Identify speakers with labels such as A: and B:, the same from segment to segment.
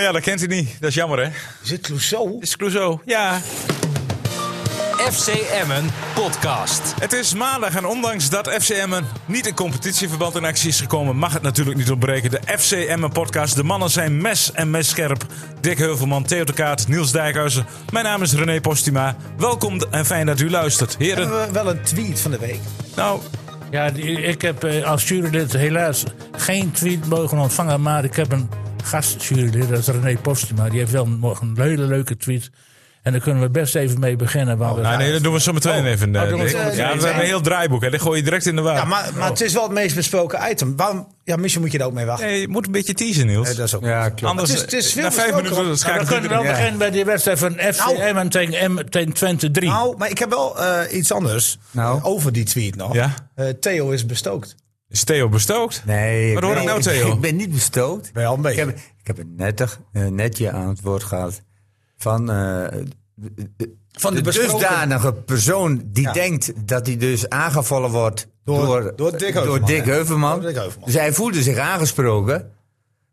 A: ja, dat kent hij niet. Dat is jammer, hè?
B: Is het Clouseau?
A: Is Clouseau. Ja,
C: FC Emmen podcast.
A: Het is maandag en ondanks dat FC Emmen niet in competitieverband in actie is gekomen, mag het natuurlijk niet ontbreken. De FC Emmen podcast. De mannen zijn mes en mes scherp. Dick Heuvelman, Theo de Kaat, Niels Dijkhuizen. Mijn naam is René Postima. Welkom en fijn dat u luistert. Heren,
B: Hebben we wel een tweet van de week?
A: nou,
D: Ja, die- ik heb eh, als jurylid helaas geen tweet mogen ontvangen. Maar ik heb een gastjurylid, dat is René Postuma. Die heeft wel nog een hele leuke tweet. En daar kunnen we best even mee beginnen. Want we-
A: nou, nee, dat doen we zo meteen even. eh,
D: doen we
A: Dick.
D: zo
A: ja,
B: meteen.
A: we hebben een heel draaiboek. Hè. Dat gooi je direct in de war.
B: Ja, maar, maar het is wel het meest besproken item. Waarom, ja, misschien moet je er ook mee wachten.
A: Nee, je moet een beetje teasen, Niels.
B: Nee, dat is ook
A: ja,
B: goed.
A: klopt. Anders,
B: Het is- het is veel
A: na vijf
B: besproken,
A: minuten
B: want-
D: Nou,
A: schakelt
D: we kunnen wel
A: iedereen-
D: beginnen bij die wedstrijd van FC
B: Nou.
D: Emmen tegen, Emmen tegen Twente 3.
B: Nou, maar ik heb wel eh, iets anders
E: Nou.
B: eh, over die tweet nog.
A: Ja.
B: Eh, Theo is bestookt.
A: Is Theo bestookt?
E: Nee.
A: Wat hoor
E: ben-
A: ik nou, Theo?
E: Ik ben niet bestookt.
B: Wel een
E: Ik
B: beetje.
E: heb, ik heb een nettig, een netje aan het woord gehad van... eh, de- de-
B: Van de
E: de
B: besproken-
E: dusdanige persoon die
B: Ja.
E: denkt dat hij dus aangevallen wordt
B: Door-
E: door,
B: door Dick Heuvelman,
E: door Dick
B: hè?
E: Heuvelman.
B: Door Dick Heuvelman.
E: Dus hij voelde zich aangesproken.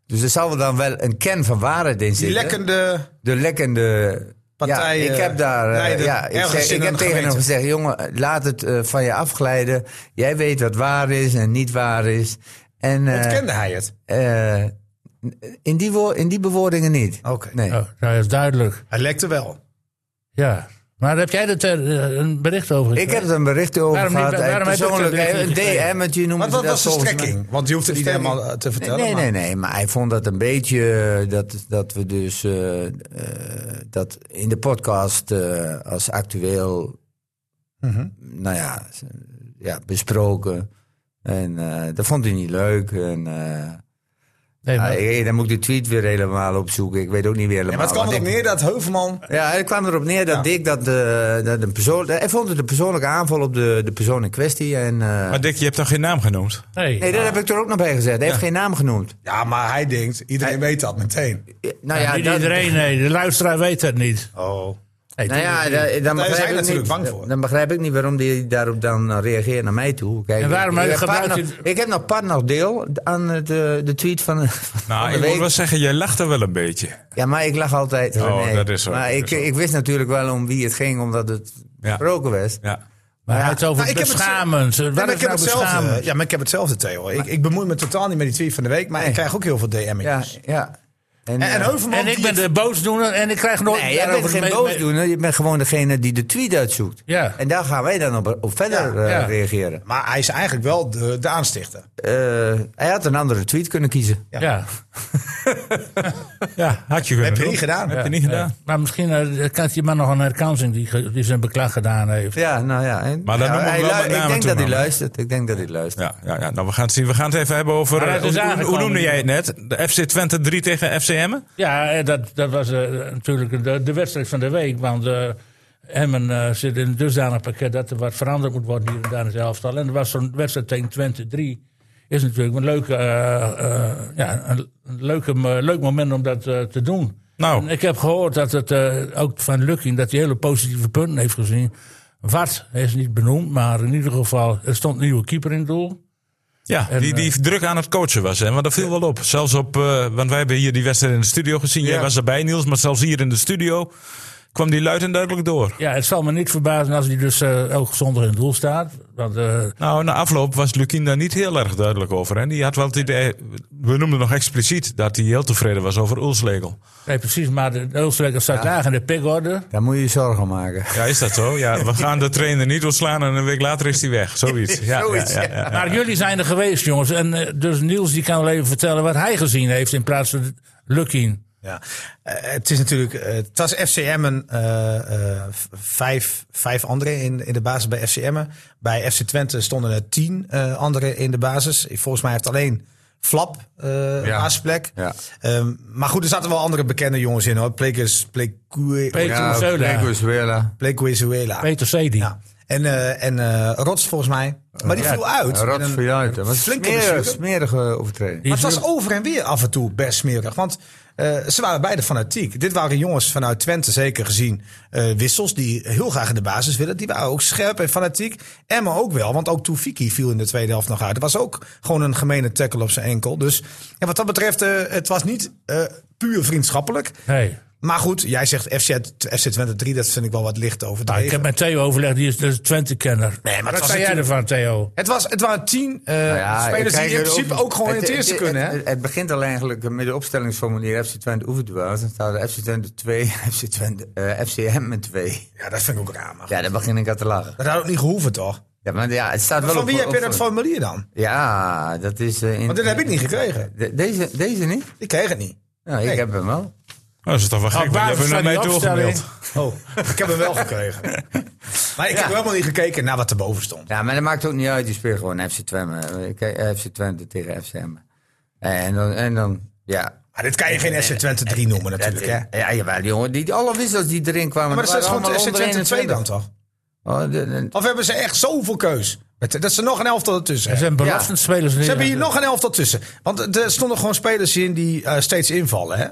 E: Dus er zal wel dan wel een kern van waarheid in
B: Die
E: zitten.
B: lekkende...
E: De lekkende
B: Partij,
E: Ja, ik
B: eh,
E: heb daar. eh,
B: leider,
E: ja, ik
B: ergens
E: zeg-
B: in
E: ik heb
B: een
E: tegen hem
B: gemeente.
E: gezegd: jongen, laat het eh, van je afglijden. Jij weet wat waar is en niet waar is. En, eh,
B: Ontkende hij het?
E: eh, in, die woor- in die bewoordingen niet.
B: Oké.
E: Nee.
D: Oh, dat is duidelijk.
B: Hij lekte wel.
D: Ja. Maar heb jij er eh, een bericht over?
E: Ik heb er een bericht over
D: Waarom niet-
E: gehad.
D: waarom
E: eh,
D: heb je dat
E: persoonlijk,
D: bericht
E: eh, een
D: niet gekregen?
E: DM'tje noemen
B: Maar
E: ze
B: wat
E: dat
B: was de
E: volgens mij.
B: strekking? Want je hoeft het niet
E: stemming.
B: helemaal eh, te vertellen.
E: Nee, nee,
B: maar-
E: nee, maar hij vond dat een beetje eh, dat, dat we dus eh, eh, dat in de podcast eh, als actueel,
B: Mhm.
E: nou ja, s- ja besproken. En eh, dat vond hij niet leuk. En, eh,
D: Nee, maar-
E: ah, eh, dan moet ik de tweet weer helemaal opzoeken. Ik weet ook niet meer helemaal.
B: Ja, maar het kwam
E: want
B: erop
E: ik-
B: neer dat Heuvelman...
E: ja, het kwam erop neer dat Dick dat, eh, dat een persoon. Hij vond het een persoonlijke aanval op de, de persoon in kwestie. En, eh,
A: Maar Dick, je hebt dan geen naam genoemd.
D: nee.
E: nee, dat heb ik er ook nog bij gezet. Hij heeft geen naam genoemd.
B: Ja, maar hij denkt, iedereen weet dat meteen.
E: Eh, Nou
D: Ja,
E: ja,
D: niet
E: dat-
D: iedereen, nee. De luisteraar weet dat niet.
B: Oh.
D: Nee,
E: Nou ja, daar, dan
B: Daar is
E: begrijp
B: hij
E: ik
B: natuurlijk
E: niet,
B: bang voor.
E: Dan begrijp ik niet waarom die daarop dan eh, reageert naar mij toe. Kijk,
D: En waarom
E: ik, ik, heb
D: gebruikt
E: part
D: u-
E: nog- ik heb nog part nog deel aan het, eh, de tweet van, van
A: Nou,
E: de
A: ik moet
E: week.
A: wel zeggen, jij lacht er wel een beetje.
E: Ja, maar ik lag altijd.
A: Oh,
E: René.
A: dat is zo,
E: Maar
A: dat is
E: ik,
A: zo.
E: ik wist natuurlijk wel om wie het ging, omdat het
A: Ja.
E: gesproken was.
A: Ja.
D: Maar hij heeft het over
B: Nou, ik heb het-
D: beschamend.
B: Ja,
D: Wat
B: maar
D: is
B: ik heb eh,
D: nou beschamend?
B: hetzelfde, ja, maar ik heb hetzelfde, Theo. Ik, ik bemoei me totaal niet met die tweet van de week, maar ik
E: Nee.
B: krijg ook heel veel DM'tjes.
E: Ja, ja.
B: En, en
E: eh,
B: Heuvelman...
D: En ik
B: die-
D: ben de boosdoener en ik krijg nooit...
E: Nee, jij bent
D: daarover
E: geen
D: mee-
E: boosdoener. Je bent gewoon degene die de tweet uitzoekt.
D: Ja.
E: En daar gaan wij dan op, op verder
B: Ja,
E: eh,
D: ja.
E: reageren.
B: Maar hij is eigenlijk wel de, de aanstichter.
E: Eh, hij had een andere tweet kunnen kiezen.
D: Ja.
A: ja, had je kunnen
B: Heb je
A: doen.
B: niet gedaan.
A: Heb
D: Ja,
A: je niet
D: ja.
A: gedaan.
D: Maar misschien eh, kent die man nog een herkansing die, ge- die zijn beklag gedaan heeft.
E: Ja, nou ja. En,
A: Maar daar
E: ja,
A: noemen we
E: hij
A: wel
E: lu-
A: met name
E: Ik denk
A: toe,
E: dat hij
A: man.
E: luistert. Ik denk dat hij luistert.
A: Ja, ja, ja, nou we gaan het zien. We gaan het even hebben over.
D: Maar
A: eh,
D: het is
A: hoe, hoe,
D: aangekomen.
A: noemde jij het net? De FC Twente 3 tegen FC Emmen?
D: Ja, eh, dat, dat was eh, natuurlijk de, de wedstrijd van de week. Want eh, Emmen eh, zit in een dusdanig pakket dat er wat veranderd moet worden hier en daar in het elftal. En er was zo'n wedstrijd tegen Twente 3. Is natuurlijk een, leuke, eh, eh, ja, een, een leuke, mo- leuk moment om dat eh, te doen.
A: Nou.
D: En ik heb gehoord dat het eh, ook van Lukking dat hij hele positieve punten heeft gezien. Wat hij is niet benoemd, maar in ieder geval er stond een nieuwe keeper in het doel.
A: Ja,
D: En,
A: die, die
D: eh,
A: druk aan het coachen was. Hè? Want dat viel wel op. Zelfs op. eh, want wij hebben hier die wedstrijd in de studio gezien. Jij
E: Ja.
A: was erbij, Niels. Maar zelfs hier in de studio kwam die luid en duidelijk door.
D: Ja, het zal me niet verbazen als hij dus eh, elke zondag in het doel staat. Want eh,
A: Nou, na afloop was Lukien daar niet heel erg duidelijk over. En die had wel het idee. We noemden nog expliciet dat hij heel tevreden was over Ulslegel.
D: Nee, precies, maar de Oostenrijker staat laag in de pickorder.
E: Daar moet je je zorgen om maken.
A: Ja, is dat zo? Ja, we gaan de trainer niet ontslaan en een week later is hij weg. Zoiets. Ja,
E: Zoiets,
A: ja, Nou, ja, ja.
D: Maar jullie zijn er geweest, jongens. En eh, dus Niels die kan wel even vertellen wat hij gezien heeft in plaats van Lucky.
B: Ja. Eh, het is natuurlijk, eh, het was FCM en eh, eh, v- vijf, vijf anderen in, in de basis bij FCM. Bij FC Twente stonden er tien eh, anderen in de basis. Volgens mij heeft alleen Flap eh een
E: Ja.
B: basisplek.
E: Ja.
B: Ehm, maar goed, er zaten wel andere bekende jongens in hoor. Plekers, Plekue,
D: Peter Zuela.
E: Venezuela.
B: Plecuezuela.
D: Peter Sedi.
B: Ja. En, eh, en eh, Rots volgens mij. Maar die viel uit.
E: Rad
B: En een-
E: voor je uit. hè. Was
B: flinke
E: smerige,
B: blessure.
E: smerige overtreding.
B: Maar het was over en weer af en toe best smerig. Want eh, ze waren beide fanatiek. Dit waren jongens vanuit Twente zeker gezien. eh, wissels die heel graag in de basis willen. Die waren ook scherp en fanatiek. Emma ook wel. Want ook Toefiki viel in de tweede helft nog uit. Het was ook gewoon een gemene tackle op zijn enkel. Dus ja, wat dat betreft, eh, het was niet eh, puur vriendschappelijk.
D: Hey.
B: Maar goed, jij zegt FC, FC Twente 3. Dat vind ik wel wat licht
D: Nou,
B: overdreven.
D: ik heb met Theo overlegd, die is dus Twente-kenner.
B: maar het
D: Wat
B: was
D: zei jij
B: natuurlijk-
D: ervan, Theo?
B: Het, was, het waren tien eh,
E: Nou Ja,
B: spelers die
E: kijk,
B: in principe ook, gewoon in het eerste kunnen.
E: Het,
B: hè?
E: het begint al eigenlijk met de opstellingsformulier FC Twente Oeverduel. Dan staat er FC Twente 2, FC Twente, eh, FCM en 2.
B: Ja, dat vind ik ook raar. maar
E: Ja, dan begin ik aan te lachen.
B: Dat had ook niet gehoeven, toch?
E: Ja, maar ja, het staat wel
B: Van
E: op-
B: wie heb je
E: op-
B: dat formulier dan?
E: Ja, dat is... eh, in-
B: Want dit heb ik niet gekregen.
E: De- deze, deze niet?
B: Ik kreeg het niet.
E: Nou, ik
B: Nee.
E: heb hem wel.
A: Dat is toch wel gek,
D: Op
A: want je hebt
D: basis
A: naar
D: van
A: mij
D: Oh, die opstelling.
A: doorgemaild.
B: Oh, ik heb hem wel gekregen. Maar ik heb helemaal niet gekeken naar wat erboven stond.
E: Ja, maar dat maakt ook niet uit. Je speelt gewoon FC Twente. Eh, Kijk, FC Twente tegen FCM. Eh, En dan, en dan ja...
B: Maar dit kan je geen SC Twente 3 noemen natuurlijk, hè?
E: Dat- Ja, jawel, jongen. Die, alle wissels die erin kwamen...
B: Maar dat
E: waren
B: is gewoon
E: allemaal
B: SC
E: onder
B: Twente 2 dan
E: 21.
B: toch?
E: Oh, de- de-
B: Of hebben ze echt zoveel keus? Met- Dat ze nog een elftal ertussen
D: Er
B: hebben.
D: zijn belastend spelers
B: Ze hebben hier nog een elftal tussen. Want er stonden gewoon spelers in die eh, steeds invallen, hè?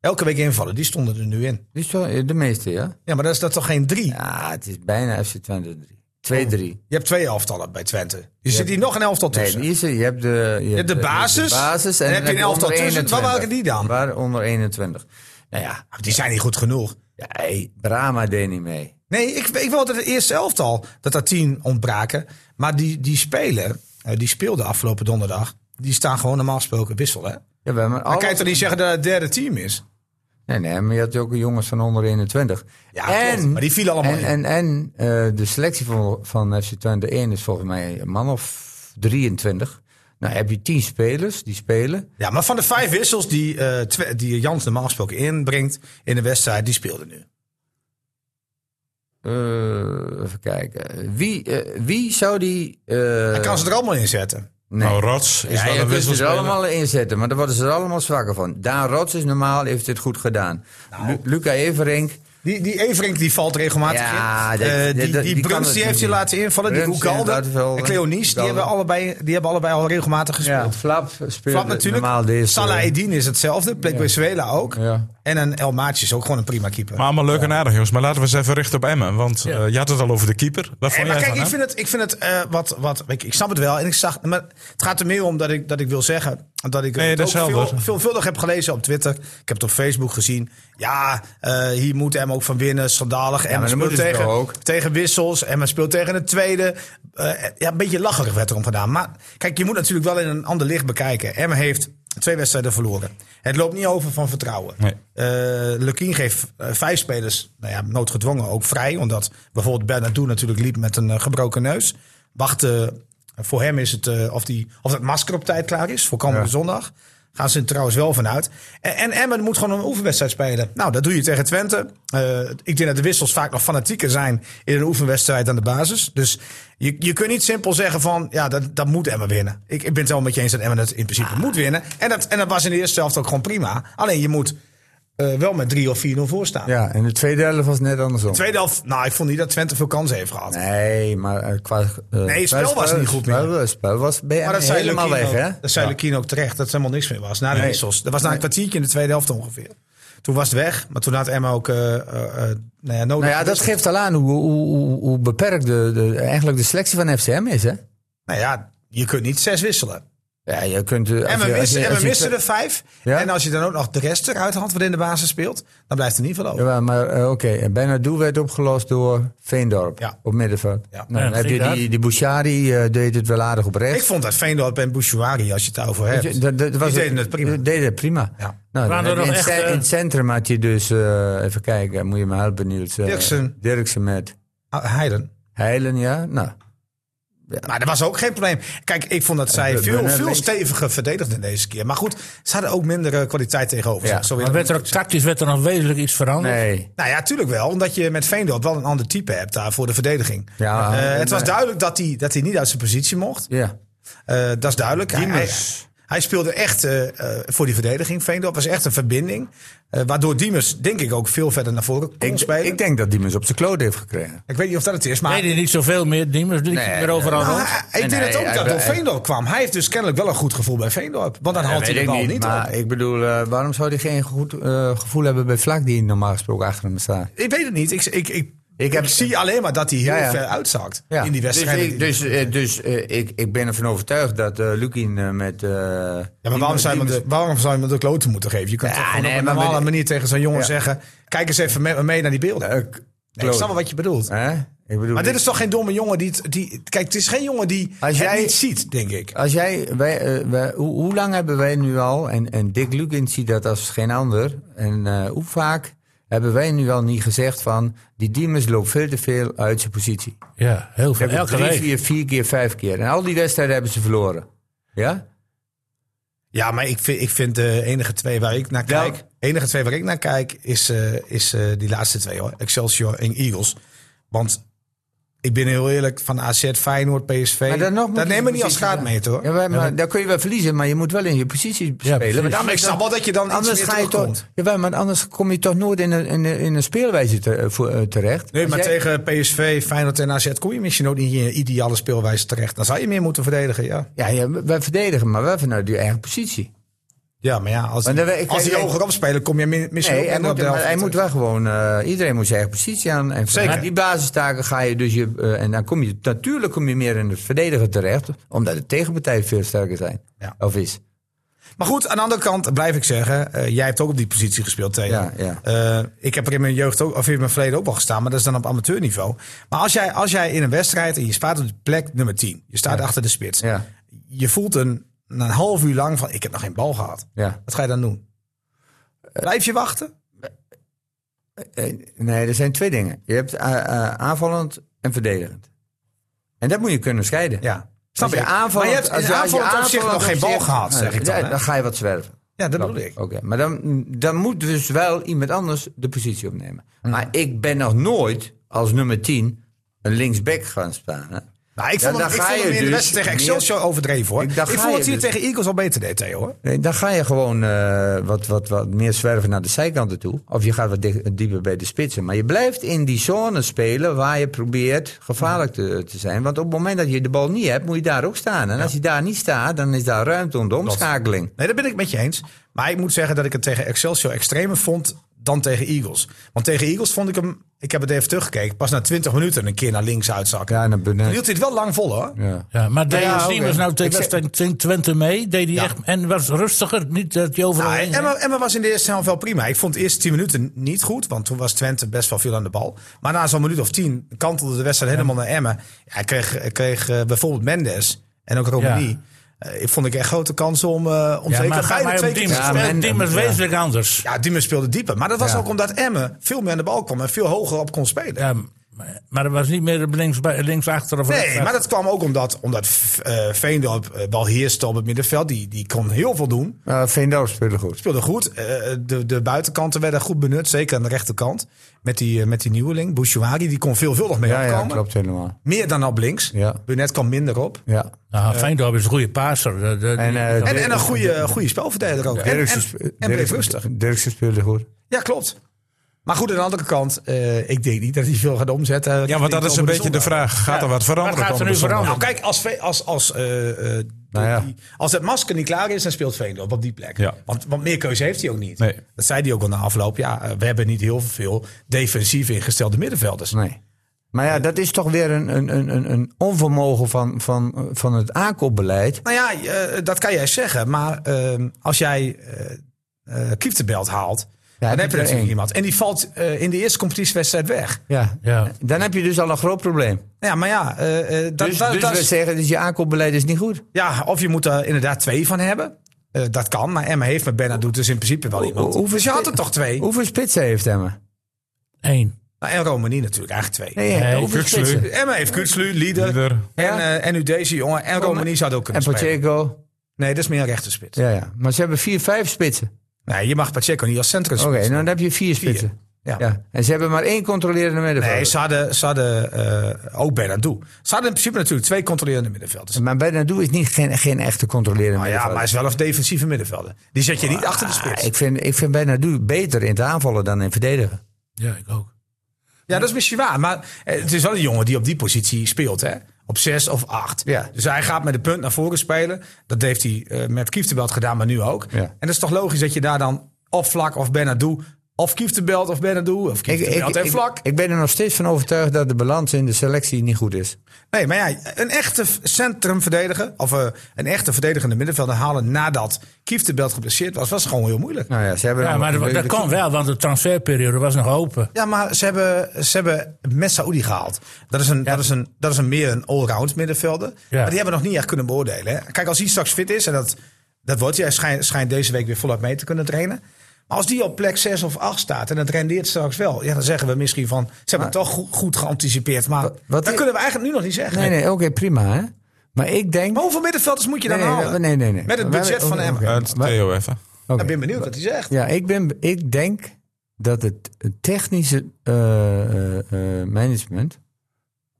B: Elke week invallen, die stonden er nu in.
E: die is wel- eh, de meeste, ja?
B: Ja, maar dat is dat toch geen drie?
E: Ja, het is bijna FC Twente
B: Oh.
E: 3. 2-3.
B: Je hebt twee elftallen bij Twente. Je zit hier nog een elftal
E: Nee,
B: tussen.
E: die is er. je hebt de, je hebt
B: de basis,
E: basis
B: en
E: dan
B: heb je een elftal
E: onder
B: tussen. Waar
E: 21.
B: waren die dan?
E: Waar onder 21. Nou ja,
B: Die zijn niet goed genoeg.
E: ja hey, Brahma deed niet mee.
B: Nee, ik, ik wil altijd het eerste elftal dat daar tien ontbraken. Maar die, die spelen, eh, die speelden afgelopen donderdag. Die staan gewoon normaal gesproken wissel. Hè?
E: Ja, maar
B: Dan
E: alle-
B: kan je toch niet zeggen dat het derde team is?
E: Nee, nee, maar je had ook jongens van onder 21.
B: Ja, klopt. maar die vielen allemaal
E: en,
B: in.
E: en, en eh, de selectie van, van FC Twente 1 is volgens mij een man of 23. Nou, heb je 10 spelers die spelen.
B: Ja, maar van de vijf wissels die, eh, twe- die Jans normaal gesproken inbrengt in de wedstrijd, die speelden nu.
E: Eh, even kijken. Wie, eh, wie zou die... eh,
B: Hij kan ze er allemaal in zetten.
E: Nee.
A: Nou, Rots is
E: Ja,
A: wel
E: je
A: een
E: kunt ze er
A: wisselspeler.
E: allemaal inzetten, maar daar worden ze er allemaal zwakker van. Daan Rots is normaal, heeft het goed gedaan.
B: Nou.
E: Lu- Luca Everink,
B: Die, die Everink die valt regelmatig
E: Ja,
B: in.
E: dat-
B: Eh,
E: dat-
B: die
E: dat-
B: die,
E: die kan
B: Bruns
E: het
B: die heeft
E: niet
B: je
E: doen.
B: laten invallen. Die
E: Bruns
B: Hoekalde
E: inderdaad wel,
B: en Cleonice, die
E: Hoekalde.
B: hebben, allebei, die hebben allebei al regelmatig
E: ja,
B: gespeeld.
E: Flap speelt
B: Flap natuurlijk.
E: normaal de eerste.
B: Salah Edin is hetzelfde. Plekwisuela ook.
E: Ja.
B: En een El Maatje is ook gewoon een prima keeper.
A: Maar allemaal leuk en aardig, jongens. Maar laten we eens even richten op Emmen. Want eh, je had het al over de keeper. Wat
B: Hey,
A: vond
B: maar
A: jij
B: kijk,
A: van
B: ik
A: hem?
B: vind het, ik vind het eh, wat, wat ik, ik snap het wel. En ik zag, maar het gaat er meer om dat ik, dat ik wil zeggen. Dat ik
A: Nee,
B: het
A: dat
B: ook
A: is helder.
B: veel- veelvuldig heb gelezen op Twitter. Ik heb het op Facebook gezien. Ja, eh, hier moet Emma ook van winnen. Schandalig. Emma
E: maar dan
B: speelt
E: moeten ze
B: tegen,
E: toch ook?
B: tegen wissels. Emma speelt tegen de tweede. Eh, ja, een beetje lacherig werd erom gedaan. Maar kijk, je moet natuurlijk wel in een ander licht bekijken. Emma heeft twee wedstrijden verloren. Het loopt niet over van vertrouwen.
A: Nee.
B: Eh, Lukien geeft eh, vijf spelers, nou ja, noodgedwongen ook vrij. Omdat bijvoorbeeld Bernardo natuurlijk liep met een eh, gebroken neus. Wachten, voor hem is het eh, of, die, of dat masker op tijd klaar is voor komende zondag. Gaan ze er trouwens wel vanuit. En, en Emmen moet gewoon een oefenwedstrijd spelen. Nou, dat doe je tegen Twente. Eh, ik denk dat de wissels vaak nog fanatieker zijn in een oefenwedstrijd dan de basis. Dus je, je kunt niet simpel zeggen van, ja, dat, dat moet Emmen winnen. Ik, ik ben het wel met je eens dat Emmen het in principe moet winnen. En dat, en dat was in de eerste helft ook gewoon prima. Alleen je moet eh, wel met 3 of 4-0 voor staan.
E: Ja, en de tweede helft was net andersom.
B: Tweede helft, nou, ik vond niet dat Twente veel kansen heeft gehad.
E: Nee, maar eh, qua...
B: Nee, het spel was niet goed meer.
E: Het spel was bij
B: Maar dat
E: Emmen
B: zei
E: helemaal
B: Lukien
E: weg,
B: ook-
E: hè?
B: Dat zei Lukien ook terecht, dat er helemaal niks meer was. Na de wissels. Dat was na een kwartiertje in de tweede helft ongeveer. Toen was het weg, maar toen had Emma ook eh, eh, eh, nou ja, nodig.
E: Nou ja, dat geeft al aan hoe, hoe, hoe, hoe beperkt de, de, eigenlijk de selectie van FCM is, hè?
B: Nou ja, je kunt niet zes wisselen.
E: Ja, je kunt... eh, als
B: En we,
E: je- als
B: missen,
E: je-
B: en
E: als
B: we
E: je-
B: missen er vijf.
E: Ja?
B: En als je dan ook nog de rest eruit had wat in de basis speelt, dan blijft er niet veel over.
E: Ja, maar eh, oké, en Bernardo werd opgelost door Veendorp
B: Ja.
E: op middenveld.
B: Ja.
E: Nou, dan
D: Ja,
E: heb je
D: inderdaad.
E: die, die Bouchari eh, deed het wel aardig op
B: Ik
E: rechts.
B: vond dat Veendorp en Bouchouari, als je het daarover hebt.
E: Weet je, dat- dat was-
B: deden het prima.
E: die deden het prima.
B: Ja.
E: Nou, dan
D: Waren er
E: heb je
D: nog
E: in, het
D: echt,
E: cen-
D: eh,
E: in het centrum had je dus, eh, even kijken, moet je me helpen Niels. eh,
B: Dirksen.
E: Dirksen met
B: Ah, Heiden.
E: Heilen, ja. Nou,
B: Maar er was ook geen probleem. Kijk, ik vond dat zij
E: Eh, we- we-
B: veel,
E: we-
B: veel
E: we-
B: steviger verdedigden deze keer. Maar goed, ze hadden ook minder eh, kwaliteit tegenover.
E: Ja,
B: zich. Zo weer-
D: Maar werd er ook, tactisch werd er nog wezenlijk iets veranderd.
E: nee.
B: Nou ja, tuurlijk wel. Omdat je met Veendorp wel een ander type hebt daar voor de verdediging.
E: Ja,
B: Eh,
E: en,
B: het was
E: eh,
B: duidelijk dat hij, dat hij niet uit zijn positie mocht.
E: Ja.
B: Eh, dat is duidelijk. Hij, hij,
E: Diemers.
B: Hij speelde echt eh, eh, voor die verdediging. Veendorp was echt een verbinding. eh, waardoor Diemers, denk ik, ook veel verder naar voren kon
E: Ik,
B: spelen.
E: ik denk dat die mens op zijn kloot heeft gekregen.
B: Ik weet niet of dat het is, maar...
D: Nee, die niet zoveel meer. Diemers liep
E: Nee,
D: meer overal
E: nee.
D: rond.
B: Ah, ik denk
E: Nee,
B: het ook
E: hij-
B: dat door
E: hij-
B: Veendorp kwam. Hij heeft dus kennelijk wel een goed gevoel bij Veendorp. Want dan haalt hij de
E: ik
B: bal niet,
E: maar
B: op.
E: ik bedoel, eh, waarom zou hij geen goed eh, gevoel hebben bij Vlak die normaal gesproken achter hem staat?
B: Ik weet het niet. Ik, ik, ik, ik,
E: heb-
B: zie alleen maar dat hij heel
E: Ja, ja.
B: ver uitzakt
E: Ja.
B: in die wedstrijd.
E: Dus, ik, dus, eh, dus eh, ik, ik ben ervan overtuigd dat eh Lukien eh, met... eh,
B: Ja, maar waarom
E: die-
B: zou, je
E: die-
B: hem de, waarom zou je hem de kloten moeten geven? Je kunt
E: Ja,
B: toch gewoon
E: nee,
B: op een
E: maar
B: normale
E: met-
B: manier tegen zo'n jongen
E: Ja.
B: zeggen... Kijk eens even mee, mee naar die beelden.
E: Eh,
B: Nee, ik
E: kloot.
B: snap wel wat je bedoelt.
E: Hè? Ik bedoel,
B: Maar dit is toch geen domme jongen die... het- die kijk, het is geen jongen die
E: Als
B: het
E: jij-
B: niet ziet, denk ik.
E: Als jij, wij, eh, wij- hoe, hoe lang hebben wij nu al, en, en Dick Lukin ziet dat als geen ander, en eh, hoe vaak hebben wij nu al niet gezegd van, die Diemers loopt veel te veel uit zijn positie.
D: Ja, heel
E: Ze
D: veel.
E: hebben
D: Elke
E: drie,
D: week.
E: vier, vier keer, vijf keer. En al die wedstrijden hebben ze verloren. Ja?
B: Ja, maar ik vind, ik vind de enige twee waar ik naar
E: Wel-
B: kijk... enige twee waar ik naar kijk is, eh, is eh, die laatste twee, hoor. Excelsior en Eagles. Want ik ben heel eerlijk, van AZ, Feyenoord, PSV...
E: Maar dan nog moet
B: dat
E: je
B: nemen we niet als
E: positie-
B: graadmeter, hoor.
E: ja maar, maar daar kun je wel verliezen, maar je moet wel in je positie spelen.
D: precies.
E: want
B: Ja, maar ik snap wel dat je dan iets
E: Anders,
B: meer
E: ga je
B: terugkomt.
E: toch, jawel, maar anders kom je toch nooit in een, in een, in een speelwijze te- eh, voor- eh, terecht.
B: Nee,
E: Als
B: maar
E: jij-
B: tegen PSV, Feyenoord en AZ kom je misschien ook niet in je ideale speelwijze terecht. Dan zou je meer moeten verdedigen, ja.
E: Ja, ja, wij verdedigen, maar wel vanuit je eigen positie.
B: Ja, maar ja, als,
E: Maar dan- ik-
B: als die
E: ik-
B: hoger opspelen, kom je min- misschien
E: Nee,
B: ook minder
E: hij moet,
B: op de
E: maar
B: helft.
E: hij moet wel gewoon... eh, iedereen moet zijn eigen positie aan. En
B: Zeker.
E: vanuit die basistaken ga je dus je... eh, en dan kom je... Natuurlijk kom je meer in het verdedigen terecht. Omdat de tegenpartij veel sterker zijn.
B: Ja.
E: Of is.
B: Maar goed, aan de andere kant blijf ik zeggen, eh, jij hebt ook op die positie gespeeld tegen.
E: Ja, ja.
B: Eh, ik heb er in mijn jeugd ook, of in mijn verleden ook wel gestaan, maar dat is dan op amateurniveau. Maar als jij, als jij in een wedstrijd en je staat op de plek nummer 10, je staat achter de spits,
E: Ja.
B: je voelt een, na een half uur lang van, ik heb nog geen bal gehad.
E: ja.
B: Wat ga je dan doen? Blijf je wachten?
E: Eh, nee, er zijn twee dingen. Je hebt eh, eh, aanvallend en verdedigend. En dat moet je kunnen scheiden.
B: Ja.
E: Als
B: Snap
E: je aanvallend...
B: maar je hebt
E: als
B: in aanvallend opzicht nog geen bal
E: opzicht-
B: gehad, zeg ik dan.
E: Ja,
B: hè?
E: dan ga je wat zwerven.
B: Ja, dat bedoel ik.
E: Oké, maar dan, dan moet dus wel iemand anders de positie opnemen. Maar ik ben nog nooit als nummer 10 een linksback gaan staan. hè.
B: Nou, ik
E: Ja,
B: vond hem,
E: dan
B: ik
E: ga
B: vond hem
E: je
B: in de
E: dus
B: wedstrijd tegen Excelsior overdreven, hoor. Ik,
E: Ik- dan ga
B: vond
E: je
B: dat hij
E: dus-
B: tegen Eagles al beter deed, Theo, hoor.
E: Nee, dan ga je gewoon eh, wat, wat, wat meer zwerven naar de zijkanten toe. Of je gaat wat dik- dieper bij de spitsen. Maar je blijft in die zone spelen waar je probeert gevaarlijk te, te zijn. Want op het moment dat je de bal niet hebt, moet je daar ook staan. En als je daar niet staat, dan is daar ruimte om de omschakeling.
B: Nee, dat ben ik met je eens. Maar ik moet zeggen dat ik het tegen Excelsior extremer vond dan tegen Eagles. Want tegen Eagles vond ik hem, ik heb het even teruggekeken, pas na 20 minuten een keer naar links uitzakken.
E: Ja, naar
B: Dan
E: beneden.
B: hield hij het wel lang vol, hoor.
E: Ja.
D: Ja, maar deed
E: ja,
D: Diemers
E: oké.
D: nou tegen
E: Ik zeg-
D: wedstrijd tegen Twente mee? Deed hij
B: Ja.
D: echt, en was rustiger? Niet dat hij overal...
B: Nou,
D: heen-
B: Emma, Emma was in de eerste helft wel prima. Ik vond de eerste 10 minuten niet goed, want toen was Twente best wel veel aan de bal. Maar na zo'n minuut of 10 kantelde de wedstrijd helemaal naar Emma. Hij kreeg, hij kreeg eh, bijvoorbeeld Mendes en ook Romani. Eh, ik vond ik echt grote kansen om, eh om
D: ja,
B: zeker
D: maar,
B: beide
D: maar
B: twee
D: op
B: keer
D: Diemers
B: te
E: Ja,
D: speelt
E: maar-
D: Diemers
E: ja.
D: wezenlijk anders.
B: Ja, Diemen speelde dieper. Maar dat was
E: Ja.
B: ook omdat Emmen veel meer aan de bal kwam en veel hoger op kon spelen.
D: Ja, maar- maar dat was niet meer op links, links achter of rechts
B: Nee,
D: achter.
B: maar dat kwam ook omdat, omdat eh, Veendorp eh, wel heerste op het middenveld. Die, die kon heel veel doen.
E: Uh, Veendorp speelde goed.
B: Speelde goed. Eh, de, de buitenkanten werden goed benut. Zeker aan de rechterkant. Met die, eh, met die nieuweling, Bouchouari. Die kon veelvuldig mee
E: Ja, ja,
B: opkomen.
E: klopt helemaal.
B: meer dan op links.
E: Ja.
B: Burnett kwam minder op.
E: Ja.
D: Nou, Feyenoord is een goede paaser. De- de-
E: En, eh,
D: die-
B: En, en een goede, goede spelverdeler ook. En, en,
E: Dirksen
B: en
E: spe-
B: bleef
E: Dirksen-
B: rustig.
E: Dirksen speelde goed.
B: Ja, klopt. Maar goed, aan de andere kant, eh, ik denk niet dat hij veel gaat omzetten.
A: Ja, want dat is een beetje de
B: vraag.
A: vraag. Gaat er wat veranderen?
D: Wat gaat er
A: komende
D: nu
A: zondag?
D: veranderen?
B: Nou, kijk, als, Ve- als, als, eh, eh,
E: Nou ja.
B: die- als het masker niet klaar is, dan speelt Veendorp op die plek.
A: Ja.
B: Want, want meer keuze heeft hij ook niet.
A: Nee.
B: Dat zei hij ook al na afloop. Ja, eh, we hebben niet heel veel defensief ingestelde middenvelders.
E: Nee. Maar
B: Eh,
E: ja, dat is toch weer een, een, een- een, een onvermogen van, van, van het aankoopbeleid.
B: Nou ja, eh, dat kan jij zeggen. Maar ehm, als jij eh eh Kieftenbelt haalt, dan
E: heb
B: heb
E: je
B: je
E: er
B: natuurlijk
E: één.
B: iemand. En die valt eh, in de eerste competitiewedstrijd weg.
E: Ja.
D: Ja.
E: Dan heb je dus al een groot probleem.
B: Ja, maar ja, eh, eh, dat,
E: dus
B: dat,
E: dus
B: dat
E: we
B: is-
E: zeggen, dus je aankoopbeleid is niet goed.
B: ja, of je moet er inderdaad twee van hebben. Eh, dat kan, maar Emma heeft met Benadou dus in principe wel iemand.
E: hoeveel
B: dus je had
E: spe-
B: er toch twee.
E: Hoeveel spitsen heeft Emma?
D: Eén.
B: Nou, en Romani natuurlijk, eigenlijk twee.
E: Nee,
D: Nee,
E: hoeveel
A: Kukslu.
E: spitsen?
B: Emma heeft Kutslu, Lieder.
A: Lieder.
B: En, eh, en nu deze jongen. En Romani zou het ook
E: En
B: kunnen spelen.
E: Pacheco.
B: Nee, dat is meer een rechterspits.
E: Ja, ja. Maar ze hebben vier, vijf spitsen.
B: Nee, je mag Pacheco niet als centrum
E: Oké,
B: spelen.
E: dan heb je vier spitsen.
B: Ja.
E: Ja. En ze hebben maar één controlerende middenvelder.
B: Nee, ze hadden, ze hadden eh, ook Bernardo. Ze hadden in principe natuurlijk twee controlerende middenvelders.
E: Maar Bernardo is niet, geen, geen echte controlerende
B: Maar ja, maar
E: middenvelder.
B: hij is wel een defensieve middenvelder. Die zet je niet achter de spits.
E: Ah, ik vind, ik vind Bernardo beter in het aanvallen dan in het verdedigen.
D: Ja, ik ook.
B: Ja, dat is misschien waar. Maar eh, het is wel een jongen die op die positie speelt, hè? Op zes of acht.
E: Ja.
B: Dus hij gaat met de punt naar voren spelen. Dat heeft hij eh, met Kieftebelt gedaan, maar nu ook.
E: Ja.
B: En dat is toch logisch dat je daar dan of Vlak of Bernardo... of Kieftebelt of Bernardo of Kieftebelt en Vlak.
E: ik ben er nog steeds van overtuigd dat de balans in de selectie niet goed is.
B: Nee, maar ja, een echte v- centrumverdediger... of eh, een echte verdedigende middenvelder halen nadat Kieftebelt geblesseerd was... was gewoon heel moeilijk.
E: Nou ja, ze hebben
D: Ja, maar
E: allemaal-
D: dat, dat kon wel, want de transferperiode was nog open.
B: Ja, maar ze hebben, ze hebben Messaoudi gehaald. Dat is, een, dat, is een, dat is een meer een allround middenvelder.
D: Ja.
B: Maar die hebben nog niet echt kunnen beoordelen. Hè. Kijk, als hij straks fit is, en dat, dat wordt hij, hij schijnt, schijnt deze week weer volop mee te kunnen trainen. Maar als die op plek 6 of 8 staat en het rendeert straks wel, ja, dan zeggen we misschien van ze hebben het toch goed, goed geanticipeerd. Maar
E: Wat- wat
B: dat
E: i-
B: kunnen we eigenlijk nu nog niet zeggen.
E: Nee, nee, oké, prima. Hè? Maar ik denk...
B: Maar hoeveel middenvelders moet je dan
E: Nee, nee,
B: halen?
E: nee, nee, nee.
B: Met het
E: Wij-
B: budget van
E: oké,
B: Emmen.
E: oké.
A: Eh, Theo even.
E: Oké.
B: Ik ben benieuwd wat hij zegt.
E: Ja, ik, ben, ik denk dat het technische eh, eh, eh, management,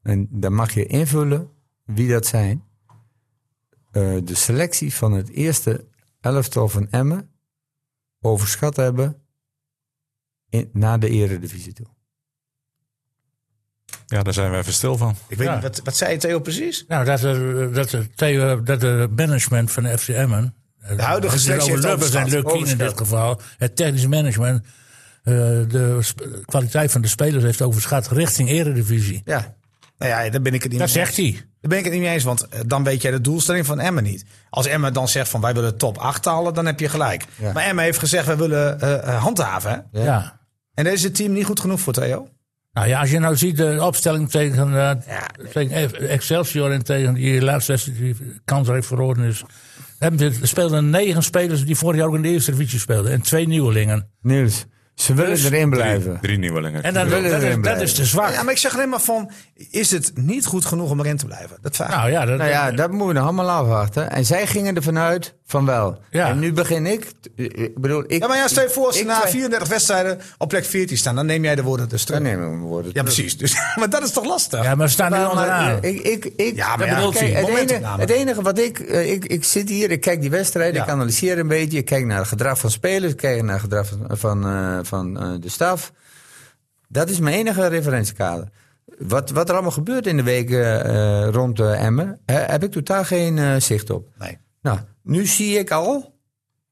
E: en daar mag je invullen wie dat zijn, eh, de selectie van het eerste elftal van Emmen overschat hebben in, naar de eredivisie toe.
A: Ja, daar zijn we even stil van.
B: Ik weet
D: Ja.
B: niet, wat, wat zei Theo precies?
D: Nou, dat er, dat er, Theo- dat er management van de FCM'en. De
B: huidige selectie heeft
D: Lubbers en
B: overschat,
D: Lukien in dit geval. Het technisch management. eh, de sp- kwaliteit van de spelers heeft overschat richting Eredivisie.
B: Ja. Nou ja, daar ben ik het niet
D: Dat
B: mee eens.
D: zegt hij.
B: Daar ben ik het niet mee eens, want eh, dan weet jij de doelstelling van Emmen niet. Als Emmen dan zegt van wij willen top 8 halen, dan heb je gelijk.
E: Ja.
B: Maar Emmen heeft gezegd wij willen eh, eh, handhaven. hè?
D: Ja.
B: En daar is het team niet goed genoeg voor, Theo.
D: Nou ja, als je nou ziet de opstelling tegen, eh, tegen F- Excelsior en tegen die laatste wedstrijd die kansrijk verloren is. Hebben ze- Er speelden negen spelers die vorig jaar ook in de eerste divisie speelden. En twee nieuwelingen.
E: Nieuws, ze willen
D: Dus
E: erin
A: Drie,
E: blijven.
A: drie nieuwelingen.
D: En dan,
E: willen
D: dat, is,
E: erin
D: dat
E: blijven.
D: is te zwak.
B: Ja, maar ik zeg alleen maar van, is het niet goed genoeg om erin te blijven? Dat vraag ik.
D: Nou ja, dat,
E: Nou ja, dat moeten we nog allemaal afwachten. En zij gingen ervan uit van wel.
D: Ja.
E: En nu begin ik. t- Ik bedoel, ik.
B: ja, maar ja, stel je voor als ze
E: ik
B: na
E: twi-
B: 34 wedstrijden op plek 14 staan, dan neem jij de woorden dus terug.
E: Dan nemen we mijn woorden.
B: Ja, precies. Dus, maar dat is toch lastig?
D: ja, maar ze staan nu
E: Maar-
D: onderaan.
E: maar ik, ik, ik,
B: Ja, maar
E: dat
B: ja,
E: bedoelt
B: kijk,
E: hij. het, enige,
B: momentopname.
E: het enige wat ik, eh, ik... Ik zit hier, ik kijk die wedstrijd,
B: Ja.
E: ik analyseer een beetje. Ik kijk naar het gedrag van spelers, ik kijk naar het gedrag van, van, eh, van eh, de staf. Dat is mijn enige referentiekader. Wat, wat er allemaal gebeurt in de weken eh, rond Emmer, Emmen, eh, heb ik totaal geen eh, zicht op.
B: Nee.
E: Nou, nu zie ik al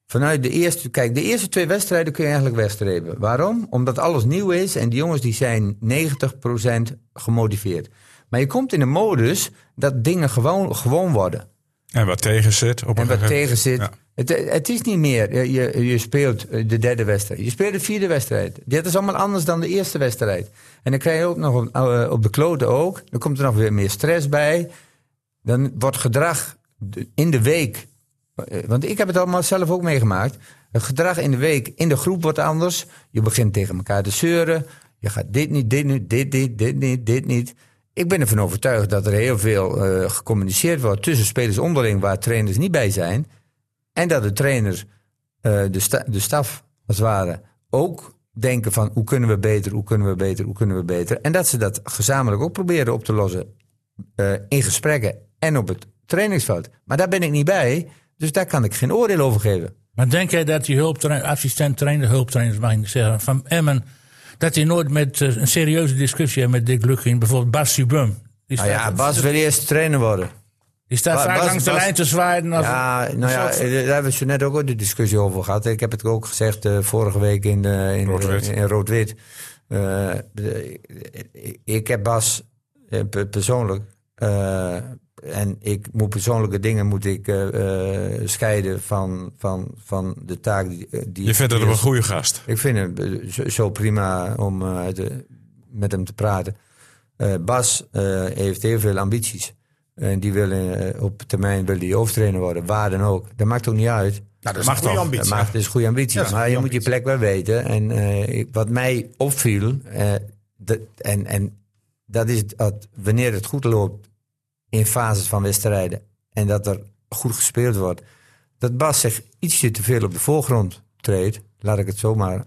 E: vanuit de eerste. Kijk, de eerste twee wedstrijden kun je eigenlijk wegstrepen. Waarom? Omdat alles nieuw is en die jongens die zijn 90% gemotiveerd. Maar je komt in een modus dat dingen gewoon, gewoon worden.
A: En wat tegen zit. Op
E: En
A: een
E: wat
A: gegeven-
E: tegen zit.
A: Ja.
E: Het, het is niet meer. Je, je, je speelt eh, de derde wedstrijd. Je speelt de vierde wedstrijd. Dit is allemaal anders dan de eerste wedstrijd. En dan krijg je ook nog op, eh, op de kloten ook. Dan komt er nog weer meer stress bij. Dan wordt gedrag de- in de week. eh, Want ik heb het allemaal zelf ook meegemaakt. Het gedrag in de week in de groep wordt anders. Je begint tegen elkaar te zeuren. Je gaat dit niet, dit niet, dit niet, dit niet, dit niet. Ik ben ervan overtuigd dat er heel veel eh, gecommuniceerd wordt tussen spelers onderling waar trainers niet bij zijn. En dat de trainers, eh, de, sta- de staf als het ware, ook denken van hoe kunnen we beter, hoe kunnen we beter, hoe kunnen we beter. En dat ze dat gezamenlijk ook proberen op te lossen eh, in gesprekken en op het trainingsveld. Maar daar ben ik niet bij, dus daar kan ik geen oordeel over geven.
D: Maar denk jij dat die hulptrain- assistent-trainer, hulptrainers mag ik niet zeggen, van Emmen, dat hij nooit met eh, een serieuze discussie heeft met Dick Lukien, bijvoorbeeld Bas Subum. Die staat,
E: Nou ja, Bas wil eerst trainer worden.
D: die staat
E: Ba-
D: vaak
E: Bas-
D: langs de
E: Bas-
D: lijn te zwaaien. Als,
E: Ja, nou ja, eh, daar hebben we zo net ook al de discussie over gehad. Ik heb het ook gezegd eh, vorige week in, de- in
A: Rood-wit.
E: in Rood-Wit. Eh, de- ik- ik heb Bas eh, pe- persoonlijk. eh, en ik moet persoonlijke dingen moet ik, eh, eh, scheiden van, van, van de taak die, eh, die
A: Je vindt dat
E: die
A: hem een
E: is.
A: goede gast.
E: Ik vind het eh, zo, zo prima om eh, te- met hem te praten. Eh, Bas eh, heeft heel veel ambities. En die wil eh, op termijn wil die hoofdtrainer worden, waar dan ook. Dat maakt ook niet uit.
B: Nou, dat is
A: Mag
B: een goede
A: toch.
E: Dat
B: ambitie.
E: maakt dus goede ambities.
B: Ja, dat is
E: maar
B: een
E: je
B: goede
E: moet je plek wel weten. En eh, ik- wat mij opviel, eh, dat, en, en dat is dat wanneer het goed loopt in fases van wedstrijden en dat er goed gespeeld wordt, dat Bas zich ietsje te veel op de voorgrond treedt, laat ik het zomaar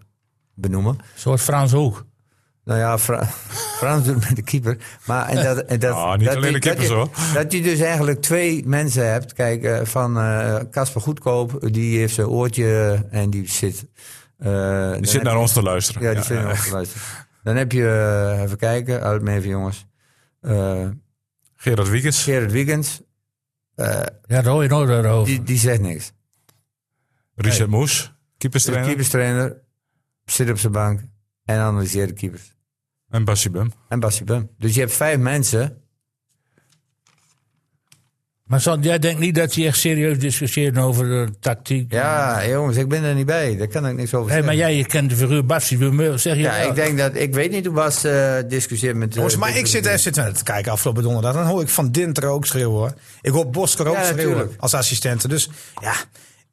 E: benoemen.
D: Een soort Frans Hoek.
E: Nou ja, Fra Frans doet het met de keeper. Maar en dat, en dat,
A: Ah, niet
E: dat
A: alleen de keepers,
E: dat je,
A: hoor.
E: Dat je dus eigenlijk twee mensen hebt. Kijk, eh, van eh, Casper Goedkoop, die heeft zijn oortje en die zit. eh, dan
A: Die zit
E: heb
A: naar
E: je-
A: ons te luisteren. eh,
E: Ja, die zit naar ons te luisteren. Dan heb je, eh, even kijken, uit me even jongens. Eh
A: Gerard Wiekens.
E: Gerard Wiegends, eh,
D: Ja, daar hoor je nooit over.
E: die, die zegt niks.
A: Richard Moes.
E: De
A: Keeperstrainer.
E: keeperstrainer zit op zijn bank en analyseert de keepers.
A: En Bassie Bum.
E: En Bassie Bum. Dus je hebt vijf mensen
D: Maar zo, jij denkt niet dat hij echt serieus discussieert over de tactiek?
E: Ja, jongens, ik ben er niet bij. Daar kan ik niks over
D: Hé,
E: zeggen.
D: maar jij je kent de figuur Bassi Bumeur, zeg je?
E: ja,
D: wel.
E: ik denk dat... Ik weet niet hoe Bas eh, discussieert met... eh,
B: Jongens, maar
E: met-
B: ik zit FC Twente te kijken afgelopen donderdag. Dan hoor ik Van Dinter ook schreeuwen. hoor. Ik hoor Bosker ook
E: Ja,
B: schreeuwen
E: natuurlijk.
B: als assistente. Dus ja,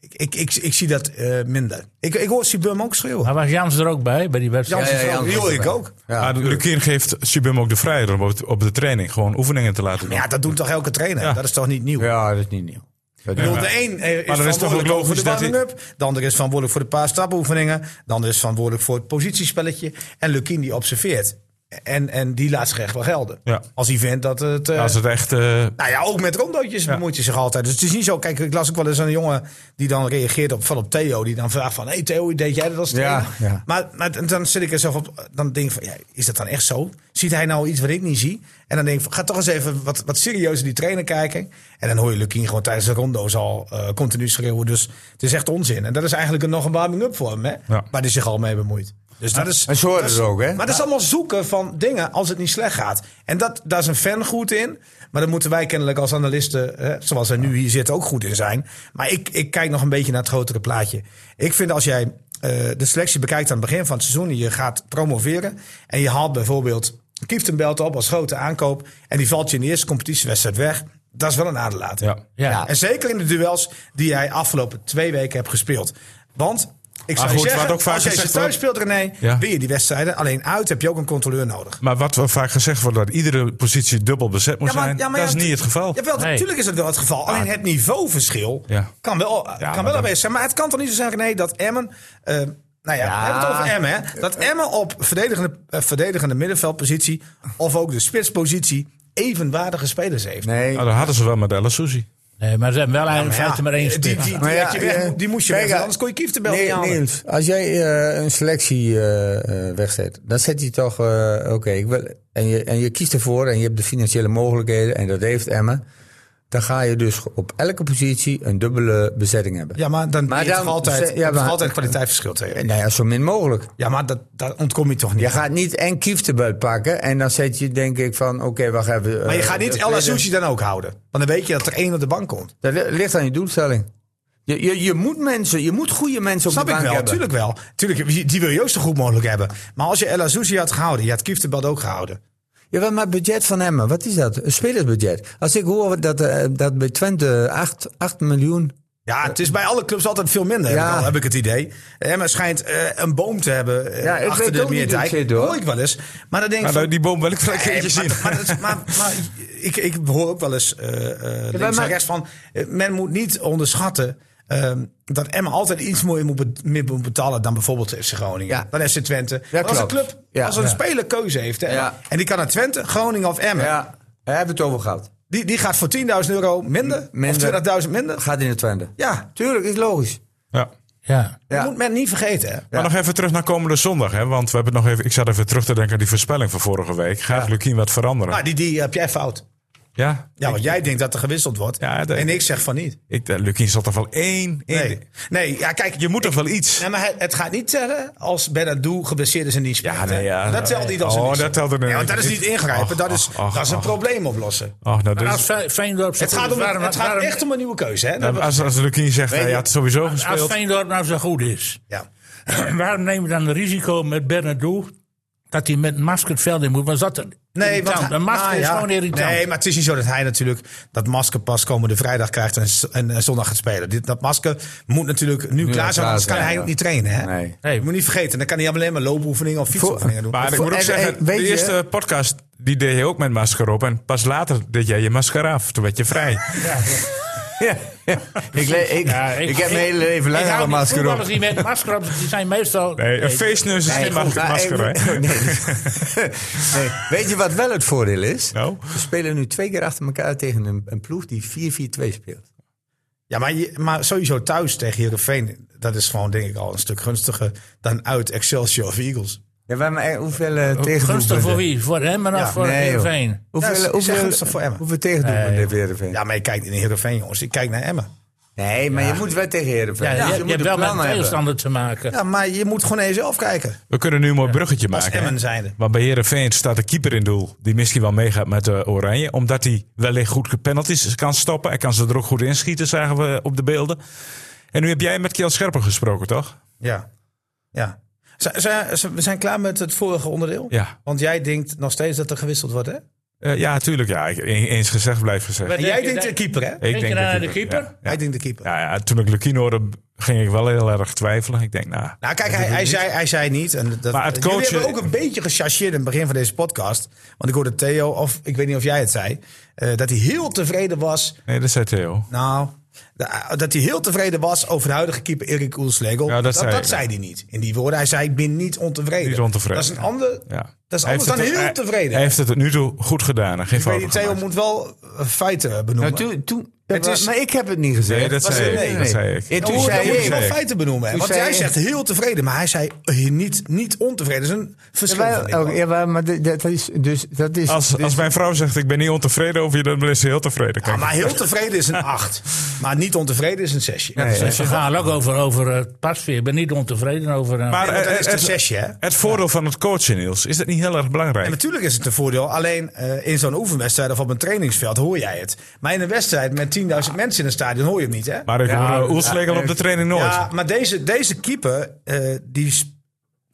B: ik, ik, ik, ik zie dat eh, minder. Ik, ik hoor Sibum ook schreeuwen.
D: Maar was Jans er ook bij, bij die wedstrijd?
B: Jans
E: ja,
B: is er
E: ja,
B: ook- die
E: Jans
B: hoor
E: is
B: ik
E: erbij.
B: ook.
E: Ja,
A: maar Lukien geeft Sibum ook de vrijheid om op, op de training gewoon oefeningen te laten doen.
B: Maar ja, dat doet toch elke trainer? Dat is toch niet nieuw?
E: ja, dat is niet nieuw. Dat
B: Ik
E: is-
B: bedoel, de een eh, is
A: toch ook
B: verantwoordelijk
A: logisch
B: voor de
A: dat hij-
B: warming-up. De ander is verantwoordelijk voor de paar stapoefeningen. De ander is verantwoordelijk voor het positiespelletje. En Lukien die observeert. En, en die laat zich echt wel gelden.
A: Ja.
B: Als hij vindt dat het... eh,
A: Als het echt... eh,
B: Nou ja, ook met rondootjes bemoeit hij zich altijd. Dus het is niet zo. Kijk, ik las ook wel eens een jongen die dan reageert op, van op Theo. Die dan vraagt van, hey Theo, deed jij dat als trainer?
E: Ja, ja.
B: Maar, maar dan- dan zit ik er zelf op, dan denk ik van, ja, is dat dan echt zo? Ziet hij nou iets wat ik niet zie? En dan denk ik van, ga toch eens even wat, wat serieuzer die trainer kijken. En dan hoor je Lukien gewoon tijdens de rondo's al eh, continu schreeuwen. Dus het is echt onzin. En dat is eigenlijk een, nog een warming-up voor hem, hè?
A: Ja.
B: Waar hij zich al mee bemoeit. Dus dat is,
E: En zo hoort
B: dat
E: het
B: is-
E: ook, hè?
B: Maar dat is allemaal zoeken van dingen als het niet slecht gaat. En dat, daar is een fan goed in. Maar daar moeten wij kennelijk als analisten, hè, zoals wij nu hier zitten, ook goed in zijn. Maar ik, ik kijk nog een beetje naar het grotere plaatje. Ik vind als jij eh, de selectie bekijkt aan het begin van het seizoen... en je gaat promoveren en je haalt bijvoorbeeld Kieftenbelt op als grote aankoop... en die valt je in de eerste competitiewedstrijd weg... dat is wel een aderlating.
A: ja.
D: Ja.
B: En zeker in de duels die jij afgelopen twee weken hebt gespeeld. Want ik zou
A: goed,
B: je
A: wat
B: zeggen,
A: ook vaak
B: als jij ze
A: gezegd
B: thuis speelt, René,
A: Ja.
B: win je die wedstrijden. Alleen uit heb je ook een controleur nodig.
A: Maar wat wel vaak gezegd wordt, dat iedere positie dubbel bezet moet zijn, dat is
B: ja,
A: niet het geval.
B: Jawel,
D: Nee.
B: natuurlijk is dat wel het geval. Alleen het niveauverschil
A: Ja.
B: kan wel,
A: maar
B: kan wel
A: dan-
B: aanwezig zijn. Maar het kan toch niet zo zijn, René, dat Emmen... eh, nou ja, we hebben het over Emmen, hè. Dat Emmen op verdedigende, eh, verdedigende middenveldpositie... of ook de spitspositie evenwaardige spelers heeft.
E: Nee.
A: Nou, dat hadden ze wel met El Souzi.
D: Nee, maar ze hebben wel eigenlijk in
B: Ja,
D: feite maar één
B: die,
D: spits.
B: die, die,
E: Maar ja,
B: had je weg-
E: eh,
B: die moest je
E: kijk,
B: weg,
E: eh,
B: anders kon je Kieftenbelt
E: Nee,
B: niet halen.
E: Niels, als jij eh, een selectie eh, eh, wegzet, dan zet je toch, eh, oké, ik wil- en, je, en je kiest ervoor en je hebt de financiële mogelijkheden en dat heeft Emmen. Dan ga je dus op elke positie een dubbele bezetting hebben.
B: Ja, maar dan
E: Maar
B: heb je
E: dan-
B: toch altijd,
E: ja,
B: je hebt toch
E: maar-
B: altijd kwaliteitsverschil tegen.
E: Nou ja, zo min mogelijk.
B: Ja, maar dat, daar ontkom je toch niet.
E: Je gaat niet en Kieft erbij pakken en dan zet je denk ik van, oké, wacht even.
B: maar je
E: eh,
B: gaat niet
E: de
B: El
E: tweede-
B: Asushi dan ook houden. Want dan weet je dat er één op de bank komt.
E: Dat li- ligt aan je doelstelling. Je, je, je moet mensen, je moet goede mensen op
B: Snap
E: de
B: ik
E: bank
B: wel,
E: hebben.
B: natuurlijk wel. Tuurlijk, die die wil je ook zo goed mogelijk hebben. Maar als je El Asushi had gehouden, je had Kieftenbad ook gehouden.
E: Jawel, maar het budget van Emmen, wat is dat? Een spelersbudget. Als ik hoor dat, eh, dat bij Twente 8, 8 miljoen...
B: Ja, het is bij alle clubs altijd veel minder, heb,
E: Eh, Ja.
B: ik al- heb ik het idee. Emma schijnt eh, een boom te hebben eh,
E: Ja, ik
B: achter
E: weet
B: de
E: ook niet hoe het
B: meerdijk.
E: zit, hoor.
B: hoor ik wel eens. Maar dan denk ik
A: Nou,
B: van,
A: die boom wil ik wel een
B: Nee,
A: keertje
B: maar,
A: zien.
B: Maar, dat is- maar, maar ik, ik hoor ook wel eens eh, eh, links en
E: maar-
B: rechts van... eh, men moet niet onderschatten ehm, dat Emma altijd iets meer moet, be- meer moet betalen... dan bijvoorbeeld FC Groningen,
E: Ja.
B: dan FC Twente. Maar als een
E: klopt.
B: club,
E: Ja.
B: als een
E: Ja.
B: speler keuze heeft... Hè,
E: Ja.
B: en die kan naar Twente, Groningen of Emmen...
E: Ja, daar hebben we het over gehad.
B: Die, die gaat voor 10.000 euro minder,
E: Minder.
B: of 20.000 minder.
E: Gaat in de Twente.
B: Ja,
E: Tuurlijk, is logisch.
A: Ja.
D: Ja.
E: Ja.
B: dat moet men niet vergeten. Hè.
A: Maar nog even terug naar komende zondag. Hè? Want we hebben het nog even, ik zat even terug te denken aan die voorspelling van vorige week. Gaat Lukien wat veranderen?
B: Nou, die, die heb jij fout.
A: ja?
B: Ja, want jij denkt dat er gewisseld wordt.
A: Ja, dat-
B: en ik zeg van niet.
A: Ik, eh, Lukien zat er wel één in.
B: Nee, nee ja, kijk,
A: Je moet toch wel iets?
B: Nee, maar het- het gaat niet tellen als Benadou geblesseerd is en niet speelt.
A: Ja, nee,
B: hè?
A: ja.
B: dat telt niet als
A: Oh,
B: een
A: dat telt er
B: ja, want
A: niet.
B: dat is niet ingrijpen.
A: Och,
B: dat is,
A: och, och,
B: dat is een
A: och.
B: probleer oplossen.
A: Oh, nou, dit
D: Maar
A: is-
D: als Fe- Feyenoord zo
B: Het
D: goed
B: gaat,
D: is,
B: om, een-
D: waarom-
B: het gaat
D: waarom-
B: echt om een nieuwe keuze. Hè? Dat-
A: als, als Lukien zegt, hij
D: je-
A: had sowieso
D: Als
A: gespeeld.
D: Feyenoord nou zo goed is,
B: ja.
D: waarom nemen we dan het risico met Bernardo dat hij met een masker het veld in moet? Was dat een
B: Nee,
D: irritant?
B: want hij-
D: een masker
B: nou
D: is
B: ja.
D: gewoon irritant.
B: Nee, maar het is niet zo dat hij natuurlijk dat masker pas komende vrijdag krijgt en, z- en, eh, zondag gaat spelen. Dit, dat masker moet natuurlijk nu, klaar zijn,
E: klaar
B: anders kan
E: zijn,
B: hij
E: ja.
B: ook niet trainen. Hè?
E: Nee.
D: Nee.
B: Je moet niet vergeten, dan kan hij alleen maar loopoefeningen of fietsoefeningen doen.
A: Maar ik moet ook
E: En-
A: zeggen,
E: en
A: de
E: weet je-
A: eerste podcast die deed je ook met masker op. En pas later deed jij je masker af. Toen werd je vrij.
E: Ja, ja. Ik, le- ik,
D: Ja,
E: ik, heb mijn hele leven lang
D: ik hou
E: al een
D: niet van
E: masker op.
D: voetballers die met masker op, die zijn meestal...
A: Nee, een feestneus is geen
E: goed,
A: masker,
E: maar ik-
A: masker hè?
E: nee. Nee, Weet je wat wel het voordeel is?
A: Nou,
E: We spelen nu twee keer achter elkaar tegen een, een ploeg die 4-4-2 speelt.
B: Ja, maar, je- maar sowieso thuis tegen Heerenveen, dat is gewoon denk ik al een stuk gunstiger dan uit Excelsior of Eagles.
E: Ja, maar, maar hoeveel eh
D: Oh, Gunstig
E: tegendoelpunten-
D: voor wie? Voor hem en
B: Ja,
D: of voor
E: nee, joh.
D: Heerenveen?
E: Hoeveel,
B: Ja, is- is
E: hoeveel,
B: echt gunstig voor Emmen.
E: Hoeveel tegendoelpunten heeft Heerenveen?
B: Ja, maar je kijkt in Heerenveen jongens, ik kijk naar Emmen.
E: Nee, maar je moet wel tegen Heerenveen.
D: Ja,
E: Dus
D: je, je
E: moet
D: hebt
E: een
D: wel met
E: plan
D: een
E: hebben.
D: tegenstander te maken.
B: Ja, maar je moet gewoon naar jezelf kijken.
A: we kunnen nu een mooi bruggetje
B: Als
A: maken.
B: Emmen
A: hè?
B: zijnde.
A: Want bij Herenveen staat de keeper in doel. Die misschien wel meegaat met eh, Oranje. Omdat hij wellicht goed penalties kan stoppen. Hij kan ze er ook goed inschieten, zagen we op de beelden. En nu heb jij met Kiel Scherper gesproken, toch?
B: Ja. ja. Z- z- z- we zijn klaar met het vorige onderdeel.
A: Ja.
B: Want jij denkt nog steeds dat er gewisseld wordt, hè?
A: Eh, ja, tuurlijk. Ja, Ik- e- eens gezegd blijft gezegd.
D: Wat
B: En jij
D: denk je
B: denkt de
D: dat-
B: keeper, hè?
A: Ik
D: je dan aan de keeper?
A: Ja.
B: Hij denkt de keeper.
A: Ja, ja, toen ik Lukien hoorde, ging ik wel heel erg twijfelen. Ik denk, nou,
B: Nou, kijk, hij, hij, zei, hij zei niet. En dat,
A: Maar het
B: jullie
A: coachen-
B: hebben ook een beetje gechargeerd in het begin van deze podcast. Want ik hoorde Theo, of ik weet niet of jij het zei, eh, dat hij heel tevreden was.
A: nee, dat zei Theo.
B: Nou, da- dat hij heel tevreden was over de huidige keeper Erik Oelslegel.
A: Ja, dat
B: dat,
A: zei
B: dat
A: ik.
B: zei hij niet. In die woorden, hij zei: Ik ben niet ontevreden.
A: Niet ontevreden.
B: Dat is een ander.
A: Ja.
B: Dat is
A: Hij
B: anders
A: heeft
B: dan
A: het-
B: heel
A: hij-
B: tevreden.
A: Hij heeft het tot nu toe goed gedaan. en Geen
B: Ik weet
A: fouten
B: niet, Theo
A: gemaakt.
B: moet wel eh, feiten benoemen.
E: Nou, toen, toen,
B: Het is-
E: maar ik heb het niet gezegd.
A: Nee, dat
E: Was
A: zei
E: het-
A: ik, dat zei ik.
E: Ja,
B: Dan
E: toen
B: moet- dan
E: zei
B: moet je
E: ik.
B: wel
A: zei ik.
B: feiten benoemen. hè.
E: Toen
B: Want
E: zei
B: jij
E: ik.
B: zegt heel tevreden, maar hij zei eh, niet, niet ontevreden. Dat is een verschil.
E: Jawel,
B: van dit, man.
E: oh, jawel, maar dit- dat is... Dus, dat is
A: Als,
E: dus-
A: als mijn vrouw zegt, ik ben niet ontevreden over je, dan is ze heel tevreden.
B: Ja,
A: Kijk.
B: maar heel tevreden is een 8. Maar niet ontevreden is een 6.
E: Nee,
A: dus-
D: Ze- Ze gaan ook over, over het pasveer. Ik ben niet ontevreden over... eh,
A: Maar,
B: Nee, want dan
A: eh,
B: is
A: eh,
B: het
A: het-
B: een zesje, hè?
A: Het voordeel van het coachen, Niels, is dat niet heel erg belangrijk?
B: En natuurlijk is het een voordeel. Alleen eh, in zo'n oefenwedstrijd of op een trainingsveld hoor jij het. Maar in een wedstrijd met 10.000
E: Ah.
B: mensen in een stadion hoor je hem niet, hè?
A: maar ik
E: Ja,
A: hoor eh, Oelslegel
E: ja,
A: op de training nooit.
B: ja, maar deze, deze keeper, eh, die... s-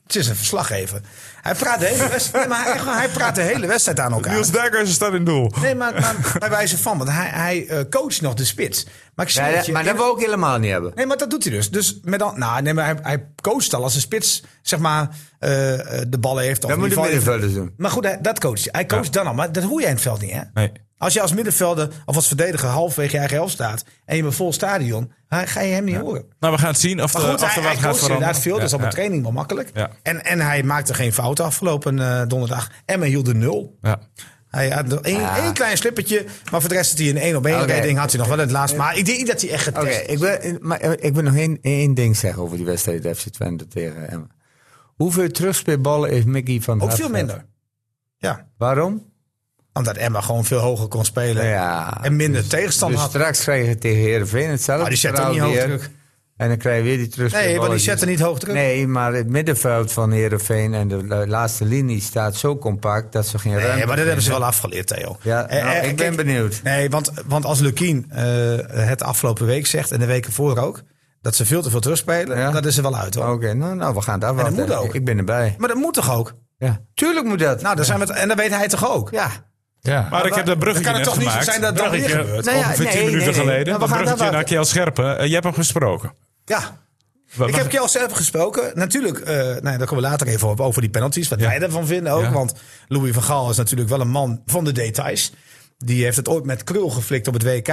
B: Het is een verslaggever. Hij praat de hele wedstrijd, maar hij, echt waar, hij praat de hele wedstrijd aan elkaar.
A: Niels Dijkhuizen staat in doel.
B: Nee, maar, maar bij wijze van, want hij, hij eh, coacht nog de spits. Maar ik zie
E: Ja,
B: dat
E: dat-
B: je
E: maar
B: in-
E: dat wil ik helemaal niet hebben.
B: Nee, maar dat doet hij dus. Dus met dan, nou, nee, maar hij, hij coacht al als een spits, zeg maar, eh, eh, de ballen heeft. of
E: Dat
B: in
E: moet de
B: ieder geval-
E: middenvelders doen.
B: Maar goed, hij- dat coacht hij. Hij coacht dan al, maar dat hoor je in het veld niet, hè?
A: Nee.
B: Als je als middenvelder of als verdediger halfweg je eigen helft staat en je bent vol stadion, dan ga je hem niet horen.
E: Eh,
A: Nou, we gaan het zien of,
B: Maar
A: de-
B: goed,
A: of
B: hij,
A: er wat
B: hij
A: gaat
B: coacht
A: veranderen.
B: inderdaad veel, dus
A: Ja,
B: dat is op een
A: ja.
B: training wel makkelijk.
A: Ja.
B: En, en hij maakte geen fouten afgelopen eh, donderdag. En men hield de nul.
A: Ja.
B: Hij had nog één, één klein slippertje, maar voor de rest had hij een één op één
E: Ah. Oké.
B: redding. Had hij nog wel in het laatst. Maar ik denk niet dat hij echt
E: Oké,
B: getest
E: ik, wil- maar, eh, ik wil nog één, één ding zeggen over die wedstrijd FC Twente tegen Emmen. Hoeveel terugspeelballen heeft Mickey van het
B: Ook
E: Hart
B: veel
E: gehad?
B: minder. Ja,
E: Waarom? Nou
B: omdat Emma gewoon veel hoger kon spelen.
E: Ja.
B: En minder tegenstand
E: Dus
B: had.
E: straks krijg je tegen Heerenveen hetzelfde
B: Maar Ah, die zet ook
E: verhaal
B: niet hoog
E: weer.
B: druk.
E: En dan krijg je weer die terugspelballen. Dus
B: Nee, want die zetten niet hoog druk.
E: Nee, maar het middenveld van Heerenveen en de la- laatste linie staat zo compact dat ze geen ruimte
B: Nee, maar dat
E: hebben.
B: hebben ze wel afgeleerd, Theo.
E: Ja,
B: Eh,
E: nou,
B: eh,
E: ik
B: kijk,
E: ben benieuwd.
B: Nee, want, want als Lukien eh, het afgelopen week zegt en de weken voor ook, dat ze veel te veel terugspelen,
E: Ja.
B: dat is er wel uit hoor.
A: Oh.
E: Oké, nou, nou, we gaan het afwachten.
B: En dat moet ook.
E: Ik ben erbij.
B: Maar dat moet toch ook?
E: Ja. Tuurlijk moet dat.
B: Nou, daar zijn we het- en dat weet hij toch ook?
E: ja.
D: ja.
A: Maar ik heb dat bruggetje
B: Dan kan
A: net
B: het toch
A: gemaakt.
B: niet zo zijn dat dat weer
D: Bruggetje.
B: gebeurt?
E: Nou ja,
A: ongeveer
E: nee,
A: 10
E: nee,
A: minuten
E: nee.
A: geleden.
E: Maar we
A: een
E: gaan
A: bruggetje naar
E: afwachten.
A: Kiel Scherpen. Eh, je hebt hem gesproken.
B: Ja.
A: Wa-
B: Ik
A: mag-
B: heb jou zelf gesproken. Natuurlijk, eh nou, ja, daar komen we later even op over die penalties. Wat
A: Ja.
B: wij ervan vinden ook.
A: Ja.
B: Want Louis van Gaal is natuurlijk wel een man van de details. Die heeft het ooit met Krul geflikt op het WK.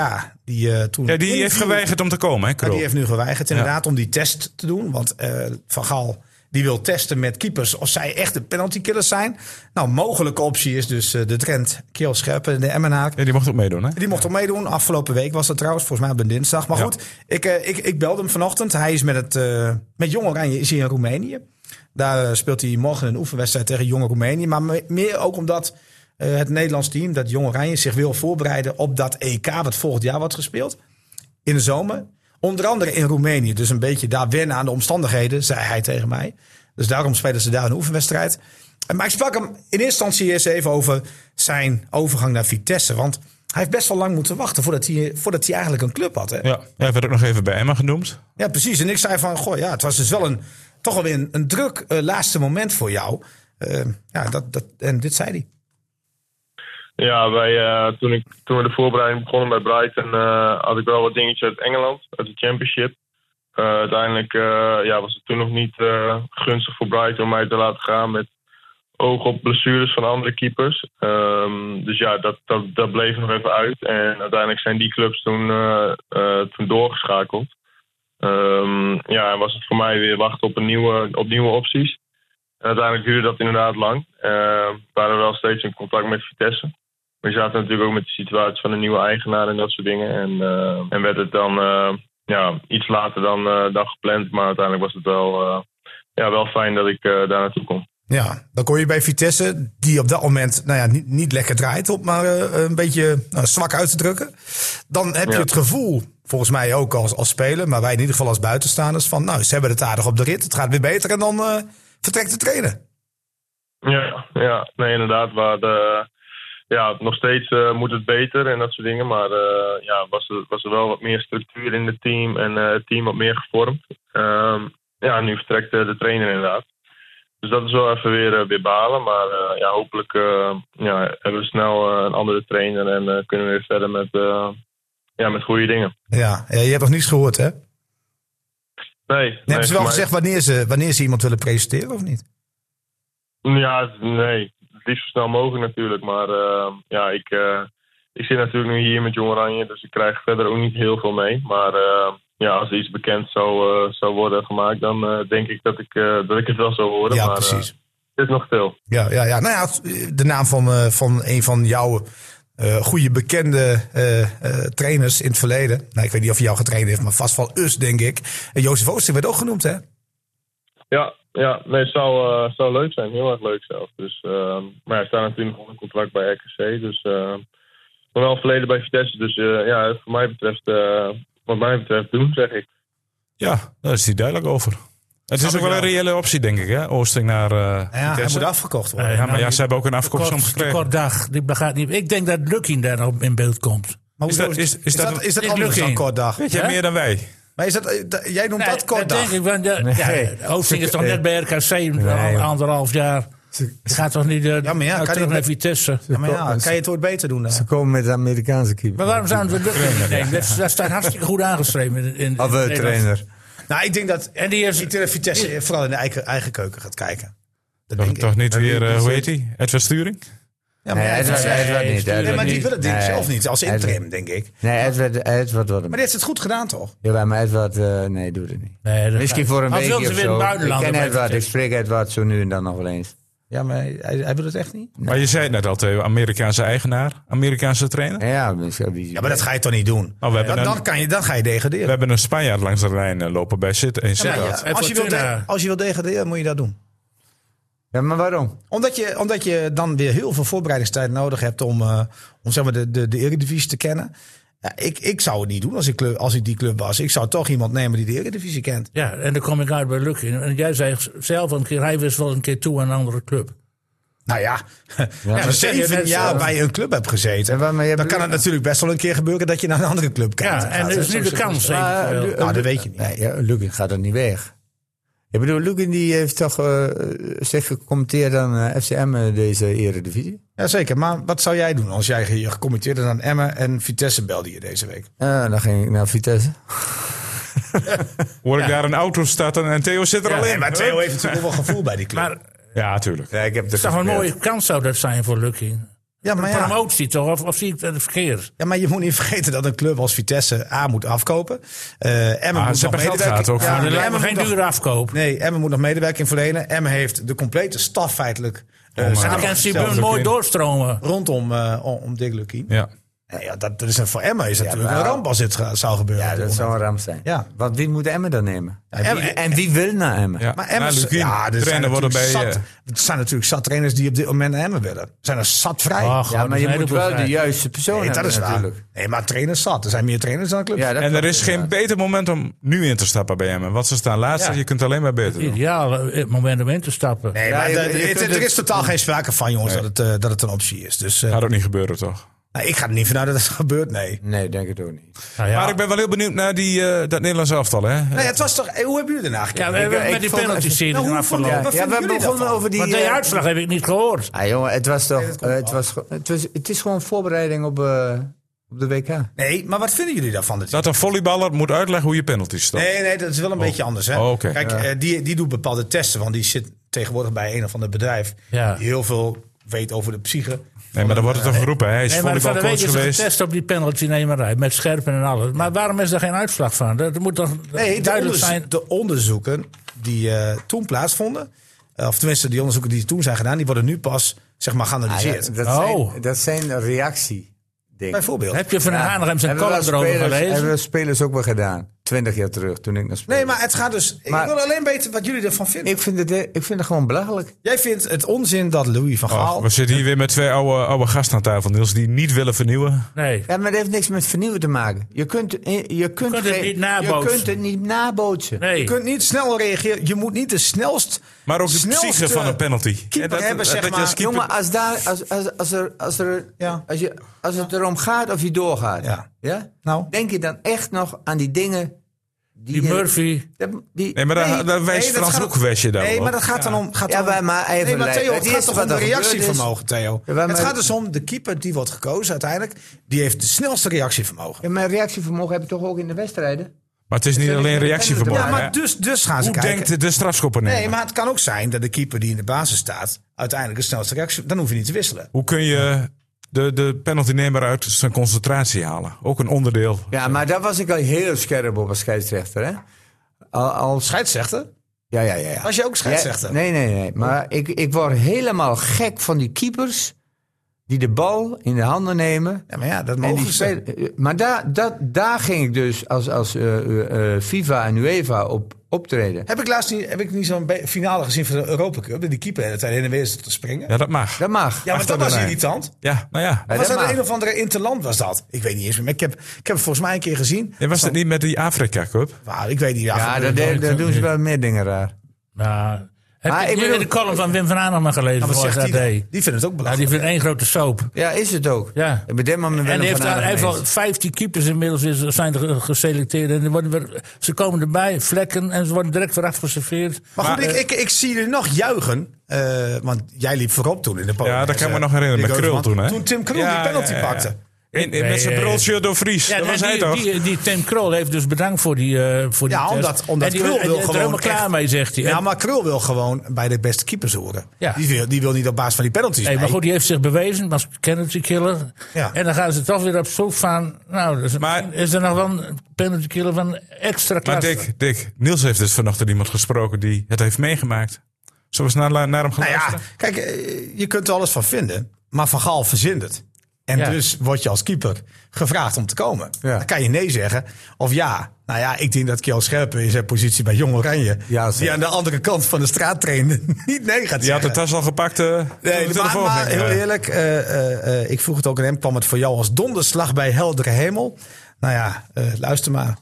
B: Die, eh, toen
A: Ja, die heeft
B: inviel.
A: geweigerd om te komen, hè,
B: Maar
A: Krul?
B: die heeft nu geweigerd inderdaad om die test te doen. Want eh, Van Gaal die wil testen met keepers of zij echt de penaltykillers zijn. Nou, mogelijke optie is dus eh, de Trent, Kiel Scherpen en de Emmenhaak.
A: Ja, die mocht ook meedoen, hè?
B: Die mocht ook meedoen. Afgelopen week was dat trouwens. Volgens mij op een dinsdag. Maar
A: Ja.
B: goed, ik, eh, ik, ik belde hem vanochtend. Hij is met, het, eh, met Jong Oranje is hij in Roemenië. Daar eh, speelt hij morgen een oefenwedstrijd tegen Jong Roemenië. Maar me- meer ook omdat eh, het Nederlands team, dat Jong Oranje, zich wil voorbereiden op dat EK wat volgend jaar wordt gespeeld. In de zomer. Onder andere in Roemenië. Dus een beetje daar wennen aan de omstandigheden, zei hij tegen mij. Dus daarom spelen ze daar een oefenwedstrijd. Eh, Maar ik sprak hem in eerste instantie eerst even over zijn overgang naar Vitesse. Want hij heeft best wel lang moeten wachten voordat hij, voordat hij eigenlijk een club had. Hè?
A: Ja, hij werd ook nog even bij Emma genoemd.
B: Ja, precies. En ik zei van, goh, ja, het was dus wel een, toch alweer een, een druk eh, laatste moment voor jou. Eh, ja, dat, dat, en dit zei hij.
F: Ja, wij, eh, toen, ik, toen we de voorbereiding begonnen bij Brighton, eh, had ik wel wat dingetjes uit Engeland, uit de Championship. Eh, uiteindelijk eh, ja, was het toen nog niet eh, gunstig voor Brighton om mij te laten gaan met oog op blessures van andere keepers. Ehm, dus ja, dat, dat, dat bleef nog even uit. En uiteindelijk zijn die clubs toen, eh, eh, toen doorgeschakeld. Ehm, ja, en was het voor mij weer wachten op, een nieuwe, op nieuwe opties. En uiteindelijk duurde dat inderdaad lang. Eh, we waren wel steeds in contact met Vitesse. We zaten natuurlijk ook met de situatie van een nieuwe eigenaar en dat soort dingen. En, eh, en werd het dan eh, ja, iets later dan, eh, dan gepland. Maar uiteindelijk was het wel, eh, ja, wel fijn dat ik eh, daar naartoe kon.
B: Ja, dan kon je bij Vitesse, die op dat moment nou ja, niet, niet lekker draait, om het maar eh, een beetje nou, zwak uit te drukken. Dan heb je
F: Ja.
B: het gevoel, volgens mij ook als, als speler, maar wij in ieder geval als buitenstaanders, van nou, ze hebben het aardig op de rit, het gaat weer beter en dan eh, vertrekt de trainer.
F: Ja, ja, nee, inderdaad. Waar de, ja, nog steeds eh, moet het beter en dat soort dingen. Maar eh, ja, was, er, was er wel wat meer structuur in het team en eh, het team wat meer gevormd. Ehm, ja, nu vertrekt eh, de trainer inderdaad. Dus dat is wel even weer, eh, weer balen. Maar eh, ja, hopelijk eh, ja, hebben we snel eh, een andere trainer en eh, kunnen we weer verder met, eh, ja, met goede dingen.
B: Ja, eh, je hebt nog niets gehoord, hè? Nee,
F: Nee, nee,
B: hebben ze wel
F: voor mij-
B: gezegd wanneer ze, wanneer ze iemand willen presenteren of niet?
F: Ja, nee. Het liefst zo snel mogelijk natuurlijk. Maar eh, ja, ik, eh, ik zit natuurlijk nu hier met Jong Oranje. Dus ik krijg verder ook niet heel veel mee. Maar eh, ja, als er iets bekend zou, eh, zou worden gemaakt, dan eh, denk ik dat ik, eh, dat ik het wel zou horen.
B: Ja,
F: maar, eh,
B: precies.
F: het is nog veel.
B: Ja, ja, ja. Nou ja, het- de naam van, eh, van een van jouw eh, goede bekende eh, eh, trainers in het verleden. Nou, ik weet niet of hij jou getraind heeft, maar vast wel us, denk ik. En Jozef Oosting werd ook genoemd, hè?
F: Ja, ja nee, het zou, eh, zou leuk zijn. Heel erg leuk zelf. Dus, eh, maar hij staat natuurlijk nog onder contract bij RKC. Dus eh, maar wel verleden bij Vitesse. Dus eh, ja, voor mij betreft, eh, wat mij betreft doen, zeg ik.
A: Ja, daar is hij duidelijk over. Het is ook wel een reële optie, denk ik, hè? Oosting naar eh Vitesse.
B: afverkocht
A: Ja, maar ja, ze hebben ook een
D: Kort,
A: afkoopsom gekregen.
D: kort dag. Die begaat niet. Ik denk dat Lucky daar nog in beeld komt.
A: Is dat, is, is dat,
B: is dat
D: is
B: anders
D: Lukien.
B: dan kort dag?
A: weet jij
D: hè?
A: meer dan wij?
B: Maar is dat, eh, da- jij noemt dat
D: Nee,
B: kort dag?
D: denk ik. Want, ja, ja, Oosting is toch net bij RKC een
E: joh.
D: anderhalf jaar. Die gaat toch niet eh,
B: Ja, maar ja,
D: nou
B: kan
D: terug
B: je-
D: naar Vitesse.
B: Ja, maar ja, kan je het ooit beter doen eh? dan?
E: Ze komen met de Amerikaanse keeper.
D: Maar waarom zouden we Lucky niet nemen? Dat, dat staat hartstikke goed aangeschreven. In, in, in
E: Of eh,
D: Nederland.
E: trainer.
B: Nou, ik denk dat
D: En die is...
B: Vitesse- Vitesse vooral in de eigen, eigen keuken gaat kijken. Dat
A: Toch,
B: denk ik.
A: toch niet weer, eh, hoe heet hij? Edwin Sturing?
B: Ja, maar,
E: Nee,
B: ja,
E: Edward,
B: dat is-
E: Edward
D: Nee,
E: niet. Edward
B: Nee, maar die
E: niet.
B: wil het denk ik
E: Nee.
B: zelf niet, als
E: Edward-
B: interim, denk ik.
E: Nee, Edward, Edward wordt
B: Maar
E: hem.
B: dit heeft het goed gedaan, toch?
E: Jawel, maar Edward, eh, nee, doe het niet.
D: Nee, dat
E: Misschien
D: gaat-
E: voor een
D: Als
E: weekje
D: wilden
E: of
D: ze weer in
E: zo.
D: het
E: Ik
D: buitenland.
E: ken
D: dan
E: Edward,
D: weet
E: ik
D: ik
E: spreek Edward zo nu en dan nog wel eens.
B: Ja, maar hij, hij wil het echt niet.
A: Maar je zei het net al, Theo, Amerikaanse eigenaar, Amerikaanse trainer.
E: Ja, Ja, misschien.
B: Ja, maar dat ga je toch niet doen?
A: Nou, we hebben
B: Dan,
A: een-
B: dan, kan je, dan ga je
A: We
B: degraderen.
A: hebben een Spanjaard langs de Rijn eh, lopen bij zit in
B: Ja,
A: Sittard.
B: ja, als, je wilt
D: Fortuna.
B: de- als je wilt degraderen, moet je dat doen.
E: Ja, maar waarom?
B: Omdat je, omdat je dan weer heel veel voorbereidingstijd nodig hebt om, eh, om zeg maar de, de, de Eredivisie te kennen. Ja, ik, ik zou het niet doen als ik, club, als ik die club was. Ik zou toch iemand nemen die de Eredivisie kent.
D: Ja, en dan kom ik uit bij Lucky. En jij zei zelf een keer, hij wist wel een keer toe aan een andere club.
B: Nou ja, als je
D: dat zeg je
B: zeven
D: net
B: jaar
D: zo.
B: bij een club hebt gezeten,
E: Ja, maar- maar je
B: dan
E: hebt-
B: kan het natuurlijk best wel een keer gebeuren dat je naar een andere club kijkt.
D: Ja, en
B: Gaat,
D: dat is
B: hè,
D: nu de
B: zo zit het.
D: kans.
E: Maar,
D: eventueel.
E: eh,
B: Nou, dat weet je niet.
E: Nee, ja, Lukin gaat er niet weg. Ik bedoel, Lukin die heeft toch eh zich gecommenteerd aan eh, FCM eh, deze eredivisie?
B: Jazeker, maar wat zou jij doen als jij je gecommitteerd had aan Emmen en Vitesse belde je deze week?
E: Eh dan ging ik naar Vitesse.
A: Hoor ik daar een auto starten en Theo zit er al in.
B: maar Theo heeft natuurlijk wel gevoel bij die club.
D: Maar
A: Ja, tuurlijk.
E: Ja, ik heb
D: het is toch een mooie kans zou dat zijn voor Lucky.
B: ja, maar ja.
D: Promotie toch? Of, of zie ik het verkeerd?
B: Ja, maar je moet niet vergeten dat een club als Vitesse A moet afkopen. Eh Emmen
A: Ah,
B: moet
A: ze
B: nog
A: hebben geld
B: medewerking...
A: gehad ook.
B: Ja,
A: Maar
D: Er lijkt me
B: Emmen
D: geen
B: moet nog-
D: dure afkoop.
B: Nee, Emmen moet nog medewerking verlenen. Emmen heeft de complete staf feitelijk eh,
A: maar-
D: Dan
B: samen-
D: kan Sibun
A: zelfs ook
D: mooi
A: in.
D: doorstromen.
B: rondom eh, om, om Dick Lukien.
A: Ja.
B: Ja. Ja, dat, dat is een, voor Emmen is dat natuurlijk
E: maar-
B: een ramp als dit ga- zou gebeuren.
E: Ja, dat zou een ramp zijn.
B: Ja.
E: Want wie moet Emmen dan nemen? En
B: Emmen-
E: wie, en wie wil naar Emmen?
A: ja.
B: Maar Emmen,
A: Nou, Lukien,
B: ja, er zijn
A: trainer worden bij...
B: natuurlijk zat,
A: eh,
B: er zijn natuurlijk zat trainers die op dit moment naar Emmen willen. Er zijn er zat vrij.
D: Ach,
E: Ja, maar
D: dat is
E: je
D: een
E: moet
D: heleboel
E: wel de
D: zijn.
E: juiste persoon
B: nee, dat
E: hebben
B: is waar.
E: natuurlijk.
B: Nee, maar trainers zat. Er zijn meer trainers dan clubs.
E: Ja, dat
A: en er
E: klopt
A: is geen
E: inderdaad.
A: beter moment om nu in te stappen bij hem. Want ze staan laatste, je kunt alleen maar beter doen.
D: Ideaal eh, het moment om in te stappen.
B: Nee,
E: Ja,
B: maar
E: je-
B: de-
E: je
B: het-
E: kunt
B: er
E: het-
B: is totaal geen sprake van, jongens, dat, het, eh, dat het een optie is. Dus eh,
A: Gaat ook niet gebeuren, toch?
B: nou, ik ga er niet vanuit dat het gebeurt, nee.
E: Nee, denk het ook niet.
D: Nou ja.
A: Maar ik ben wel heel benieuwd naar die, eh, dat Nederlands elftal, hè?
B: Nou ja, het was toch... eh, hoe hebben jullie daarna
D: ja,
B: gekeken?
D: we hebben
E: ik-
D: met die
E: vond-
D: penalty-serie
B: Nou, hoe
D: ervan
B: vond-
D: verloren.
B: wat
E: ja,
B: vinden
E: we
B: jullie
E: begonnen
B: daarvan?
E: over die...
D: Want die
E: eh,
D: uitslag heb ik niet gehoord.
E: Ah, jongen, het was toch...
B: dat
E: eh,
B: komt
E: het,
B: wel.
E: was, ge- het, was, het is gewoon voorbereiding op, eh, op de WK.
B: Nee, maar wat vinden jullie daarvan? Dat
A: Dat een volleyballer moet uitleggen hoe je penalties stopt.
B: nee, nee, dat is wel een beetje anders. Hè?
A: Oh, oké.
B: Kijk, eh, die, die doet bepaalde testen, want die zit tegenwoordig bij een of ander bedrijf
D: Ja.
B: die heel veel weet over de psyche.
A: Nee, maar dan wordt het toch geroepen. Hij is
D: Nee, maar Van de Week
A: volleybalcoach
D: is
A: geweest.
D: getest op die penaltynemerij met scherpen en alles. Maar waarom is er geen uitslag van? Dat moet toch
B: Nee, de,
D: duidelijk
B: onderzo-
D: zijn?
B: de onderzoeken die eh, toen plaatsvonden, eh, of tenminste die onderzoeken die toen zijn gedaan, die worden nu pas zeg
E: Ah,
B: maar geanalyseerd.
E: dat,
D: Oh.
E: zijn, dat zijn reactie. Dingen.
B: Bijvoorbeeld.
D: Heb je van Hanegem zijn
E: Hebben we
D: column
E: als
D: erover
E: spelers- Hebben
D: gelezen?
E: we spelers ook wel gedaan. Twintig jaar terug, toen ik nog speelde.
B: Nee, maar het gaat dus.
E: Maar-
B: ik wil alleen weten wat jullie ervan vinden.
E: ik, vind het, eh, ik vind het gewoon belachelijk.
B: Jij vindt het onzin dat Louis van Gaal.
A: Oh, we zitten hier weer met twee oude, oude gasten aan tafel, Niels, die niet willen vernieuwen.
D: Nee.
E: Ja, maar dat heeft niks met vernieuwen te maken. Je kunt, eh, je kunt,
D: kunt het
E: geen-
D: niet nabootsen.
E: Je kunt het niet nabootsen.
D: nee.
B: je kunt niet snel reageren. Je moet niet de snelst.
A: Maar ook de
B: snelste
A: psyche van een penalty.
B: keeper
A: En dat-
B: hebben, zeg
A: dat je als
B: maar.
A: keeper-
E: Jongen, als, daar, als, als, als, er, als, er,
B: Ja.
E: als, je, als het erom gaat of je doorgaat,
B: Ja. Nou.
E: Nou. denk je dan echt nog aan die dingen die,
D: Die
E: je-
D: Murphy.
E: dat- die,
A: Nee, maar daar,
B: Nee,
A: daar wijst
B: nee, dat
A: Frans
B: gaat-
A: Hoekwestje dan
B: Nee,
A: op.
B: maar dat gaat dan om. Gaat
E: Ja,
B: dan om-
E: maar- maar even
B: nee, maar
E: leiden.
B: Theo,
E: Het
B: het gaat
E: eerste
B: toch om de
E: wat er gebeurd is-
B: reactievermogen, Theo.
E: Ja, maar-
B: het gaat dus om de keeper die wordt gekozen uiteindelijk. Die heeft de snelste reactievermogen.
E: Ja, maar reactievermogen heb je toch ook in de wedstrijden?
A: Maar het is niet
E: zijn
A: alleen
E: niet de
A: reactievermogen.
B: Ja,
E: Ja,
A: hè?
B: maar dus, dus gaan ze
A: Hoe
B: kijken.
A: denkt de strafschopper nemen?
B: Nee, maar het kan ook zijn dat de keeper die in de basis staat. uiteindelijk de snelste reactie. Dan hoef je niet te wisselen.
A: Hoe kun je de, de penaltynemer uit zijn concentratie halen? Ook een onderdeel.
E: Ja, maar daar was ik al heel scherp op als scheidsrechter. Hè? Al, als,
B: Scheidsrechter?
E: ja, ja, ja, ja.
B: Was je ook scheidsrechter?
E: Ja, nee, nee, nee. Maar ik, ik word helemaal gek van die keepers die de bal in de handen nemen.
B: Ja, maar ja, dat
E: En
B: mogen
E: die
B: ze.
E: spelen- eh, maar daar, dat, daar ging ik dus als, als eh, eh, eh, FIFA en UEFA op optreden.
B: Heb ik laatst niet, heb ik niet zo'n be- finale gezien van de Europa Cup? dat Die keeper de hele tijd heen en weer zat te springen. Ja,
A: Ja, dat mag.
E: Dat mag.
B: maar dat was
A: Achterdeur.
B: irritant.
A: Ja, nou ja.
E: Ja,
B: was
E: dat
B: dat
E: mag.
B: een of andere interland was dat? Ik weet niet eens meer. maar Ik heb, ik heb het volgens mij een keer gezien.
A: En was dat niet met die Afrika Cup?
B: Nou, ik weet niet. Ja,
E: Ja,
B: van-
E: dat, dat- dat doen ze wel meer dingen raar.
D: Nou, heb
E: Maar
D: je
E: ik
D: die-
E: bedoel-
D: de column van Wim van Aanem gelezen?
B: maar wat
D: voor
B: zegt
D: het
B: die,
D: AD?
B: dan? die vindt het ook
D: Nou, die
B: belangrijk.
D: vindt één grote soap.
E: Ja, is het ook.
D: Ja.
E: Ik ben dit moment wel
D: En
E: een
D: die heeft daar
E: Van Aanem
D: heeft al
E: eens.
D: 15 keepers inmiddels is, zijn er eh, geselecteerd. En die worden weer- ze komen erbij, vlekken, en ze worden direct weer afgeserveerd.
B: Maar goed, ik, ik, ik zie jullie nog juichen. eh, want jij liep voorop toen in de
D: Oh,
B: podium.
A: Ja, dat kan
D: eh,
A: ik me nog herinneren.
B: Dick
A: Met Krul
B: Heuvelman.
A: toen, hè?
B: Toen Tim Krul
A: Ja,
B: die penalty
A: ja, ja, ja.
B: pakte.
A: In, in-
D: Nee,
A: met zijn
D: eh,
A: broodje door Vries.
D: Ja,
A: dat was
D: die,
A: hij toch?
D: Die, die Tim Krol heeft dus bedankt voor die, eh voor die
B: Ja,
D: test.
B: omdat, omdat
D: en die,
B: Krul
D: en die
B: wil
D: is
B: gewoon
D: er helemaal klaar
B: echt-
D: mee, zegt hij.
B: Ja,
D: En-
B: maar Krul wil gewoon bij de beste keepers horen.
D: Ja.
B: Die, wil, die wil niet op basis van die penalties.
D: nee, maar
B: mee.
D: goed, die heeft zich bewezen als penalty killer.
B: Ja.
D: En dan gaan ze toch weer op zoek van... Nou, dus
A: Maar-
D: misschien is er nog wel een penalty killer van extra
A: Maar
D: klasse.
A: Dick, Dick, Niels heeft dus vanochtend iemand gesproken die het heeft meegemaakt. Zullen we eens naar, naar hem gaan
B: Nou ja,
A: luisteren?
B: kijk, eh, je kunt er alles van vinden, maar Van Gaal verzint het. En
D: Ja.
B: dus word je als keeper gevraagd om te komen.
E: Ja.
B: Dan kan je nee zeggen of ja. Nou ja, ik denk dat Kjell Scherpen in zijn positie bij Jong Oranje...
E: Ja, zeker.
B: die aan de andere kant van de straat trainde, niet nee gaat
A: Die had de
B: zeggen.
A: tas al gepakt. eh
B: Nee, maar, maar heel eerlijk, eh, eh, eh, ik vroeg het ook aan hem. Kwam het voor jou als donderslag bij heldere hemel? Nou ja, eh, luister maar.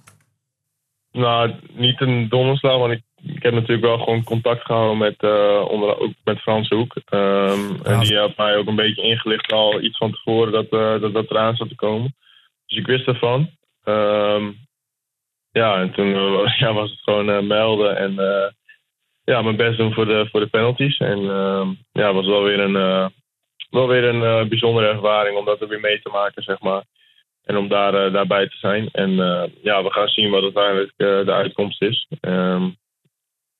F: Nou, niet een donderslag, want ik, ik heb natuurlijk wel gewoon contact gehouden met, eh, onder, ook met Frans Hoek. Ehm, En die had mij ook een beetje ingelicht al iets van tevoren dat, eh, dat dat eraan zou te komen. Dus ik wist ervan. Ehm, ja, en toen eh, ja, was het gewoon eh, melden en eh, ja, mijn best doen voor de, voor de penalties. En ehm, ja, het was wel weer een, eh, wel weer een eh, bijzondere ervaring om dat er weer mee te maken, zeg maar. En om daar, eh, daarbij te zijn. En eh, ja, we gaan zien wat uiteindelijk eh, de uitkomst is. Ehm,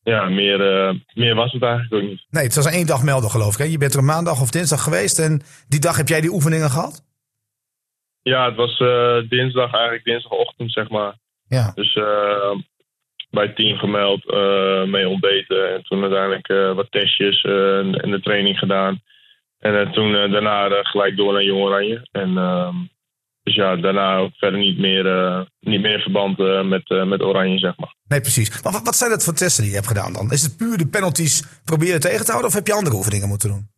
F: ja, meer, eh, meer was het eigenlijk ook niet.
B: Nee, het was een één dag melden geloof ik. Hè? Je bent er een maandag of dinsdag geweest en die dag heb jij die oefeningen gehad?
F: Ja, het was eh, dinsdag, eigenlijk dinsdagochtend, zeg maar.
B: Ja.
F: Dus eh, bij het team gemeld, eh, mee ontbeten. En toen uiteindelijk eh, wat testjes eh, en en de training gedaan. En eh, toen eh, daarna eh, gelijk door naar Jong Oranje. En, ehm, dus ja, daarna ook verder niet meer, eh, niet meer in verband eh, met, eh, met Oranje, zeg maar.
B: Nee, precies. Maar wat, wat zijn dat voor testen die je hebt gedaan dan? Is het puur de penalties proberen tegen te houden of heb je andere oefeningen moeten doen?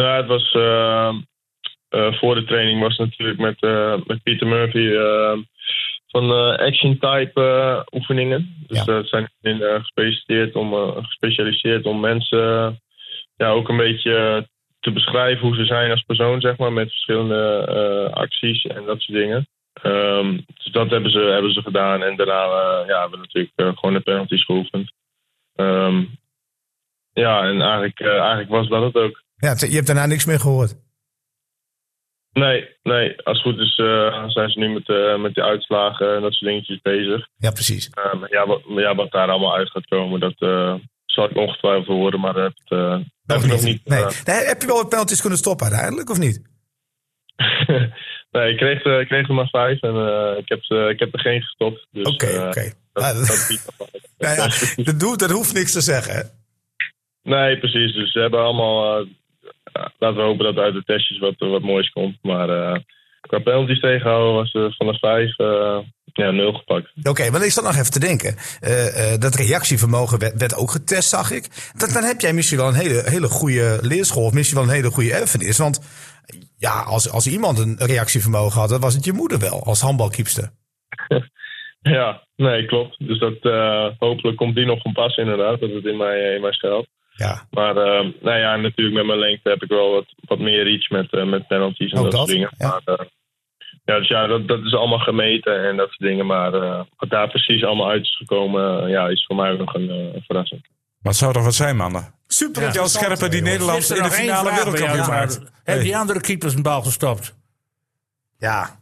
F: Nou, het was eh, eh, voor de training was natuurlijk met, eh, met Peter Murphy eh, van eh, action type eh, oefeningen. Dus
B: Ja.
F: dat zijn in, eh, gespecialiseerd, om, eh, gespecialiseerd om mensen eh, ja, ook een beetje eh, te beschrijven hoe ze zijn als persoon, zeg maar, met verschillende eh, acties en dat soort dingen. Ehm, dus dat hebben ze, hebben ze gedaan. En daarna eh, ja, hebben we natuurlijk eh, gewoon de penalties geoefend. Ehm, ja, en eigenlijk, eh, eigenlijk was dat het ook.
B: Ja, je hebt daarna niks meer gehoord.
F: Nee, nee. Als het goed is eh, zijn ze nu met, eh, met die uitslagen en dat soort dingetjes bezig. Ehm,
B: Ja, precies.
F: Eh, maar ja, wat, maar ja, wat daar allemaal uit gaat komen, dat eh, zal ik ongetwijfeld voor worden, maar dat eh, heb ik nog niet. eh, Dus,
B: Nee.
F: gedaan.
B: Nee, heb je wel wat penalties kunnen stoppen uiteindelijk, of niet?
F: nee, ik kreeg, eh, ik kreeg er maar vijf en eh, ik, heb, ze- ik heb er geen gestopt. Dus,
B: Oké,
F: eh,
B: oké.
F: dat-
B: Ah, dat-
F: dat biedt nog wel.
B: Nou ja, dat, doet, dat hoeft niks te zeggen. hè?
F: Nee, precies. Dus ze hebben allemaal. eh, laten we hopen dat er uit de testjes wat, wat moois komt. Maar eh, qua penalties tegenhouden was er van de vijf eh, ja, nul gepakt.
B: Oké, maar ik zat nog even te denken. Eh, eh, dat reactievermogen werd, werd ook getest, zag ik. Dat, dan heb jij misschien wel een hele, hele goede leerschool. Of misschien wel een hele goede erfenis. Want ja, als, als iemand een reactievermogen had, dan was het je moeder wel. Als handbalkiepster.
F: Ja, nee, klopt. Dus dat, eh, hopelijk komt die nog van pas, inderdaad. Dat het in mij, eh, in mij schuilt.
B: Ja,
F: Maar eh, nou ja, natuurlijk met mijn lengte heb ik wel wat, wat meer reach met, eh, met penalties en
B: Ook
F: dat,
B: dat,
F: soort dingen.
B: ja.
F: Maar, eh, ja, dus ja, dat, dat is allemaal gemeten en dat soort dingen. Maar eh, wat daar precies allemaal uit is gekomen, eh, ja, is voor mij ook nog een eh, verrassing.
A: Maar het zou toch wat zijn, mannen? Super
D: Ja.
A: Jan Scherpen die Nederland
D: Is er
A: in de
D: nog één
A: finale
D: vraag bij jou,
A: wereldkampioen maakt.
D: Maarten? Heeft die andere keepers een bal gestopt?
B: ja.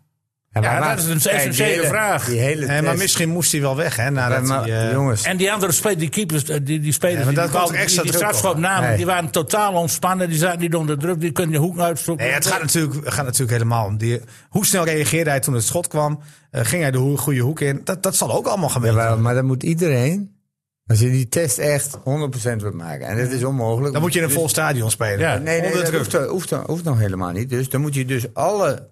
D: Ja,
E: maar-
D: dat is een
E: Kijk, die
D: essentiële
E: hele-
D: vraag.
E: Die hele
B: Eh, maar
E: test-
B: misschien moest hij wel weg, hè?
E: Ja,
B: Nadat
E: maar,
B: hij, eh,
E: jongens,
D: En die andere spelers, die keepers, eh, die, die spelers,
B: Ja, maar
D: die,
B: dat
D: die, bal-
B: komt er extra
D: die, die
B: druk op.
D: strafschop namen,
E: Nee.
D: die waren totaal ontspannen. Die zaten niet onder druk, die kunnen je hoek uitzoeken.
B: Nee, het gaat natuurlijk, het gaat natuurlijk helemaal om die, hoe snel reageerde hij toen het schot kwam. Eh, ging hij de ho- goede hoek in? Dat, dat zal ook allemaal gemeten
E: Jawel,
B: worden.
E: maar dan moet iedereen, als je die test echt 100% wilt maken, en dat is onmogelijk.
B: Dan moet je in een vol stadion spelen.
D: Ja.
E: Nee, nee,
B: onder
E: dat
B: druk.
E: hoeft, hoeft, hoeft nog helemaal niet. Dus dan moet je dus alle,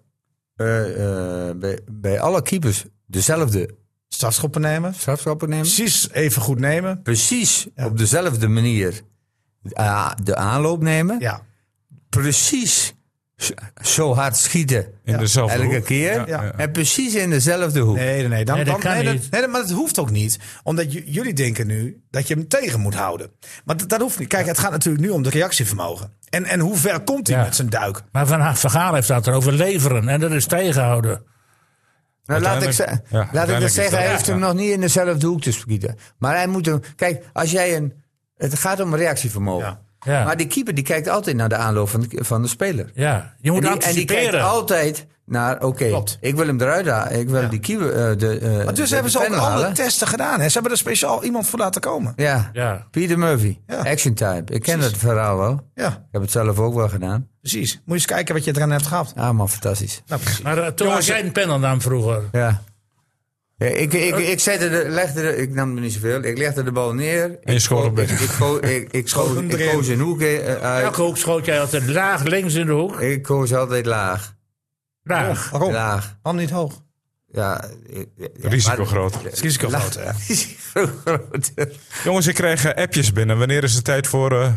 E: eh, eh, bij, bij alle keepers dezelfde
B: Strafschoppen nemen.
E: strafschoppen nemen.
B: Precies even goed nemen.
E: Precies op dezelfde manier eh, de aanloop nemen.
B: Ja.
E: Precies z- zo hard schieten
A: In dezelfde
E: elke
A: hoek.
E: keer.
A: Ja, ja.
E: En precies in dezelfde hoek.
B: Nee, nee, nee. Dan,
D: Nee, dat
B: dan,
D: kan
B: nee, dat-
D: niet.
B: nee, dat- maar dat hoeft ook niet. Omdat j- jullie denken nu dat je hem tegen moet houden. Maar dat, dat hoeft niet. Kijk, het gaat natuurlijk nu om de reactievermogen. En, en hoe ver komt hij
D: Ja.
B: met zijn duik?
D: Maar Van Vergaal heeft dat erover leveren en dat is tegenhouden.
E: Nou, laat ik, ze-
A: Uiteindelijk- ja,
E: laat ik
A: uiteindelijk
E: dat
A: is
E: zeggen,
A: dat-
E: hij heeft
A: ja.
E: hem nog niet in dezelfde hoek te schieten. Maar hij moet hem... Kijk, als jij een... Het gaat om reactievermogen.
B: Ja.
D: Ja.
E: Maar die keeper die kijkt altijd naar de aanloop van de, van de speler.
D: Ja, je moet
E: en, die, en die kijkt
D: anticiperen.
E: altijd naar, oké,
B: Klopt.
E: ik wil hem eruit halen. Ik wil die keeper... eh, de, eh,
B: Maar dus
E: de
B: hebben ze ook
E: pen
B: alle
E: halen.
B: testen gedaan. Hè? Ze hebben er speciaal iemand voor laten komen.
E: Ja.
D: Ja.
E: Peter Murphy,
B: Ja.
E: action type. Ik ken
B: Precies.
E: het verhaal wel. Ik
B: Ja,
E: heb het zelf ook wel gedaan.
B: precies. Moet je eens kijken wat je eraan hebt gehad.
E: Ah man, fantastisch.
B: Nou, precies.
D: Maar eh, toen was jij een panel nam vroeger.
E: Ja. Ja, ik, ik, ik, zette de, legde de, ik nam er niet zoveel. Ik legde de bal neer.
A: En je schoot
E: Ik-
A: hem binnen.
E: Ik, ik, ko- ik, ik,
B: Schoot
E: schoot-
B: hem
E: ik
B: erin.
E: koos een hoek eh, uit.
D: Elke hoek schoot jij altijd laag links in de hoek.
E: Ik koos altijd laag.
D: Laag.
B: Waarom?
E: Laag.
B: Waarom niet hoog?
E: Ja, ik- ja,
A: Risico
E: maar-
A: groot.
B: Het is risico groot, hè?
E: Risico groot.
A: Jongens, ik krijg eh, appjes binnen. Wanneer is het tijd voor... eh,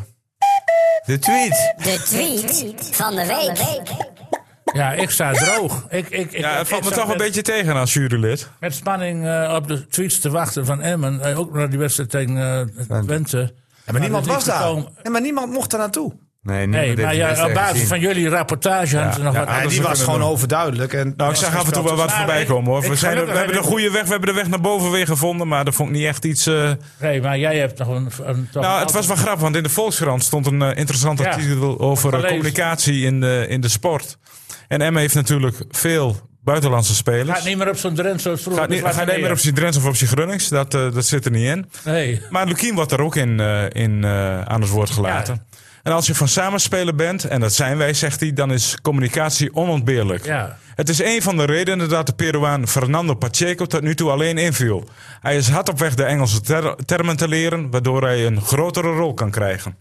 E: De tweet.
G: De tweet van de week.
D: Ja, ik sta droog. Ik, ik, ik,
A: Ja, het valt
D: ik
A: me
D: sta
A: toch een
D: met-
A: beetje tegen als jurylid.
D: Met spanning eh, op de tweets te wachten van Emmen. Eh, ook naar die wedstrijd tegen eh Twente.
B: maar niemand
D: dat
B: was
D: is niet
B: daar.
D: gekomen.
B: Nee, maar niemand mocht daar naartoe.
E: Nee,
D: Nee, maar ja, op basis van jullie rapportage hebben ze nog
A: ja,
D: wat
A: ja,
B: Ja,
A: dat
B: die
A: we
B: was
A: kunnen
B: gewoon
A: doen.
B: overduidelijk. En
A: Nou, ik zag af en toe wel wat
D: Maar
A: voorbij
D: ik-
A: komen hoor.
D: ik
A: We, zijn, er- we
D: gelukkig
A: hebben de
D: heb ik-
A: goede weg, we hebben de weg naar boven weer gevonden. Maar dat vond ik niet echt iets... eh,
D: Nee, maar jij hebt nog een... een toch
A: Nou, het was wel grappig, want in de Volkskrant stond een eh, interessant
D: Ja,
A: artikel over eh,
D: gelezen.
A: communicatie in de, in de sport. En Emma heeft natuurlijk veel buitenlandse spelers.
D: Gaat niet meer op zo'n Drenthe zoals vroeger.
A: Gaat niet,
D: dat was
A: gaat niet meer op zijn Drents of op zijn Grunnings, dat, eh, dat zit er niet in.
D: Nee.
A: Maar Lukien wordt er ook in, eh, in, eh, aan het woord gelaten. En als je van samenspelen bent, en dat zijn wij, zegt hij, dan is communicatie onontbeerlijk.
D: Ja.
A: Het is een van de redenen dat de Peruaan Fernando Pacheco tot nu toe alleen inviel. Hij is hard op weg de Engelse ter- termen te leren, waardoor hij een grotere rol kan krijgen.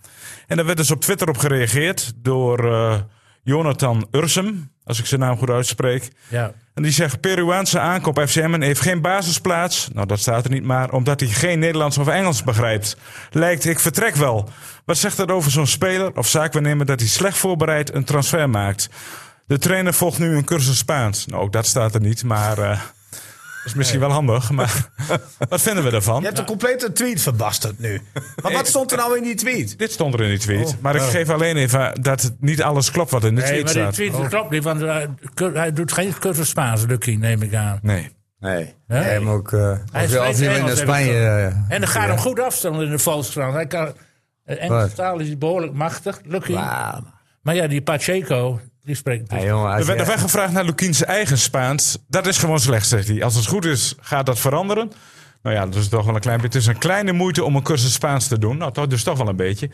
A: En daar werd dus op Twitter op gereageerd door eh, Jonathan Ursum, als ik zijn naam goed uitspreek.
D: Ja.
A: En die zegt, Peruaanse aankoop FCM heeft geen basisplaats. Nou, dat staat er niet maar, omdat hij geen Nederlands of Engels begrijpt. Lijkt, ik vertrek wel. Wat zegt dat over zo'n speler of zaakwaarnemer dat hij slecht voorbereid een transfer maakt? De trainer volgt nu een cursus Spaans. Nou, ook dat staat er niet, maar... eh, dat is misschien wel handig, maar wat vinden we daarvan?
B: Je hebt een complete tweet verbasterd nu. Maar wat stond er nou in die tweet?
A: Dit stond er in die tweet, maar ik geef alleen even dat het niet alles klopt wat in de
D: Oh, Nee,
A: tweet
D: maar die
A: staat. Oh.
D: tweet klopt niet, want eh, cur- hij doet geen cursus Spaans, Lucky, neem ik aan.
A: Nee.
E: Nee.
D: Hè?
E: Hij hem ook... eh, als
D: spreekt
E: je als je hem
D: Engels,
E: naar
D: heb ik
E: Spanje... eh,
D: En dan gaat hem goed afstellen in de Volkskrant. Hij kan, eh, Engelse
E: Wat?
D: taal is hij behoorlijk machtig, Lucky.
E: wauw.
D: Maar ja, die Pacheco, die spreekt...
E: Ja, jongen, als
A: Er werd
E: je-
A: er werd gevraagd naar Lukien's eigen Spaans. Dat is gewoon slecht, zegt hij. Als het goed is, gaat dat veranderen. Nou ja, dat is toch wel een klein beetje. Het is een kleine moeite om een cursus Spaans te doen. Nou, toch, dus toch wel een beetje.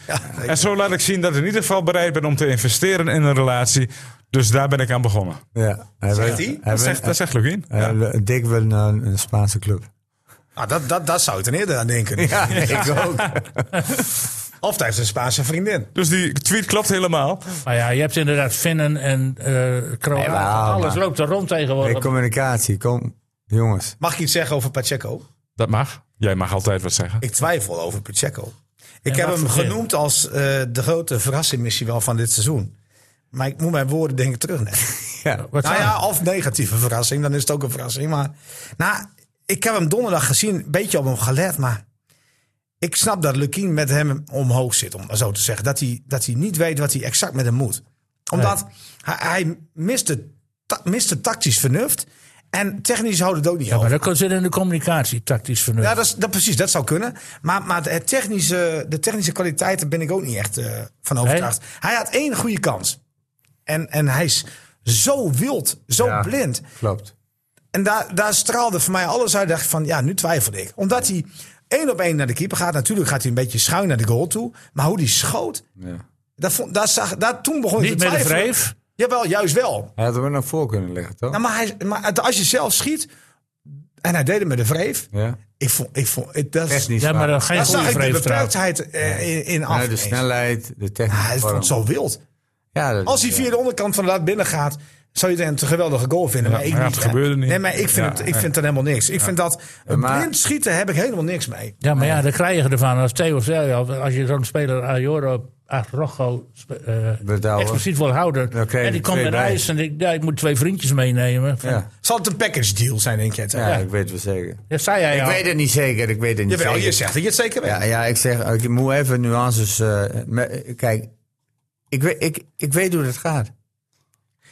A: en zo laat ik zien dat ik in ieder geval bereid ben om te investeren in een relatie. Dus daar ben ik aan begonnen.
E: Ja.
B: Zegt hij?
A: Dat zegt, dat zegt Login. Ja.
E: Dick wil naar een, een Spaanse club.
B: Nou, dat, dat, dat zou ik ten eerder aan denken.
E: ik ook.
B: Of hij heeft een Spaanse vriendin.
A: Dus die tweet klopt helemaal.
D: Maar ja, je hebt inderdaad Finnen en eh Kroaten.
E: Nee, maar-
D: Alles
E: maar-
D: loopt er rond tegenwoordig.
E: Hey, communicatie, kom. Jongens.
B: Mag ik iets zeggen over Pacheco?
A: Dat mag. Jij mag altijd wat zeggen.
B: Ik twijfel over Pacheco. Ik
D: En
B: heb
D: wat
B: hem
D: voor zin?
B: genoemd als eh, de grote verrassing misschien wel van dit seizoen. Maar ik moet mijn woorden denk ik terugnemen.
E: Ja.
D: Wat
B: nou
D: zou-
B: ja, of negatieve verrassing, dan is het ook een verrassing. Maar nou, ik heb hem donderdag gezien, een beetje op hem gelet. Maar ik snap dat Lukien met hem omhoog zit, om maar zo te zeggen. Dat hij, dat hij niet weet wat hij exact met hem moet. Omdat hij, hij miste, ta- miste tactisch vernuft. En technisch houdt het ook niet
D: Ja,
B: over.
D: maar dat zit in de communicatie, tactisch vernuft.
B: Ja, dat, is, dat precies, dat zou kunnen. Maar, maar het technische, de technische kwaliteiten ben ik ook niet echt eh, van overtuigd. Hij had één goede kans. En, en hij is zo wild, zo
E: Ja.
B: blind.
E: Klopt.
B: En daar, daar straalde voor mij alles uit. dacht ik van, ja, nu twijfelde ik. Omdat hij één op één naar de keeper gaat. Natuurlijk gaat hij een beetje schuin naar de goal toe. Maar hoe die schoot, dat vond, daar zag, daar, toen begon ik
D: Niet
B: te
D: met de
B: twijfelen.
D: vreef.
B: Jawel, juist wel.
E: Hij had hem naar voor kunnen liggen, toch?
B: Nou, maar, hij, maar het- als je zelf schiet, en hij deed het met de vreef.
E: Ja.
B: Ik vond, ik vond, ik, dat,
E: Technisch
D: Ja, maar
E: waar.
D: dan geen
B: daar
D: goede
B: zag ik de
D: vreef trouwens.
B: beperktheid eh, in, in af.
E: Ja, de snelheid, de technische
B: Hij
E: vorm.
B: vond het zo wild.
E: Ja, dat-
B: Als hij via de onderkant van de lat binnen gaat, zou je het een te geweldige goal vinden. maar ik
A: maar ja,
B: niet,
A: het
B: hè.
A: gebeurde niet.
B: Nee, maar ik vind,
A: Ja,
B: het, ik
A: ja.
B: vind dat helemaal niks. Ik vind dat een
E: maar-
B: blind schieten heb ik helemaal niks mee.
D: Ja, maar ja, daar krijg je ervan. Als Theo zei, al, als je zo'n speler Ajoro, Arrojo spe- eh,
E: Bedouwen.
D: expliciet wil houden.
E: Dan krijg je
D: en die
E: er
D: komt
E: twee
D: naar
E: bij.
D: huis en ik, ja, ik moet twee vriendjes meenemen. Van-
E: Ja.
B: Zal het een package deal zijn, denk je?
E: Ja, ik weet het wel zeker.
D: Dat zei jij
E: Ik
D: al.
E: weet het niet zeker, ik weet het niet
B: Jawel,
E: zeker.
B: je zegt dat je het zeker weet.
E: Ja, ja, ik zeg, ik moet even nuances. eh, me- kijk, ik weet, ik, ik weet hoe dat gaat.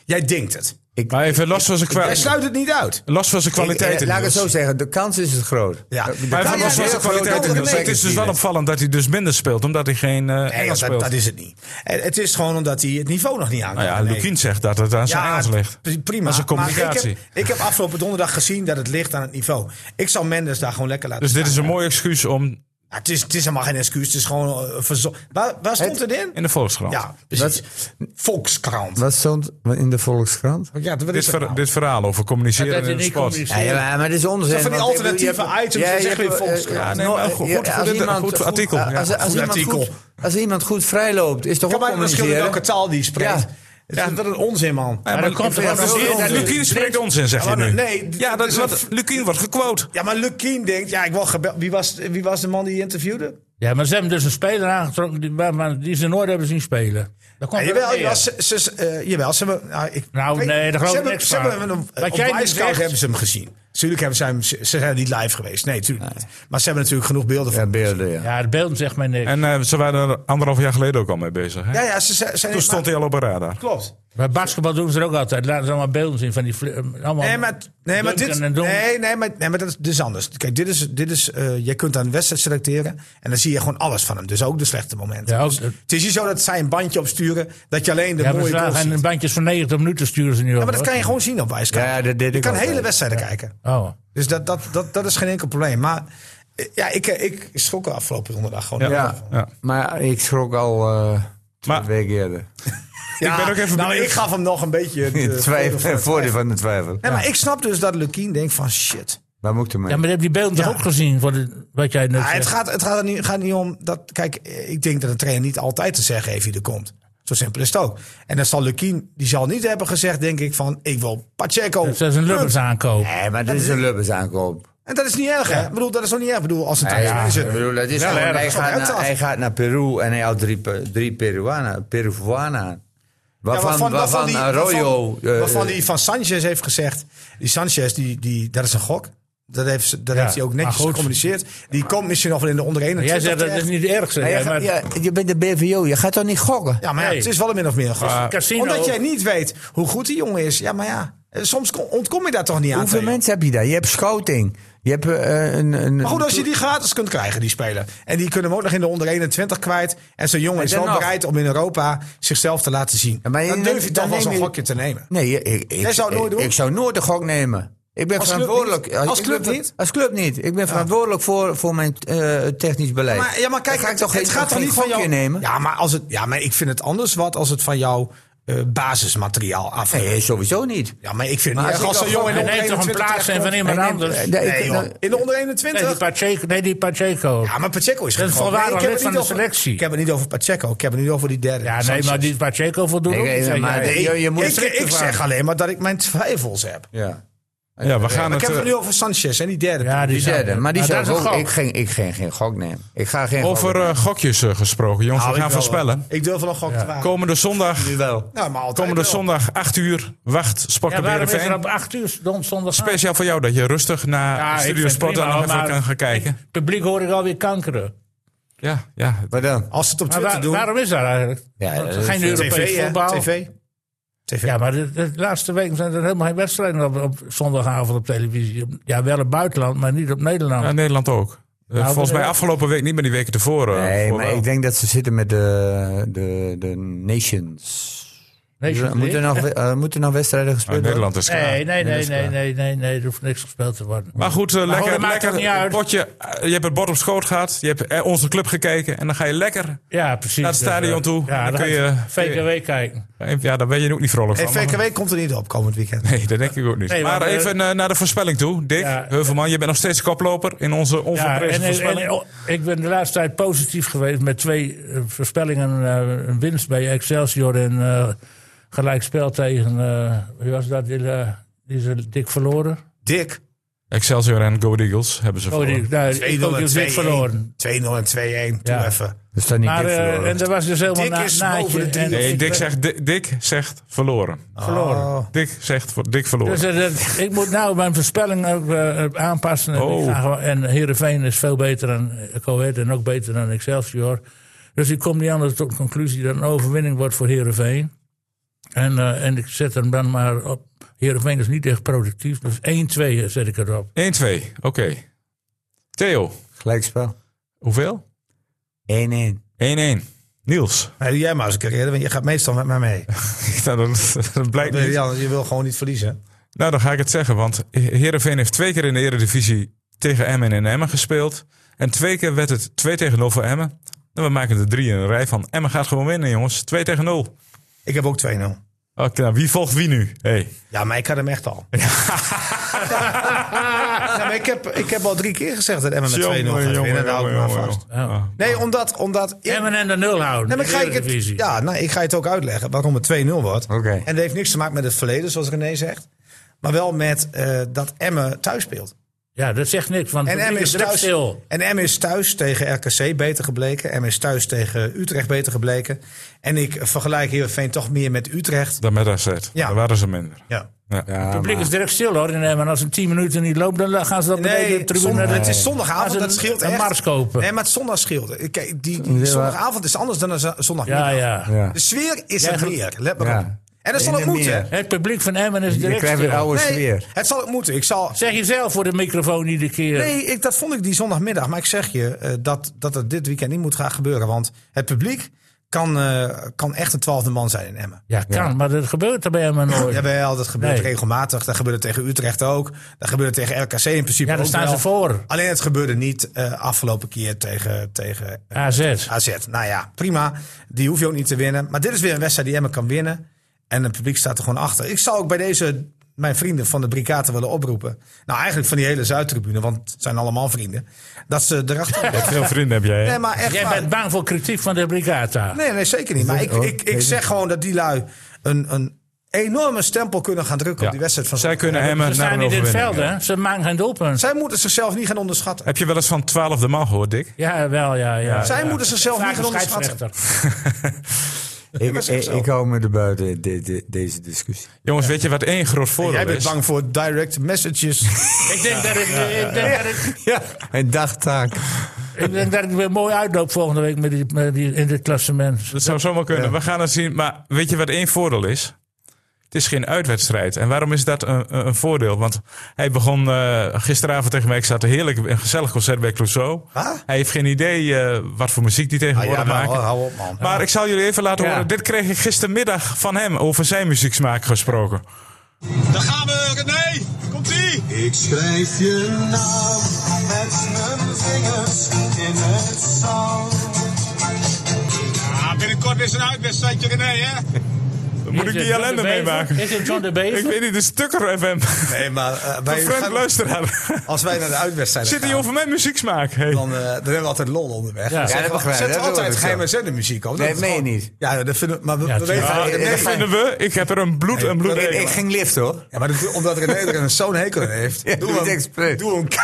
B: Jij denkt het.
E: Ik,
A: Maar even los van zijn,
B: Jij
A: kwa-
B: sluit het niet uit.
A: los van zijn kwaliteiten.
E: Ik, eh, laat ik het
A: Niels.
E: zo zeggen, de kans is het groot.
B: Ja.
E: De- de
A: Maar
E: kans
A: even
B: ja,
A: los
E: is
A: van
B: heel
A: zijn
E: heel groot dat
A: kwaliteiten.
E: het
A: Niels.
B: nee,
A: Het is dus wel opvallend dat hij dus minder speelt, omdat hij geen eh,
B: Nee,
A: Engels
B: dat,
A: speelt.
B: dat is het niet. Eh, Het is gewoon omdat hij het niveau nog niet aan kan.
A: Nou ja,
B: Nee.
A: Lukien zegt dat het aan zijn Engels ligt.
B: pri- Prima.
A: Dat is een
B: Maar
A: communicatie.
B: ik, heb, ik heb afgelopen donderdag gezien dat het ligt aan het niveau. Ik zal Mendes daar gewoon lekker laten
A: Dus dit is
B: staan.
A: een mooi excuus om
B: Ja, het, is, het is helemaal geen excuus. Het is gewoon eh, verzo- Waar, waar stond het, in?
A: in de Volkskrant.
B: Ja, precies. Volkskrant.
E: Wat stond in de Volkskrant?
B: Ja, wat
A: Dit,
B: is dat
A: ver-
B: nou?
A: dit verhaal over communiceren
D: Dat hij
A: in de
D: niet
A: sport.
D: communiceert.
E: Ja, ja, maar, maar dit is onzin.
B: Zo van die
E: want ik bedoel, je
B: alternatieve
E: hebt-
B: items,
E: ja,
B: dan
E: je
B: zeg je
E: hebt,
B: weer
E: eh,
B: Volkskrant.
A: Ja, nee, maar goed-
E: ja,
A: goed voor
E: als
A: dit-
E: iemand- eh,
A: goed artikel, ja.
E: Als, als
B: Goed
E: iemand
B: artikel.
E: Goed, als iemand goed vrijloopt, is toch
B: Kan
E: ook
B: mij verschil in
E: communiceren?
B: welke taal die spreekt.
E: Ja.
B: nou? Ja. Dat is een onzin, man.
A: Ja,
D: Maar dat komt er wel
E: Ja, veel
D: veel
E: onzin.
D: onzin.
A: Lukien spreekt ons in, zeg je
B: Ja, maar
A: nu.
B: nee, dus dit-
A: ja, dat
B: dit
A: is
B: is
A: wat,
B: een-
A: Lukien wordt gequote.
B: Ja, maar Lukien denkt, ja, ik wil gebeld. Wie was, wie was de man die je interviewde?
D: Ja, maar ze hebben dus een speler aangetrokken die, waar- waar- die ze nooit hebben zien spelen. Dat komt
B: Ja,
D: er
B: jawel,
D: wel
B: ja,
D: neer.
B: ze, ze, eh, jawel, ze hebben... Nou, ik,
D: Nou,
B: weet-
D: nee, daar
B: ze
D: geloof ik
B: hebben-
D: niks
B: Ze
D: van.
B: hebben hem, eh,
D: Wat
B: op
D: jij nu
B: Wisecout
D: zegt-
B: hebben ze hem gezien. Natuurlijk hebben ze hem... Ze ze zijn niet live geweest. Nee, natuurlijk niet. Maar ze hebben natuurlijk genoeg beelden van
E: Ja,
B: hem gezien.
E: beelden, ja.
D: Ja, het beeld zegt mij niks.
A: En eh, ze waren er anderhalf jaar geleden ook al mee bezig. Hè?
B: Ja, ja, ze ze- zijn...
A: Toen stond hij al op een radar.
B: Klopt.
D: Bij basketbal doen ze er ook altijd. Laten ze allemaal beelden zien van die... vle- eh, Allemaal
B: Nee, maar, nee, maar dit,
D: dunken en donken.
B: nee, nee, maar, nee, maar dat is, dit is anders. Kijk, dit is, dit is, eh, je kunt aan een wedstrijd selecteren en dan zie je gewoon alles van hem. Dus ook de slechte momenten.
D: Ja, ook-
B: Dus het is niet zo dat zij een bandje opsturen, dat je alleen de
D: Ja, maar
B: mooie
D: ze
B: goals
D: gaan
B: ziet.
D: in bandjes van 90 minuten sturen ze nu
B: Ja, maar dat kan je gewoon zien op Wijskamp.
E: Ja, dat deed
B: je
E: ik
B: kan
E: ook
B: hele
E: wel.
B: wedstrijden kijken.
D: Oh.
B: Dus dat, dat, dat, dat is geen enkel probleem. Maar eh, ja, ik, eh, ik schrok er afgelopen donderdag gewoon.
A: Ja.
E: Ja,
A: Ja.
E: maar ik schrok al eh twee
A: Maar-
E: weken eerder.
B: Ja,
A: ben ook even
B: nou,
A: benieuwd.
B: ik gaf hem nog een beetje het, eh, voordeel
E: In
B: van
E: twijfel,
B: het
E: voordeel
B: twijfel.
E: van de twijfel.
B: Nee, maar ik snap dus dat Lukien denkt van shit.
E: Waar moet ik ermee?
D: Ja, maar je hebt die beelden toch
B: Ja.
D: ook gezien? Voor de, wat jij net
B: Ja, het
D: zegt.
B: gaat, het gaat er niet, gaat niet om dat. Kijk, eh, ik denk dat een trainer niet altijd te zeggen heeft wie er komt. Zo simpel is het ook. En dan zal Lukien, die zal niet hebben gezegd, denk ik, van ik wil Pacheco.
D: Ze is een lubbers aankoop.
E: Nee, maar dit is een Lubbers aankoop.
B: En dat is niet erg, hè? Ik bedoel, dat is ook niet erg. Ik bedoel, als een trainer. is het-
E: ik bedoel, dat is
B: Wel
E: gewoon-
B: erg,
E: hij,
B: dat is
E: gaat
B: wel
E: naar,
B: uitzag.
E: hij gaat naar Peru en hij houdt drie, Pe- drie Peruanen. Peruanen aan.
B: Ja,
E: Waarvan, waarvan,
B: die-
E: Arroyo...
B: waarvan-
E: eh,
B: waarvan die van Sanchez heeft gezegd. Die Sanchez, die, die, dat is een gok. Dat heeft, ze- dat
D: Ja,
B: heeft hij ook
D: maar
B: netjes
D: goed.
B: gecommuniceerd. Die komt misschien nog wel in de onder 21
D: Jij zegt dat is
B: terecht.
D: niet het ergste.
E: eh,
D: hè,
E: jij
D: maar-
E: gaat- ja, je bent de BVO, je gaat toch niet gokken?
B: Ja, maar ja,
D: Nee.
B: het is wel min of meer een gok.
D: een casino.
B: Omdat jij niet weet hoe goed die jongen is. Ja, maar ja, eh, soms kom- ontkom je daar toch niet aan.
E: Hoeveel
B: Theo.
E: mensen heb je daar? Je hebt scouting. Je hebt eh, een, een...
B: Maar goed, als je die gratis kunt krijgen, die speler. En die kunnen hem ook nog in de onder 21 kwijt. En zo'n jongen
E: En
B: is wel
E: dan nog.
B: bereid om in Europa zichzelf te laten zien.
E: Ja, maar je
B: dan
E: neemt-
B: durf je
E: dan
B: toch wel
E: neem
B: zo'n
E: je-
B: gokje te nemen.
E: Nee, ik, ik,
B: Jij zou het nooit
E: ik,
B: doen?
E: ik zou nooit de gok nemen. Ik ben
B: Als club
E: verantwoordelijk.
B: niet? Als
E: ik
B: club
E: ben-
B: niet?
E: Als club niet. Ik ben verantwoordelijk voor, voor mijn eh, technisch beleid.
B: Maar, ja, maar kijk,
E: Dan ga ik
B: het,
E: toch
B: het
E: geen-
B: gaat toch
E: geen
B: niet van jou...
E: gokje nemen?
B: Ja, maar, als het, ja, maar ik vind het anders wat als het van jouw eh, basismateriaal af.
E: Nee, sowieso niet.
B: Ja, maar ik vind
E: Maar
B: het
E: als
B: niet erg
E: ik
B: als zo'n
E: dan
B: jongen in de
D: Hij
E: gewoon-
B: onder
D: neemt toch een
B: 21
D: plaats en van iemand
E: Nee,
D: anders?
E: nee, ik-
B: Nee, joh.
E: nou,
B: In de onder
D: Nee,
B: 21?
D: die Pacheco. Nee, die Pacheco.
B: ja, maar Pacheco is
D: Dat is
B: gewoon-
D: volwaardig
B: ik heb
D: lid
B: het
D: van
B: niet
D: de
B: over-
D: selectie.
B: Ik heb het niet over Pacheco. Ik heb het niet over die derde.
D: Ja, nee,
B: Sanchez.
D: maar die Pacheco voldoet ook
E: Nee,
D: niet.
E: nee,
D: zeg
E: maar
D: jij.
E: nee, je- je moet
B: ik,
E: strikt
B: ik
E: ervan.
B: zeg alleen maar dat ik mijn twijfels heb.
E: Ja.
A: Ja, we gaan
B: Maar
A: het...
B: ik heb het
A: eh,
B: nu over Sanchez en die derde.
D: Ja, die Nou,
E: Die derde. Maar die
D: dat
E: zou
D: is een
E: ook. Ik
D: gok.
E: ging, ik ging geen gok nemen. Ik ga geen
A: Over eh, gokjes eh, gesproken, jongens.
B: Nou,
A: we
B: ik
A: gaan
B: wel,
A: voorspellen.
B: hoor. Ik durf wel een gok te wagen.
A: Komende zondag,
E: wel.
B: Nou, maar altijd
A: komende
B: wel.
A: zondag 8 uur, wacht Sport
D: Ja,
A: Club
D: waarom is er
A: Heerenveen.
D: op 8 uur don- zondag
A: Speciaal voor jou, dat je rustig naar
D: Ja, ik
A: Studio
D: vind
A: Sport
D: prima,
A: dan nog
D: hoor,
A: even
D: maar-
A: kan gaan kijken.
D: Het publiek hoor ik alweer kankeren.
A: Ja, ja.
E: Wat dan?
B: Als ze het op
D: Maar
B: Twitter
D: waar-
B: doen.
D: waarom is dat eigenlijk?
E: Ja,
D: Want
E: dat
D: geen
E: is-
D: Europees
B: TV, hè?
D: voetbal.
B: TV. TV.
D: Ja, maar de, de laatste weken zijn er helemaal geen wedstrijden op, op zondagavond op televisie. Ja, wel op buitenland, maar niet op Nederland.
A: Ja, Nederland ook. Eh,
D: Nou,
A: volgens mij
D: eh,
A: afgelopen week niet, maar die weken tevoren. eh,
E: Nee,
A: voor
E: maar
A: wel.
E: ik denk dat ze zitten met de, de, de Nations.
D: nee,
E: Dus, eh, moeten, nog, we- eh, moeten nog wedstrijden
A: Nou,
E: gespeeld worden?
A: Nederland is klaar.
D: nee, nee,
E: dat
D: nee,
E: is
D: nee,
E: waar.
D: nee, nee, nee, er hoeft niks gespeeld te worden.
A: Maar goed, eh,
D: hoor,
A: lekker,
D: dat maakt
A: lekker
D: ook niet uit.
A: potje. Eh, je hebt het bord op schoot gehad. Je hebt eh, onze club gekeken. En dan ga je lekker.
D: ja, precies.
A: naar het
D: Dus,
A: stadion
D: eh,
A: toe. Dan
D: Ja, dan,
A: kun
D: ga
A: je-
D: ik VKW kijken.
A: Ja, daar ben je ook niet vrolijk
B: Hey,
A: van. maar-
B: VKW komt er niet op komend weekend.
A: Nee, dat denk ik ook niet.
D: Nee,
A: maar
D: maar, eh,
A: even eh, naar de voorspelling toe. Dick
D: Ja,
A: Heuvelman, je bent nog steeds koploper in onze
D: Ja,
A: onverprezen
D: en, en,
A: voorspelling.
D: en, oh, ik ben de laatste tijd positief geweest met twee eh, voorspellingen. eh, een winst bij Excelsior en eh, gelijk spel tegen. eh, wie was dat? Die, eh, die is dik verloren.
B: Dick.
A: Excelsior en Go Eagles hebben ze
D: Oh,
A: verloren.
D: die, nou,
B: 2-0
D: ik ook die is dik verloren.
B: en 2-1. 2-0 en 2-1. Doe
D: Ja.
B: even.
E: Dus dan niet
D: Maar,
E: dit
D: eh,
E: verloren.
D: en er was dus helemaal
B: Dik
D: na,
B: is
D: naadje
B: boven de
D: en-
B: tien.
A: Nee,
D: ik
A: Dick
D: ben
A: zegt, Dick, Dick zegt verloren.
D: verloren.
B: Oh.
A: Dick zegt voor- Dick verloren.
D: Dus eh, dat- ik moet nou mijn voorspelling ook eh, aanpassen. En,
A: Oh.
D: ik ga gewoon- en Heerenveen is veel beter dan eh, Coët en ook beter dan Excelsior. Dus ik kom niet anders tot de conclusie dat een overwinning wordt voor Heerenveen. En, eh, en ik zet hem dan maar op. Heerenveen is niet echt productief. Dus 1-2 zet ik erop.
A: 1-2, oké. Theo,
E: Gelijkspel.
A: hoeveel?
E: 1-1.
A: 1-1. Niels.
B: Nee, doe jij maar eens een keer eerder, want je gaat meestal met mij mee.
A: Nou, dat, dat blijkt
B: Nee,
A: niet.
B: Jan, je wil gewoon niet verliezen.
A: Nou, dan ga ik het zeggen. Want Heerenveen heeft twee keer in de Eredivisie tegen Emmen en Emmen gespeeld. En twee keer werd het 2 tegen 0 voor Emmen. En we maken er drie in een rij van. Emmen gaat gewoon winnen, jongens. 2 tegen 0. Oké,
B: Ik heb ook 2-0.
A: nou, wie volgt wie nu? Hey.
B: Ja, maar ik had hem echt al. Ja. maar ik, heb, ik heb al drie keer gezegd dat Emma met 2-0 gaat
A: Jongen,
B: winnen.
A: jongen,
B: en daar hou ik
A: jongen,
B: maar
A: jongen.
B: vast.
A: Ah.
B: Nee, omdat... omdat ik,
D: Emmen en de nul houden.
B: nee, maar
D: in
B: ik, ga
D: de
B: ik het,
D: Eredivisie.
B: ja, nou, ik ga je het ook uitleggen waarom het 2-0 wordt.
E: Oké.
B: En dat heeft niks te maken met het verleden, zoals René zegt. Maar wel met eh, dat Emme thuis speelt.
D: Ja, dat zegt niks. Want
B: En
D: het
B: M
D: publiek
B: is
D: direct
B: thuis.
D: stil.
B: En M is thuis tegen RKC beter gebleken. M is thuis tegen Utrecht beter gebleken. En ik vergelijk Heerenveen toch meer met Utrecht.
A: Dan met AZ. Ja.
B: Ja.
A: Daar waren ze minder.
B: Ja.
A: Ja.
E: Ja,
D: Het publiek
E: maar-
D: is direct stil hoor. En Emmen, als het 10 minuten niet loopt, dan gaan ze dat beneden
B: Nee,
D: de tribune.
B: zondag-
D: naar de-
B: het is
D: Als
B: zondagavond,
D: een-
B: dat scheelt
D: een
B: echt.
D: mars kopen.
B: Nee, maar het zondag scheelt. Kijk, die, die zondagavond is anders dan een z-
D: Ja,
B: zondagmiddag.
D: ja.
E: Ja.
B: De sfeer is
D: Jij
B: er
D: ge-
B: meer, let maar
E: Ja.
B: op. En dat zal
E: In
B: ook
E: de
B: moeten.
E: meer.
D: Het publiek van Emmen is
E: Je
D: direct
E: krijgt weer
D: stil.
E: oude
B: Nee,
E: sfeer.
B: het zal ook moeten. Ik zal,
D: Zeg je zelf voor de microfoon iedere keer.
B: nee, ik, dat vond ik die zondagmiddag. Maar ik zeg je eh, dat, dat het dit weekend niet moet gaan gebeuren. Want het publiek kan, eh, kan echt een twaalfde man zijn in Emmen.
D: Ja, kan, maar dat gebeurt er bij Emmen nooit. Ja,
B: Jawel, dat gebeurt
D: Nee.
B: regelmatig. Dat gebeurde tegen Utrecht ook. Dat gebeurde tegen RKC in principe
D: daar
B: ook
D: staan
B: wel.
D: ze voor.
B: Alleen het gebeurde niet eh, afgelopen keer tegen, tegen eh,
D: AZ.
B: AZ. Nou ja, prima. Die hoef je ook niet te winnen. Maar dit is weer een wedstrijd die Emmen kan winnen. En het publiek staat er gewoon achter. Ik zou ook bij deze mijn vrienden van de Brikaten willen oproepen. Nou, eigenlijk van die hele Zuidtribune, want het zijn allemaal vrienden. Dat ze erachter...
A: Wat veel vrienden heb jij, hè?
B: Nee, maar echt
D: Jij
B: waar.
D: bent Oh, bang voor kritiek van de Brigata.
B: Nee, nee, zeker niet. Maar ik, ik, ik zeg gewoon dat die lui een, een enorme stempel kunnen gaan drukken
A: Ja.
B: op die wedstrijd van
A: Zij kunnen
B: zondag.
A: Emmen
D: Ze
A: naar
D: staan
A: een
D: niet in het
A: overwinning.
D: veld, hè? Ze maken geen doelpunt.
B: Zij moeten zichzelf niet gaan onderschatten.
A: Heb je wel eens van 12 de man gehoord, Dick?
D: Ja, wel, ja. ja
B: Zij
D: ja.
B: moeten zichzelf
D: Vaak
B: niet
D: een
B: gaan onderschatten.
D: scheidsrechter.
E: Ik,
B: maar zeg
E: ik,
B: zo.
E: ik hou me er buiten de- de- deze discussie.
A: Jongens, weet je wat één groot voordeel
B: Jij bent
A: is?
B: bang voor direct messages.
D: Ik denk dat ik- ik denk dat ik-
E: Ja, een dagtaak.
D: ik denk dat ik weer mooi uitloop volgende week met die, met die, in dit klassement.
A: Dat zou zomaar kunnen. We gaan het zien. Maar weet je wat één voordeel is? Het is geen uitwedstrijd. En waarom is dat een, een een voordeel? Want hij begon eh, gisteravond tegen mij. Ik zat een heerlijk een gezellig concert bij Clouseau.
B: Wat?
A: Hij heeft geen idee eh, wat voor muziek die tegenwoordig
B: Ah, ja, nou,
A: maken.
B: hou op, man.
A: Maar ik zal jullie even laten
D: Ja.
A: horen. Dit kreeg ik gistermiddag van hem over zijn muzieksmaak gesproken.
H: Daar gaan we, René. Komt ie. Ik schrijf je naam met mijn vingers in het zand. Ja, Ah, binnenkort is een uitwedstrijdje, René, hè?
A: Moet ik die ellende meemaken?
D: Is het John de
A: Ik
D: Bever?
A: weet niet, de Stukker FM.
B: Nee, maar eh,
A: Een
B: wij
A: vreemd
B: gaan-
A: luisteraar.
B: als wij naar de uitwedstrijd
A: Zit hij
B: gaan,
A: over mijn muzieksmaak? Hey.
B: dan, eh, dan hebben we altijd lol onderweg. Dus
D: Ja.
B: Dan
D: Ja,
B: zetten
E: dat
B: we-
E: begrijp ik.
B: zetten we
E: Dat
B: altijd
E: wil ik
B: geheime zendermuziek op. Dat
E: Nee,
B: is
E: meen je
B: gewoon-
E: niet.
B: Ja, dat vinden we... Maar we, we
D: Ja,
B: weten
A: Ja,
E: Nee,
A: dat
E: nee,
A: vinden we. Ik heb er een bloed en bloed.
B: dat-
E: Ik, ik ging lift hoor.
B: Ja, maar dat, omdat René er een zo'n hekel aan heeft,
E: Ja,
B: doen
E: doe
B: we
E: het
B: hem-
E: expres.
B: doen we hem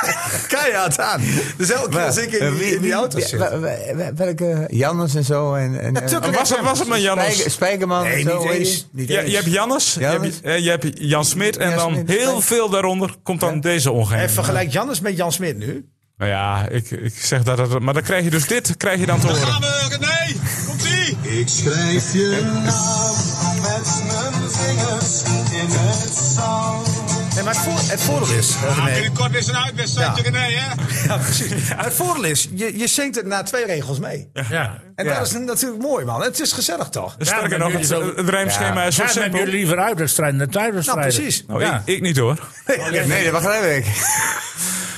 B: ke- keihard aan. Dus elke keer als ik in die, in die auto
E: wie-
B: zit.
E: wa- wa- wa- Welke? Jannes en zo. En, en, en-
B: Tukker
A: Was het, was het met
E: Spijker-
A: Jannes?
E: Spijkerman
B: Nee,
E: en zo.
B: niet
E: weet je?
B: eens. Niet
A: Je,
B: eens.
A: je hebt Jannes, je hebt,
E: Jannes.
A: eh, je hebt Jan Smit en
E: Jan
A: dan
E: Smit.
A: heel veel daaronder komt dan deze
B: En
A: ongeheim.
B: vergelijk Jannes met Jan Smit nu.
A: Nou ja, ik, ik zeg dat, dat. Maar dan krijg je dus dit, krijg je dan te horen.
H: Gaan we, René. Komt ie. Ik schrijf je naam met mijn vingers in het zand.
B: Nee, maar het, voor- het voordeel is... eh, René-
H: binnenkort is een uitwedstrijdje,
B: Ja.
H: René, hè?
B: Ja, precies. Het voordeel is, je, je zingt het na twee regels mee.
D: Ja.
B: En dat is natuurlijk mooi, man. Het is gezellig, toch?
A: Sterker
D: maar
A: nog,
D: jullie
A: het,
D: zo-
A: het rijmschema is zo
D: Daar hebben
A: simpel.
D: jullie liever uit dan strijden dan thuis
B: Nou,
D: strijden.
B: precies.
A: Nou,
D: Ja.
A: ik, ik niet hoor.
E: Nee, dat begrijp ik.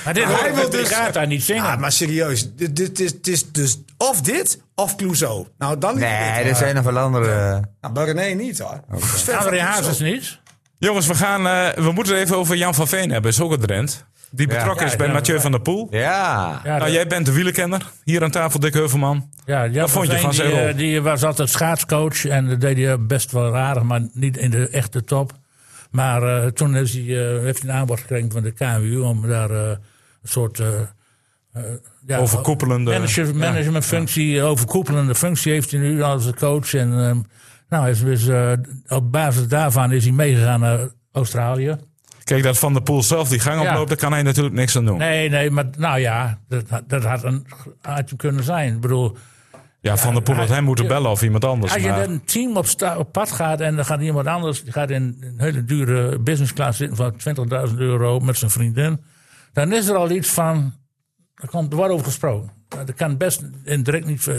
D: Maar dit hoort
B: hij wil
D: met
B: dus-
D: dus... daar niet zingen.
B: Ja, maar serieus. Dit, dit, is- het is dus of dit, of Clouseau. Nou, dan liever
E: Nee,
B: dit,
E: er
B: maar-
E: zijn nog wel andere.
B: Nou, bij René niet, hoor. Dus ver van
D: André
B: Clouseau.
D: Hazes niet.
A: Jongens, we, gaan, eh, we moeten het even over Jan van Veen hebben. Is ook een Drent. Die betrokken
D: Ja,
A: is bij
D: ja,
A: Mathieu
D: ja.
A: van der Poel.
E: Ja.
D: Ja,
A: Nou,
D: dat-
A: jij bent de wielerkenner. Hier aan tafel, Dick Heuvelman.
D: Ja, Jan
A: Wat vond je van
D: Veen,
A: zijn
D: die,
A: rol?
D: eh, Die was altijd schaatscoach en dat deed hij eh, best wel raar, maar niet in de echte top. Maar eh, toen is hij, eh, heeft hij een aanbod gekregen van de KWU om daar eh, een soort... eh eh, ja,
A: Overkoepelende-
D: manager- managementfunctie, eh, overkoepelende functie heeft hij nu als coach. En, eh, nou, hij is dus, eh, op basis daarvan is hij meegegaan naar Australië.
A: Kijk, dat Van der Poel zelf die gang
D: Ja.
A: oploopt, daar kan hij natuurlijk niks aan doen.
D: Nee, nee, maar nou ja, dat, had- dat had een had hem kunnen zijn. Ik bedoel,
A: ja, Van der Poel had
D: hij-
A: hem moeten bellen of iemand anders.
D: als je
A: maar-
D: met een team op, sta- op pad gaat en dan gaat iemand anders die gaat in een hele dure business class zitten van 20.000 euro met zijn vriendin, dan is er al iets van, er, komt, er wordt over gesproken. Dat kan best indirect niet eh,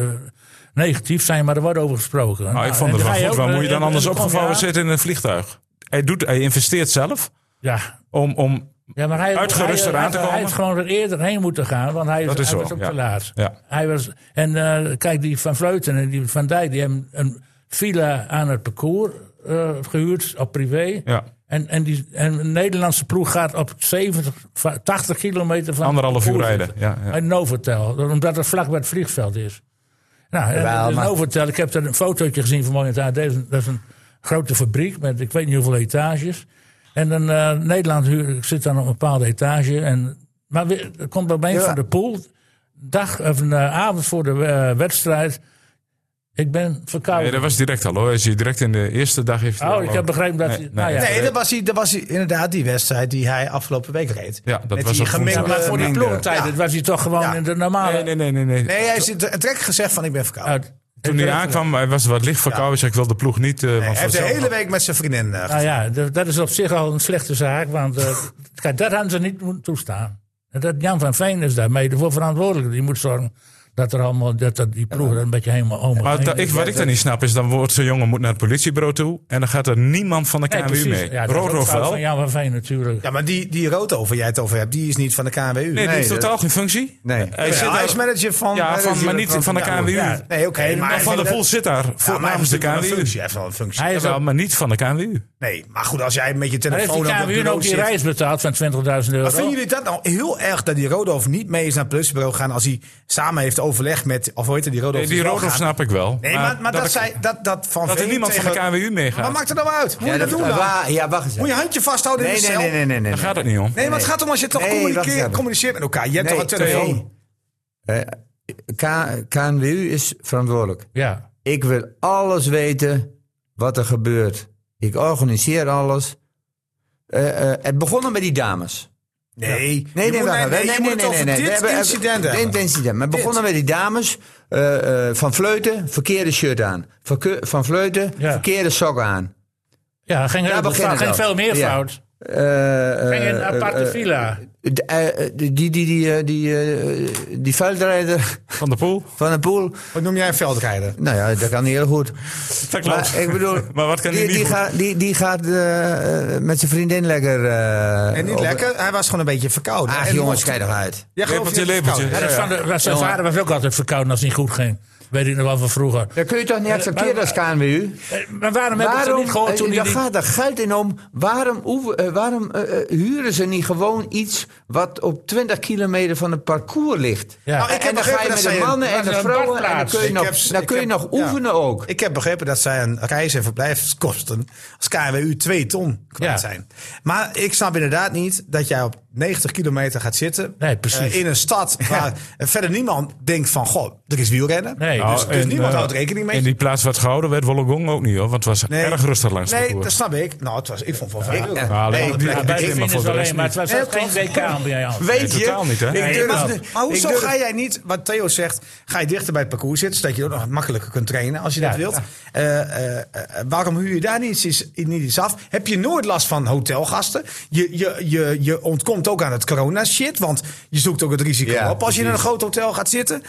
D: negatief zijn, maar er wordt over gesproken.
A: nou, ik vond het wel goed. Waar moet je
D: eh,
A: dan anders opgevouwen
D: zit?
A: zitten in een vliegtuig? Hij, doet, hij investeert zelf
D: Ja,
A: om, om
D: Ja, maar hij,
A: Uitgerust
D: hij,
A: eraan
D: hij-
A: te
D: Hij
A: komen.
D: had gewoon er eerder heen moeten gaan, want hij,
A: Dat is
D: hij
A: zo,
D: was ook
A: ja.
D: te laat.
A: Ja.
D: Hij was, en eh, kijk, die Van Vleuten en die Van Dijk, die hebben een villa aan het parcours eh, gehuurd, op privé.
A: Ja.
D: En, en, die, en een Nederlandse ploeg gaat op 70, va- 80 kilometer van...
A: Anderhalf
D: het
A: uur
D: parcours
A: rijden,
D: zitten.
A: ja, ja.
D: En Novotel, omdat het vlak bij het vliegveld is. Nou, en,
E: Jawel,
D: en
E: maar-
D: Novotel, ik heb daar een fotootje gezien vanmorgen. Daar, dat, is een, dat is een grote fabriek met ik weet niet hoeveel etages. En een eh Nederland huur, zit dan op een bepaalde etage. En, maar weer, er komt bij mij
E: Ja.
D: van de pool, dag of een eh, avond voor de eh, wedstrijd. Ik ben
A: Nee,
D: verkouden.
A: dat was direct al hoor. Hij is hier direct in de eerste dag heeft hij al
D: oh, ik
A: ook-
D: heb begrepen dat...
A: Nee,
D: je-
A: nee.
D: nou ja.
B: Nee, dat was, die, dat was die, inderdaad die wedstrijd die hij afgelopen week reed.
A: Ja, dat
B: Met
A: was
B: die
A: op woensdag.
B: gemengde...
D: maar voor die
E: minder.
D: ploegentijd dat was hij toch gewoon
B: Ja.
D: in de normale...
A: Nee, nee, nee, nee. nee.
B: Nee, hij zit trek gezegd van ik ben verkouden.
D: Uit-
A: Toen hij aankwam, hij was wat licht verkouden. Ik zeg, ik wil de ploeg niet. eh, want
B: hij heeft de
A: vanzelf-
B: hele week met zijn vriendin eh,
D: Nou ja, dat, dat is op zich al een slechte zaak. Want eh, kijk, dat hadden ze niet moeten toestaan. En dat Jan van Veen is daarmee ervoor verantwoordelijk. Die moet zorgen dat, er allemaal, dat, dat die ploeg er een beetje helemaal om
A: Maar dat- ik, wat ik dan niet snap is, dan wordt zo'n jongen moet naar het politiebureau toe. En dan gaat er niemand van de KMU mee.
D: Ja, dat is ook
A: Roodhoofd
D: fout
A: wel.
D: van
A: Nee,
D: Jan van Veen natuurlijk.
B: Ja, maar die, die rood over jij het over hebt, die is niet van de KNWU. Nee,
A: die heeft
E: dat-
A: totaal geen functie.
E: Nee.
A: Hij
B: hij
A: zit daar-
B: is manager van...
A: ja, van, maar niet van de
B: Ja,
A: KMU.
D: ja.
B: Nee, oké. maar
A: Van der
B: de
A: Poel zit daar voor, namens de
B: Hij heeft natuurlijk
A: KMU.
B: wel een functie, hij heeft wel een functie.
D: Hij is
A: Jawel,
D: ook,
A: maar niet van de KMU.
B: Nee, maar goed, als jij met je
D: maar heeft die
B: telefoon op het
D: KWU
B: bureau
D: ook die
B: zit...
D: reis betaald van 20.000
B: Maar vinden
D: euro?
B: jullie dat nou heel erg dat die Rodolf niet mee is naar het plusbureau gaan als hij samen heeft overlegd met, of hoe heet het, die Rodolf?
A: Nee, die Rodolf
B: Nee,
A: snap ik wel.
B: maar, maar, dat,
A: ik-
B: zij, dat, dat van
A: dat er
B: Veen
A: niemand van de
B: tegen-
A: KMU
B: Maar
A: meegaat.
B: maakt het nou uit? Moet je dat doen dan?
E: wa- ja, wacht eens.
B: Moet je
E: even.
B: handje vasthouden in
E: Nee,
B: de
E: nee,
B: cel?
E: nee, nee, nee, nee.
A: Daar gaat het niet om.
B: Nee, maar het gaat om als je toch
E: Nee, wacht
B: communiceert,
E: even.
B: communiceert met elkaar. Je hebt toch een telefoon?
E: Nee. Eh, K- KNWU is verantwoordelijk.
D: Ja.
E: Ik wil alles weten wat er gebeurt. Ik organiseer alles. Eh, eh, het begon al met die dames.
B: Nee,
E: Nee,
B: Je
E: nee,
B: moet-
E: wacht even.
B: je moet
E: nee, nee,
B: het
E: nee,
B: over
E: nee, nee.
B: dit
E: We hebben-
B: incident
E: dit
B: hebben.
E: incident. Maar begonnen met die dames. eh, eh, van Vleuten, verkeerde shirt aan. Verke- van Vleuten,
D: Ja.
E: verkeerde sok aan.
D: Ja, ging, heel
E: Daar
D: veel
E: beginnen
D: fout. ging
E: dat.
D: veel meer
E: Ja.
D: fout.
E: Eh,
D: Ging in een aparte villa.
E: De- eh, eh, die, die, die, eh, die, eh, die vuilrijder
A: Van de Poel.
E: van een poel.
B: Wat noem jij een veldrijder?
E: Nou ja, dat kan heel goed.
A: Dat klopt.
E: Maar ik bedoel,
A: Maar wat kan hij
E: die,
A: niet
E: die,
A: goed?
E: gaat, die, die gaat eh, eh, met zijn vriendin lekker. eh,
B: En niet
E: op-
B: lekker, hij was gewoon een beetje verkouden.
E: Ach
B: En
E: jongens,
B: mocht-
E: kijk nog uit.
B: Ja, geloof
A: Lepeltje,
B: je dat hij
A: lepeltje.
B: verkouden
D: Ja, dat
A: ja.
D: Van de, was- zijn vader was ook altijd verkouden als het niet goed ging. Weet ik nog wel van vroeger.
E: Dat kun je toch niet accepteren als KNWU?
D: Eh, Maar waarom hebben we het niet gehoord toen
E: eh,
D: hij
E: daar
D: die...
E: gaat er geld in om. Waarom, hoeven- eh, waarom eh, eh, huren ze niet gewoon iets wat op 20 kilometer van het parcours ligt?
D: Ja. Nou, ik
E: en
B: heb
E: dan
B: begrepen
E: ga je
B: dat
E: met
B: zij
E: de
B: een-
E: mannen en
D: dat
E: de
D: is een
E: vrouwen en dan
D: badplaats.
E: kun je
B: Ik
E: nog,
B: heb-
E: dan
B: ik
E: kun je
B: heb-
E: nog
B: ja.
E: oefenen ook.
B: Ik heb begrepen dat zijn reis- en verblijfskosten als KWU 2 ton kwijt
D: Ja.
B: zijn. Maar ik snap inderdaad niet dat jij op 90 kilometer gaat zitten.
D: Nee, precies.
B: eh, in een stad waar verder niemand denkt van, goh, er is wielrennen.
D: Nee.
B: Dus,
D: Nou,
B: dus
A: en,
B: niemand
A: eh,
B: houdt rekening mee.
A: In die plaats werd gehouden werd Wollongong ook niet hoor. Want het was
B: Nee.
A: erg rustig langs de
B: Nee,
A: koers.
B: dat snap ik. Nou, het was, ik vond het wel vervelend.
A: Ja,
B: Nee,
A: dat-
B: die-
A: ja,
B: die-
A: bij
D: Bij
A: de
D: de
A: maar
D: finish
A: voor de rest
D: alleen, maar het
A: niet.
D: was ook geen WK bij jou.
E: Weet
A: Nee,
E: je?
A: totaal niet, hè?
E: Ik
A: Nee,
E: durf-
B: Maar,
D: Nou,
B: maar hoezo
E: ik durf-
B: ga jij niet, wat Theo zegt, ga je dichter bij het parcours zitten, zodat je ook nog makkelijker kunt trainen als je dat wilt. Eh, eh, eh, waarom huur je daar niet iets, niet iets af? Heb je nooit last van hotelgasten? Je, je, je, je ontkomt ook aan het corona shit, want je zoekt ook het risico
E: Ja,
B: op als je in een
E: precies.
B: groot hotel gaat zitten.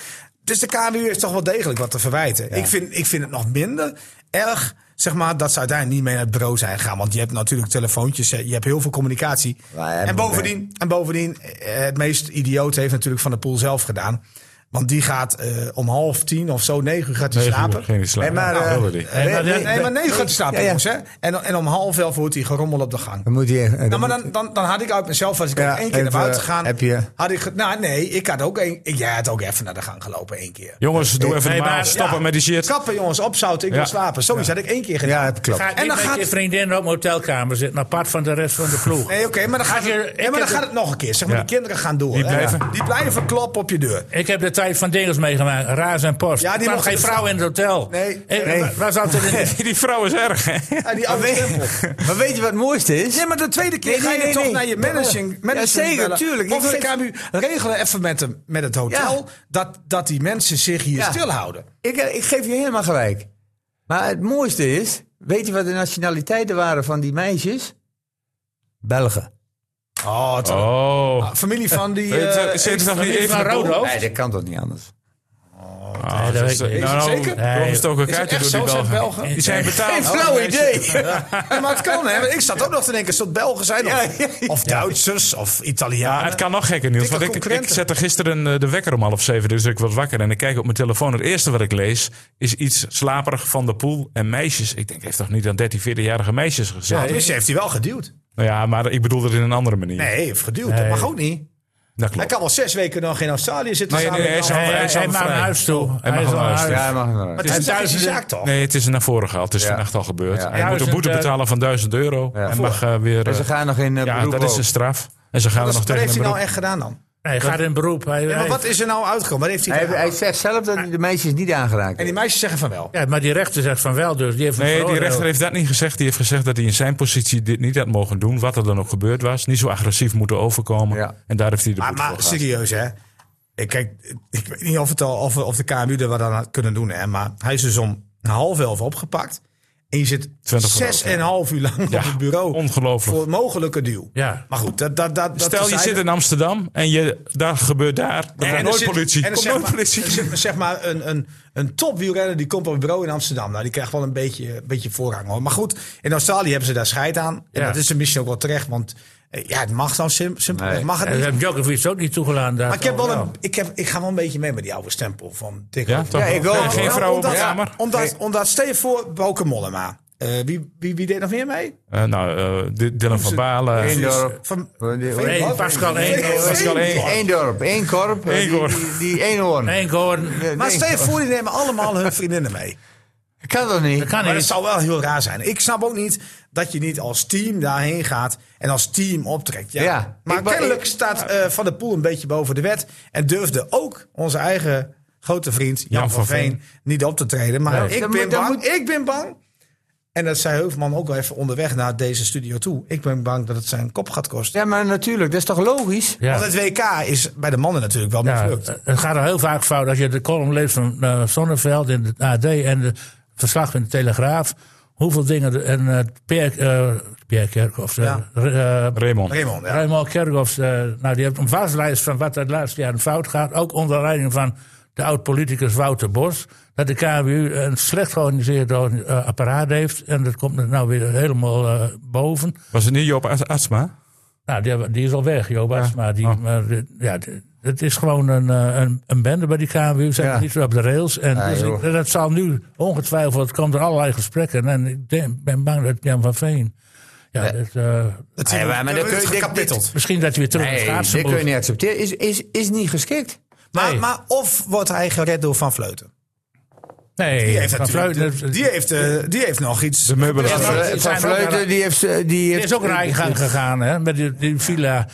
B: Dus de KWU is toch wel degelijk wat te verwijten. Ik, vind, ik vind het nog minder erg. Zeg maar dat ze uiteindelijk niet mee naar het bureau zijn gegaan. Want je hebt natuurlijk telefoontjes, eh, je hebt heel veel communicatie.
E: Maar ja,
B: en bovendien, en bovendien, eh, het meest idioot heeft natuurlijk Van der Poel zelf gedaan. Want die gaat eh, om half tien of zo, negen uur gaat hij
A: Negen uur
B: slapen.
A: ging hij slapen.
B: Nee, maar,
A: Nou,
B: eh,
A: wilde die.
B: nee,
D: Nee, maar-
B: nee, nee, maar negen uur gaat hij slapen,
E: Ja, ja.
B: jongens. Hè? En, en om half elf hoort hij gerommel op de gang.
E: Dan moet je, eh,
B: Nou,
E: dan
B: maar
E: moet-
B: dan, dan, dan had ik uit mezelf, als ik
E: Ja,
B: ook één keer naar
E: even,
B: buiten gegaan...
E: heb je-
B: Had ik, ge- nou nee, ik had ook één... ik- Jij had ook even naar de gang gelopen, één keer.
A: Jongens, doe even
D: Nee,
A: normaal.
D: maar-
A: Stoppen met die shit.
B: Kappen jongens, opzouten, ik
A: Ja.
B: wil slapen. Zoiets had ik één keer gedaan.
E: Ja, het klopt.
D: Ga
B: En
D: en
B: dan
D: dan met
B: gaat-
D: je vriendin op een hotelkamer zitten, apart van de rest van de ploeg.
B: Nee, oké, maar dan, gaat,
D: Als je-
B: het-
D: ik
B: nee, maar dan
D: heb
B: gaat
D: het-
B: het nog een keer. Zeg maar,
A: Ja.
B: die kinderen gaan door.
A: Die
B: hè.
A: blijven.
B: Die blijven kloppen op je deur.
D: Ik heb de tijd van Dingels meegemaakt, Raas en Post.
B: Ja, die
D: Er kwam
B: mocht-
D: geen vrouw in het hotel.
B: Nee.
D: Eh,
E: Nee.
D: wa- Was altijd in de-
A: Die vrouw is erg. hè?
B: Ja, die oude stempel.
E: Maar weet je wat het mooiste is?
B: Nee, maar de tweede keer
E: Nee,
B: ga je
E: nee, nee,
B: toch
E: nee.
B: naar je managing,
E: Ja,
B: management
E: zeker,
B: bellen.
E: tuurlijk.
B: Of de
E: Ik geef-
B: KMU, regelen even met, hem, met het hotel...
E: Ja.
B: Dat, dat die mensen zich hier
E: Ja.
B: stilhouden.
E: Ik, ik geef je helemaal gelijk. Maar het mooiste is, weet je wat de nationaliteiten waren van die meisjes? Belgen.
B: Oh, het-
A: Oh.
B: Familie van die...
A: Weet je,
B: eh,
A: Zit er nog niet
D: Familie
A: even
D: van Roodhoofd?
E: Nee, dat kan toch niet anders?
A: Ah,
D: Nee, dat
A: dus,
D: weet ik
A: eh,
D: niet.
A: Nou,
B: Is het
A: nou,
B: zeker?
A: doorgestoken
B: Is het
A: kaartje
B: echt
A: door die
B: zo, zijn
A: Belgen.
B: Belgen?
A: Die zijn
E: Geen
A: betaald.
E: flauw idee.
B: Oh, Ja, maar het kan, hè? Want Ik zat ook nog te denken, zou het Belgen zijn? Of, of Duitsers, of
A: Ja,
B: Italianen.
A: Ah, het kan nog gekker nieuws.
B: Dikke
A: Want ik, ik
B: concurrenten.
A: zette gisteren eh, de wekker om half zeven, dus ik was wakker. En ik kijk op mijn telefoon. Het eerste wat ik lees is iets slaperig van de poel en meisjes. Ik denk, heeft toch niet aan 13, 14-jarige meisjes gezeten?
B: Dus heeft hij wel geduwd.
A: Nou ja, maar ik bedoel het in een andere manier.
B: Nee, hij heeft geduwd. Dat mag ook niet.
A: Dat
B: Hij
A: klopt.
B: kan wel zes weken nog in Australië zitten.
A: Nee,
B: samen
A: nee,
B: met
A: hij
B: een
A: is al-
D: Hij,
B: ander.
D: hij,
A: is al
D: mag naar
A: vrij.
D: huis toe.
A: hij mag
D: is al
A: naar
D: naar
A: huis
D: huis.
E: Ja, mag wel.
B: Maar
A: Het is
B: het is die
D: duizenden-
B: zaak toch?
A: Nee, het is naar voren gehaald. Het is
E: Ja.
A: vannacht al gebeurd.
E: Ja.
A: Hij
E: dus
A: moet een
D: Duizend,
A: boete
D: eh,
A: betalen van 1000 euro. En mag eh, weer...
E: En ze
A: eh,
E: gaan nog in eh,
A: ja,
E: beroep
A: dat is
E: ook.
A: een straf. En ze gaan er
B: Wat
A: nog
B: is- wat
A: tegen
B: heeft
A: een
B: hij nou
A: beroep.
B: echt gedaan dan?
D: Hij gaat in beroep. Hij,
B: Ja, maar
D: hij-
B: wat is er nou uitgekomen? Wat heeft hij
E: Hij,
B: gedaan?
E: hij zegt zelf dat hij de meisjes niet aangeraakt
B: En die
E: heeft.
B: meisjes zeggen van wel.
D: ja, maar die rechter zegt van wel, dus die heeft hem
A: Nee, die
D: veroordeeld.
A: rechter heeft dat niet gezegd. Die heeft gezegd dat hij in zijn positie dit niet had mogen doen. Wat er dan ook gebeurd was. Niet zo agressief moeten overkomen.
E: Ja.
A: En daar heeft hij de
B: Maar,
A: boete
B: maar
A: voor gehad.
B: serieus, hè? Ik, kijk, ik weet niet of, het al, of, of de KMU er wat aan had kunnen doen, hè? Maar hij is dus om half elf opgepakt. En je zit
A: 20 voor
B: zes
A: elf, ja.
B: en een half uur lang
A: Ja,
B: op het bureau.
A: ongelooflijk.
B: Voor een mogelijke deal.
D: Ja.
B: Maar goed, dat... dat, dat dat
A: Stel, je
B: terzijde.
A: zit in Amsterdam en je, daar gebeurt daar. Er komt
B: er
A: nooit
B: zit-
A: politie.
B: en er
A: Komt
B: zeg
A: nooit
B: maar-
A: politie.
B: er zit zeg maar een, een, een topwielrenner die komt op het bureau in Amsterdam. Nou, die krijgt wel een beetje, een beetje voorrang hoor. Maar goed, in Australië hebben ze daar scheid aan. En
D: Ja.
B: dat is een misschien ook wel terecht. Want eh, ja, het mag nou sim- simpelweg.
E: Nee.
B: Mag het
D: En dat
B: niet.
D: heeft Djokovic ook niet toegelaten.
B: Maar ik, heb wel een, ik, heb, ik ga wel een beetje mee met die oude stempel van Dick.
A: Ja,
B: Hof.
A: toch?
E: Ja, ik ook.
A: Nee, Geen
B: Nou,
A: vrouw op de
B: omdat,
A: kamer.
B: Omdat, omdat, stel je voor, Boke Mollema. Eh, wie, wie, wie deed nog meer mee? Dus,
A: Eh, nou, eh, D- Dylan van Baalen. eh,
B: eh,
E: Eén dorp.
B: Van,
E: Eén
D: Nee,
B: Wat?
D: Pascal
B: Nee,
D: één.
A: Pascal één.
E: één dorp, één korp. eh,
A: Eén
E: die-
A: korp.
E: Die, die één hoorn.
D: Eén Gordon.
E: Eh,
B: maar
E: nee,
B: stel je voor, die nemen allemaal hun vriendinnen mee.
E: Kan dat niet?
D: Dat kan
B: Maar dat
D: niet.
B: zou wel heel raar zijn. Ik snap ook niet dat je niet als team daarheen gaat en als team optrekt. Ja.
E: Ja,
B: maar
E: ik-
B: kennelijk
E: ik-
B: staat eh, Van der Poel een beetje boven de wet. En durfde ook onze eigen grote vriend Jan, van, Veen, niet op te treden. Maar ik,
E: Dan
B: ben
E: moet- dan
B: bang,
E: moet-
B: ik ben bang. En dat zei Heuvelman ook al even onderweg naar deze studio toe. Ik ben bang dat het zijn kop gaat kosten.
E: Ja, maar natuurlijk, dat is toch logisch?
D: Ja.
B: Want het WK is bij de mannen natuurlijk wel
D: Ja,
B: mislukt.
D: Nou, het gaat al heel vaak fout. Als je de column leest van eh, Sonneveld in het AD en de verslag in de Telegraaf. hoeveel dingen. de- En eh Pierre, eh Pierre Kerkhoff, eh,
B: Ja.
D: Re- eh,
A: Raymond.
B: Raymond, ja.
D: Raymond Kerkhoff, eh, nou, die heeft een waslijst van wat er het laatste jaar fout gaat. Ook onder leiding van de oud-politicus Wouter Bos. Dat de KWU een slecht georganiseerd orga- eh, apparaat heeft. En dat komt er nou weer helemaal eh, boven.
A: Was het niet Joop As- Asma?
D: Nou, die, die is al weg, Joop Asma. Die,
A: Oh.
D: maar, eh, ja, d- het is gewoon een, eh, een, een bende bij die KMU. Ze
E: Ja.
D: ja. niet zo op de rails. En
E: Ja,
D: dus ik-
E: joh.
D: dat zal nu ongetwijfeld, komt er allerlei gesprekken. En ik denk, ben bang dat Jan van Veen... Ja, dat, eh,
B: Het
E: Nee, maar- maar dat kun je- dit-
B: gekapitteld.
D: misschien dat hij weer terug naar
E: Nee, dat
D: schaatsen
E: kun je
D: moet.
E: niet accepteren. Is, is, is niet geschikt.
B: Maar,
D: Nee.
B: maar of wordt hij gered door Van Vleuten?
D: Nee,
B: Die heeft,
D: Van
B: natuurlijk-
D: Vleuten, dat-
B: die heeft, eh, die heeft nog iets.
A: De meubelen.
D: Ja, maar-
E: Van,
D: het zijn ook wel-
E: Vleuten, die heeft... eh, Die
D: die
E: heeft
D: is ook naar gang gegaan, hè, met die, die villa.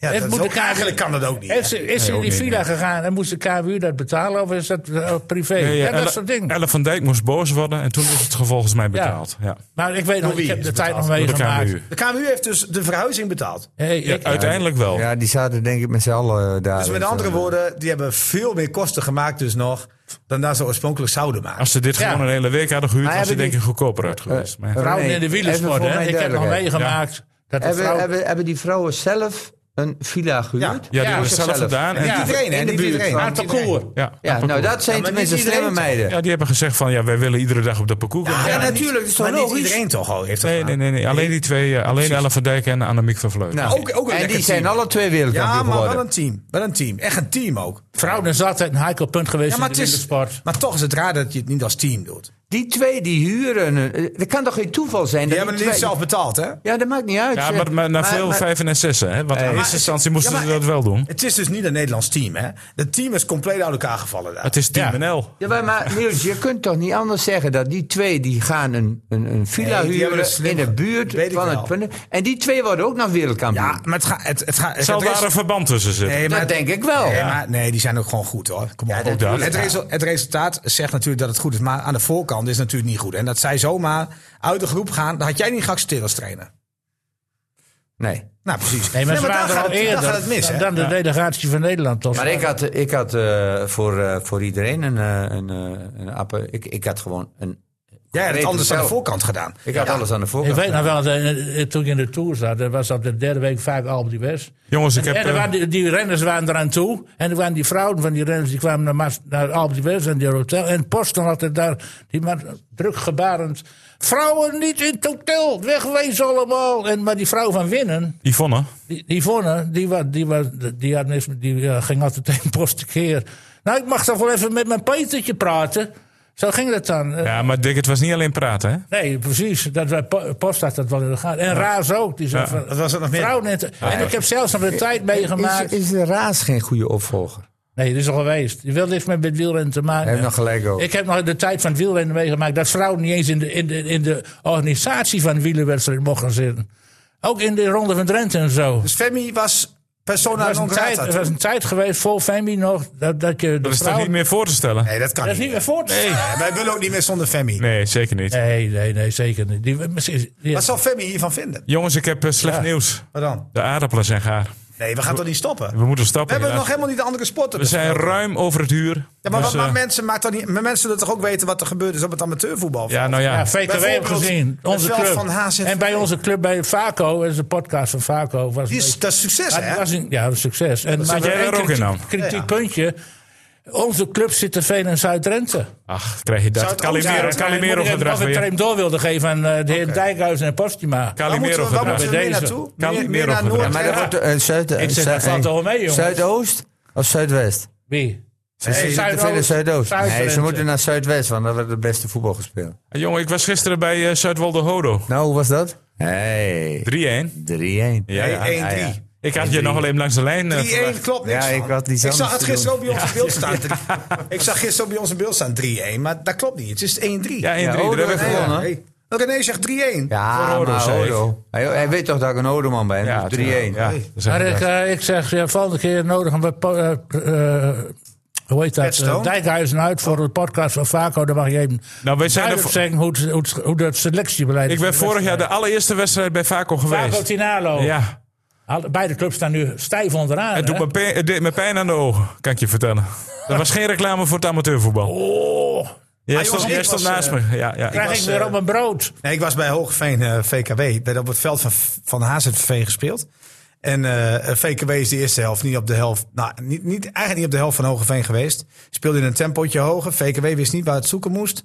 B: Ja,
D: Het
B: dat
D: moet
B: is ook-
D: de KVU
B: eigenlijk kan dat ook niet.
D: Is, ze- is ze in die villa gegaan en moest de KWU dat betalen of is dat eh, privé?
A: Ja, ja,
D: ja, dat
A: Elle-
D: soort dingen.
A: Elle van Dijk moest boos worden en toen is het vervolgens mij betaald. Ja.
D: Maar ik weet nog, ik
B: Nou, wie
D: heb
B: is
D: de tijd nog
A: Door de
D: meegemaakt.
A: KMU.
B: De KMU heeft dus de verhuizing betaald.
D: Hey, ik,
A: Uiteindelijk wel.
E: Ja, die zaten denk ik met z'n allen eh, daar.
B: Dus met andere woorden, die hebben veel meer kosten gemaakt dus nog... dan dat ze oorspronkelijk zouden maken.
A: Als ze dit
D: Ja.
A: gewoon een hele week hadden gehuurd,
E: Maar
A: was het
E: hebben
A: denk ik goedkoper uit geweest. Maar ja.
D: vrouwen in de wielersport, hè? Ik heb nog meegemaakt dat de
E: Hebben,
D: vrouw...
E: hebben, hebben die vrouwen zelf een villa gehuurd?
A: Ja, die
D: Ja,
A: hebben het zelf
E: zichzelf.
A: gedaan. En
D: Ja.
A: ja.
B: iedereen, hè?
E: in de
B: Niet
E: buurt
B: iedereen.
E: van-
D: Aan het parcours.
A: Ja,
E: Ja, nou dat zijn
B: Ja, maar
E: tenminste
B: niet iedereen
E: slimme
B: toch?
E: meiden.
A: ja, die hebben gezegd van ja, wij willen iedere dag op dat parcours.
E: Ja,
A: komen.
E: natuurlijk, dat is
B: maar
E: toch
B: niet
E: logisch?
B: iedereen toch al heeft dat
A: Nee, nee,
B: gedaan.
A: nee, nee. Alleen die twee, eh, alleen Elle van Dijk en Annemiek van Vleuten.
B: Ook-
E: Nou,
B: ook een
E: en
B: lekker
E: die zijn
B: team.
E: alle twee
B: Ja,
E: wereldkampioen
B: maar wel
E: geworden.
B: een team. Wel een team. Echt een team ook.
D: Vrouwen is altijd een heikel punt geweest
B: Ja, maar,
D: in
B: het
D: de
B: is,
D: wielersport.
B: maar toch is het raar dat je het niet als team doet.
E: Die twee die huren. een- eh, Dat kan toch geen toeval
B: Die
E: zijn? dat
B: hebben het
E: die
B: niet
E: twee-
B: zelf betaald, hè?
E: Ja, dat maakt niet uit.
A: Ja,
E: zeg.
A: maar, maar na
E: Maar-
A: veel
E: maar-
A: vijven en zessen. Hè? Want in
B: maar-
A: eerste instantie moesten
B: Ja,
A: ze
B: maar-
A: dat wel doen.
B: Het is dus niet een Nederlands team, hè? Het team is compleet uit elkaar gevallen daar.
A: Het is Team
D: Ja.
A: NL.
E: Ja, maar- maar Niels, je kunt toch niet anders zeggen dat die twee die gaan een, een, een villa
B: Nee, die hebben
E: huren
B: het slim
E: in de
B: gedaan.
E: buurt
B: Weet ik
E: van
B: wel.
E: het punt. En die twee worden ook nog wereldkampioen.
B: Ja, maar het gaat... Het, het gaat-
A: Zal
B: het
A: daar
B: res-
A: een verband tussen zitten?
B: Nee, maar
E: dat
B: het-
E: denk ik wel.
B: Nee, maar, nee, die zijn ook gewoon goed hoor. Kom op.
E: dat
B: Ook
A: dat.
B: Het, resu- het resultaat zegt natuurlijk dat het goed is. Maar aan de voorkant is het natuurlijk niet goed. En dat zij zomaar uit de groep gaan, dat had jij niet geaccepteerd als trainer.
E: Nee.
B: Nou, precies.
D: Nee, maar ze
B: Nee, maar
D: waren
B: daar gaat
D: er al
B: het- daar
D: eerder
B: gaat het mis, hè?
D: dan de delegatie van Nederland. Tot
E: Maar ik had, ik had eh, voor, eh, voor iedereen een, eh, een, eh, een app. Ik, ik had gewoon een.
B: Jij had het anders aan de
E: zelf.
B: voorkant gedaan.
E: Ik had alles aan de
D: ik
E: voorkant.
D: weet nog wel, eh, eh, toen ik in de Tour zat, dat was op de derde week vaak Albert die West.
A: Jongens, ik heb...
D: en er
A: eh,
D: waren die, die renners waren eraan toe. En er waren die vrouwen van die renners die kwamen naar, Mas- naar Albert West en die hotel. En Posten had het daar, die man druk gebarend. Vrouwen niet in het hotel, wegwezen allemaal. En, maar die vrouw van Winnen,
A: Yvonne.
D: Die, die Yvonne, die, wa, die, wa, die, had niks, die eh, ging altijd tegen post keer. Nou, ik mag toch wel even met mijn Petertje praten. Zo ging dat dan. Eh,
A: Ja, maar Dick, het was niet alleen praten, hè?
D: Nee, precies. Dat, wij- Po- post had dat wel in de gaten. En Raas ook. Die zei van,
B: dat was het nog meer.
D: vrouwen in het- en ik heb zelfs nog de tijd meegemaakt.
E: Is, is de Raas geen goede opvolger?
D: nee, dat is al geweest. Je wil niks meer met wielrennen te maken.
E: Hij heeft nog gelijk ook.
D: Ik heb nog de tijd van het wielrennen meegemaakt. Dat vrouwen niet eens in de, in de, in de organisatie van de wielerwedstrijd mochten zitten. Ook in de Ronde van Drenthe en zo.
B: Dus Femi was persona
D: Er was,
B: non
D: een tijd, er
B: grata.
D: was een tijd geweest, vol Femi nog, dat, dat je de
A: Dat is toch
D: vrouw-
A: niet meer voor te stellen?
B: Nee, dat kan
D: Dat is
B: niet.
D: niet meer voor te
B: Nee, wij willen ook niet meer zonder Femi.
A: Nee, zeker niet.
D: Nee, nee, nee, zeker niet. Die, misschien, die-
B: Wat zal Femi hiervan vinden?
A: Jongens, ik heb eh, slecht
D: Ja.
A: nieuws.
B: Wat dan?
A: De aardappelen zijn gaar.
B: Nee, we gaan toch niet stoppen?
A: We
B: We
A: moeten stappen.
B: hebben nog
A: helaas.
B: helemaal niet de andere sporten.
A: We zijn ruim over het huur.
B: Ja,
A: Dus,
B: maar, wat- maar
A: eh,
B: mensen, maakt dat niet, maar mensen willen toch ook weten wat er gebeurd is op het amateurvoetbal?
A: ja, nou ja.
D: ja, VKW heb
B: bijvoorbeeld
D: gezien,
B: het
D: onze
B: veld
D: club.
B: van HZV.
D: en bij onze club, bij Vaco, is de podcast van Vaco. Was
B: Die is, dat is succes,
D: Ja, dat
B: hè?
D: was een, ja, een succes. En,
A: zat jij
D: één
A: daar ook in
D: kritiek-
A: dan?
D: Kritiek
B: Ja.
D: puntje. Onze club zit te veel in Zuid-Drenthe.
A: Ach, krijg je
B: Zou
A: dat.
B: het ook zijn
A: Calimero,
B: dat wij-
A: Calimero gedrag
D: Of ik er
A: weer.
D: hem door wilde geven aan eh, de heer Dijkhuizen en Postuma.
B: Waar
A: Calimero
B: moeten we, waar
A: gedrag.
B: moeten we meer
D: Deze.
B: naartoe?
A: Kan
B: Meer,
A: niet meer
B: meer naar
A: opgedragen.
B: Noord.
A: Ja,
E: maar dat wordt eh, Zuid,
D: Ik zeg, dat valt toch wel mee, jongens.
E: Zuidoost of Zuidwest?
D: Wie?
E: Ze zitten te veel in Zuidoost. Nee, ze
D: Zuid-Drenthe.
E: moeten naar Zuidwest, want daar wordt het beste voetbal gespeeld.
A: Eh, Jongen, ik was gisteren bij eh, Zuidwolde Hodo. 3-1.
E: Nou, hoe was dat? Hey, 3-1.
A: Ja, ja.
B: Nee, 1-3.
E: ja.
A: Ik had je nog alleen langs de lijn. eh,
B: 3-1 klopt niks
E: Ja, ik
B: van.
E: had iets
B: ik zag
E: anders
B: het
E: te
B: gisteren ook
E: doen.
B: bij ons in beeld staan. ik zag gisteren ook bij ons in beeld staan 3-1, maar dat klopt niet. Het is 1-3.
A: ja, 1-3.
E: Ja,
A: Daar
E: Hodo
A: hebben we
E: heeft
A: gewonnen.
E: gewonnen.
B: Hey. René zegt 3-1.
E: Ja,
A: Voor Odo,
E: maar
A: zei ik.
E: Odo. Hij, hij weet toch dat ik een Odo-man ben?
A: Ja,
E: dus 3-1.
A: tuurlijk. Ja, dat zeg
D: Maar
A: ik
D: ik,
A: wel.
D: eh, ik zeg, ja, volgende keer nodig een wat po- eh, eh, hoe heet
B: Ed
D: dat?
B: Stone?
D: Eh, Dijkhuizen uit voor de podcast van Vaco. Dan mag je even
A: Nou, wij zijn er
D: duidelijk zeggen hoe, het- hoe, het- hoe dat selectiebeleid
A: Ik ben vorig jaar de allereerste wedstrijd bij Vaco
D: Vaco
A: geweest.
D: Tinalo.
A: Ja,
D: Alle- Beide clubs staan nu stijf onderaan.
A: het, doet
D: hè?
A: me pijn, het deed me pijn aan de ogen, kan ik je vertellen. Dat was geen reclame voor het amateurvoetbal.
D: Oh,
A: Jij
B: jongens,
A: stond,
B: ik
A: jij
B: was,
A: stond naast me. Ja, ja.
D: Krijg
B: was,
D: ik weer
B: eh,
D: op mijn brood.
B: Nee, ik was bij Hoogeveen eh, VKW. Werd op het veld van, van HZV gespeeld. En eh, VKW is de eerste helft niet op de helft. Nou, niet, niet, eigenlijk niet op de helft van Hogeveen geweest. Speelde in een tempootje hoger. VKW wist niet waar het zoeken moest.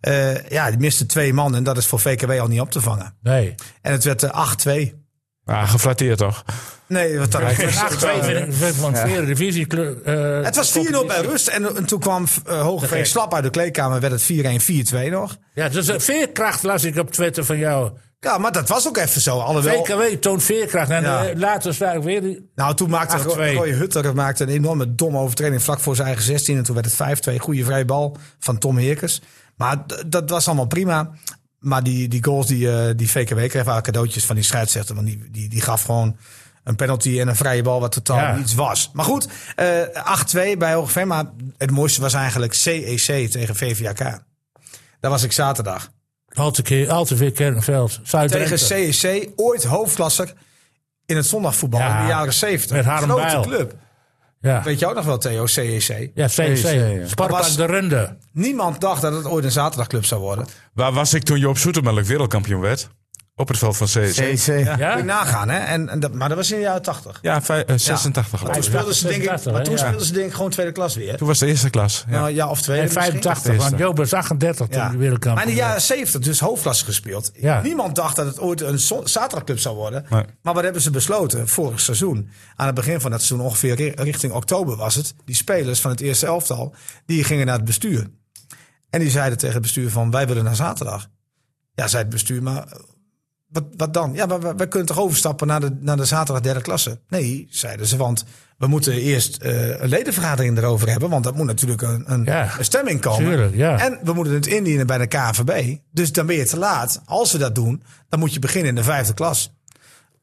B: Eh, ja, die miste twee man. En dat is voor VKW al niet op te vangen.
D: Nee.
B: En het werd eh, 8-2.
A: Ah, geflatteerd toch?
B: Nee, wat dan?
D: Een 8-2 vind ik van de vierde divisie. kleur- eh,
B: Het was 4-0 bij rust. En, en toen kwam eh Hogeveen slap uit de kleedkamer. Werd het 4-1, 4-2 nog.
D: Ja, dus eh, veerkracht las ik op Twitter van jou.
B: Ja, maar dat was ook even zo. Alhoewel,
D: VKW toont veerkracht. En
B: Ja.
D: eh, later sta ik weer... die-
B: Nou, toen maakte
D: 8-2.
B: Roy, Roy Hutter maakte een enorme domme overtreding vlak voor zijn eigen 16. En toen werd het 5-2. Goede vrije bal van Tom Heerkens. Maar d- dat was allemaal prima. Maar die, die goals die, eh, die VKW kreeg waren cadeautjes van die scheidsrechter. Want die, die, die gaf gewoon een penalty en een vrije bal wat totaal
D: Ja.
B: niets was. Maar goed, eh 8-2 bij Hoogeveen. Maar het mooiste was eigenlijk CEC tegen VVAK. Daar was ik zaterdag.
D: Al te, keer, al te veel Kernveld.
B: Tegen
D: Zuid-Drenthe.
B: CEC, ooit hoofdklasser in het zondagvoetbal
D: Ja,
B: in de jaren 70.
D: met Harm
B: Grote
D: Bijl.
B: club.
D: Ja,
B: Weet je ook nog wel, Theo, E CEC?
D: ja CC.
E: ja.
D: Sparta
B: Was-
D: de Runde.
B: Niemand dacht dat het ooit een zaterdagclub zou worden.
A: Waar was ik toen Joop Zoetemelk wereldkampioen werd? Op het veld van CSC.
E: CC. Ja.
D: Ja?
B: Kun je nagaan, hè? En, en dat, maar dat was in de jaren 80.
A: Ja, vij- eh, 86 geloof
B: Toen
A: ik.
B: speelden ze, denk ik,
D: 86,
B: maar
D: hè?
B: toen
D: Ja.
B: speelden ze denk ik gewoon tweede klas weer.
A: Toen was de eerste klas. Ja.
B: Nou, ja, of tweede
D: En
B: misschien.
D: 85, want Joop was 38 toen
B: Ja.
D: hij wereldkampioen
B: Maar in de
D: werd.
B: jaren 70, dus hoofdklasse gespeeld.
D: Ja.
B: Niemand dacht dat het ooit een zo- zaterdagclub zou worden.
A: Nee.
B: Maar wat hebben ze besloten vorig seizoen? Aan het begin van dat seizoen, ongeveer ri- richting oktober was het. Die spelers van het eerste elftal, die gingen naar het bestuur. En die zeiden tegen het bestuur van, wij willen naar zaterdag. Ja, zei het bestuur, maar eh, wat, wat dan? Ja, maar we- wij kunnen toch overstappen naar de, naar de zaterdag derde klasse? Nee, zeiden ze, want we moeten eerst eh, een ledenvergadering erover hebben. Want dat moet natuurlijk een, een,
D: Ja.
B: een stemming komen.
D: Tuurlijk, ja.
B: En we moeten het indienen bij de KNVB. Dus dan ben je te laat. Als we dat doen, dan moet je beginnen in de vijfde klas.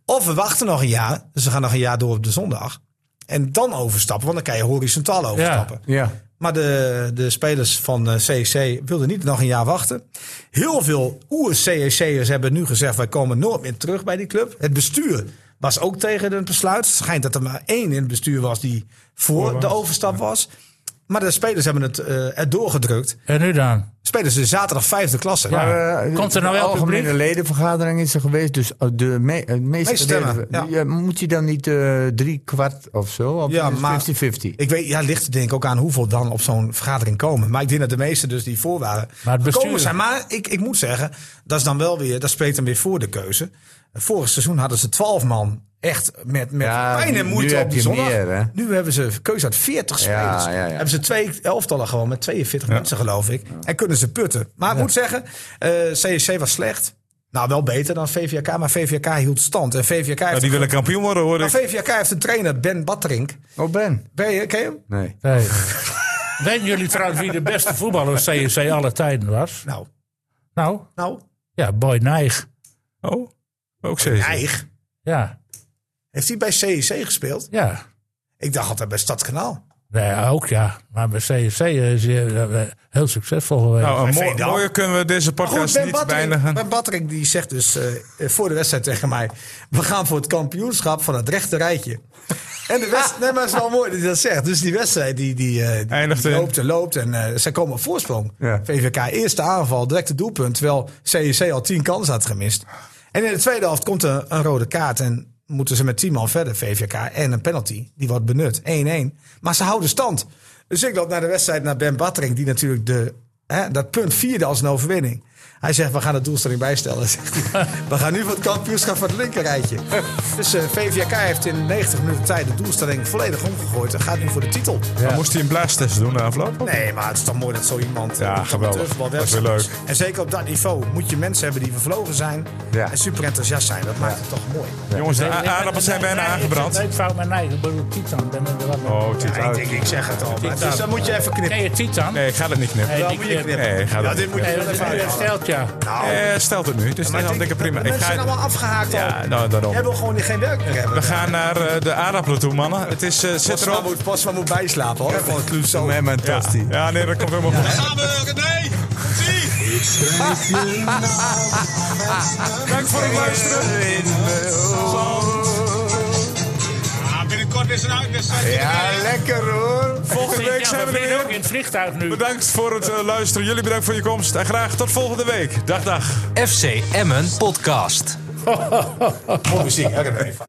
B: Of we wachten nog een jaar. Dus we gaan nog een jaar door op de zondag. En dan overstappen, want dan kan je horizontaal overstappen. Maar de, de spelers van eh, CEC wilden niet nog een jaar wachten. Heel veel oer-CEC'ers hebben nu gezegd... wij komen nooit meer terug bij die club. Het bestuur was ook tegen het besluit. Het schijnt dat er maar één in het bestuur was die voor de overstap was. Maar de spelers hebben het eh erdoor gedrukt.
D: En nu dan?
B: Spelers dus zaterdag vijfde klasse.
D: Ja.
B: Maar, eh,
E: Eh,
D: Komt er nou
E: de
D: wel
E: algemene
D: publiek?
E: ledenvergadering is er geweest, dus de me, het meeste
B: Meeste stemmen,
E: leden-
B: ja.
E: Ja, moet je dan niet eh, drie kwart of zo? Of
B: Ja,
E: is het
B: maar-
E: 50-50.
B: ik weet, ja, ligt er denk ik ook aan hoeveel dan op zo'n vergadering komen. Maar ik denk dat de meesten dus die voor waren,
D: Maar het bestuur-
B: gekomen zijn. Maar ik, ik moet zeggen, dat is dan wel weer, dat spreekt dan weer voor de keuze. Vorig seizoen hadden ze 12 man echt met, met
E: Ja,
B: pijn en
E: nu-
B: moeite
E: nu
B: op
E: heb
B: die
E: je
B: zondag.
E: meer, hè?
B: nu hebben ze keuze uit 40 spelers.
E: ja, ja.
B: Hebben ze twee elftallen gewoon met 42 mensen geloof ik. En kunnen ze putten. Maar ik moet zeggen, eh CSC was slecht. Nou, wel beter dan VVK, maar VVK hield stand. En VVK
A: Nou,
B: heeft,
A: die willen kampioen worden hoor
B: maar
A: ik.
B: VVK heeft een trainer, Ben Batterink.
E: Oh, Ben?
B: Ben je, ken je hem?
E: Nee.
D: Nee. Weten jullie trouwens wie de beste voetballer van CSC alle tijden was?
B: Nou,
D: Nou,
B: nou,
D: ja, Boy Nijg.
A: Oh, ook CSC.
B: Eig.
D: Ja,
B: Heeft hij bij CEC gespeeld?
D: ja.
B: Ik dacht altijd bij Stadskanaal.
D: Nee, ook ja. Maar bij CSC is hij eh, heel succesvol geweest.
A: Nou, een
B: Bij
A: mooi-
B: Veendam.
A: mooier kunnen we deze
B: Maar goed,
A: podcast
B: Ben
A: niet
B: Batterik,
A: beëindigen.
B: ben Batterik die zegt dus eh, eh, voor de wedstrijd tegen mij... we gaan voor het kampioenschap van het rechte rijtje. En de wedstrijd, nee, maar het is wel mooi dat hij dat zegt. Dus die wedstrijd die, die, eh, die-
A: Eindigt
B: die
A: in-
B: loopt en loopt en eh, zij komen op voorsprong.
E: Ja.
B: VVK eerste aanval, direct het doelpunt... terwijl CEC al tien kansen had gemist. En in de tweede helft komt een, een rode kaart... en moeten ze met tien man verder, VVK. En een penalty, die wordt benut, 1-1. Maar ze houden stand. Dus ik loop naar de wedstrijd naar Ben Battering... die natuurlijk de, hè, dat punt vierde als een overwinning. Hij zegt, we gaan de doelstelling bijstellen. zegt hij. We gaan nu voor het kampioenschap van het linkerrijtje. Dus eh, VVK heeft in 90 minuten tijd de doelstelling volledig omgegooid... en gaat nu voor de titel.
A: Maar moest hij een blaastest doen na afloop?
B: Nee, maar het is toch mooi dat zo iemand...
A: Ja,
B: eh, met
A: geweldig.
B: amateurvoetbal
A: Dat is weer
B: werkzaam
A: leuk.
B: En zeker op dat niveau moet je mensen hebben die vervlogen zijn...
E: Ja.
B: en super enthousiast zijn. Dat maakt het toch mooi.
A: Jongens, de
D: Nee,
A: a-
D: nee,
A: aardappels zijn
D: nee,
A: bijna
D: nee, Ik
A: aangebrand.
D: zit- nee, fout met Nijg. Ik bedoel Titan. Ben ik er wel mee.
A: Oh,
B: Ja,
A: tiet
B: ik,
A: uit.
B: denk, ik zeg het al. maar
D: Titan.
B: dus dan moet je even knippen.
D: Ken je Titan?
A: Nee, ik ga dat niet knippen.
D: Nee,
B: Dan
D: die
B: moet je
D: knip.
B: knippen.
A: Nee, ik ga
B: ja,
A: dat
B: dit
A: niet
B: moet je
D: Nee,
B: wel
D: dat is
B: even
D: een
B: uithalen.
D: hersteld, ja.
B: Nou,
A: Eh, stelt het nu. Het is
B: maar
A: niet
B: ik
A: al dikke
B: denk,
A: prima.
B: de
A: Ik
B: mensen
A: ga...
B: zijn allemaal afgehaakt al.
A: Ja, nou, daarom.
B: Jij wil gewoon die geen werk meer hebben.
A: We gaan naar eh, de aardappelen toe, mannen. Het is, eh, zit
B: Pas maar
A: erop.
B: moet, pas maar moet bijslapen hoor. Van het zo.
E: Met mijn
A: Ja.
E: tosti.
A: ja, nee, dat komt helemaal goed.
H: Gaan we, René? Komt-ie?
I: Schrijf je naam
A: Dank voor het luisteren.
H: Ah, binnenkort binnenkort is een uitwedstrijd.
E: Ja, lekker hoor.
A: Volgende week zijn we er
D: ook
A: weer.
D: in het vliegtuig nu.
A: Bedankt voor het eh, luisteren. Jullie bedankt voor je komst. En graag tot volgende week. Dag, dag.
C: FC Emmen Podcast.
B: Voor muziek, hè, René?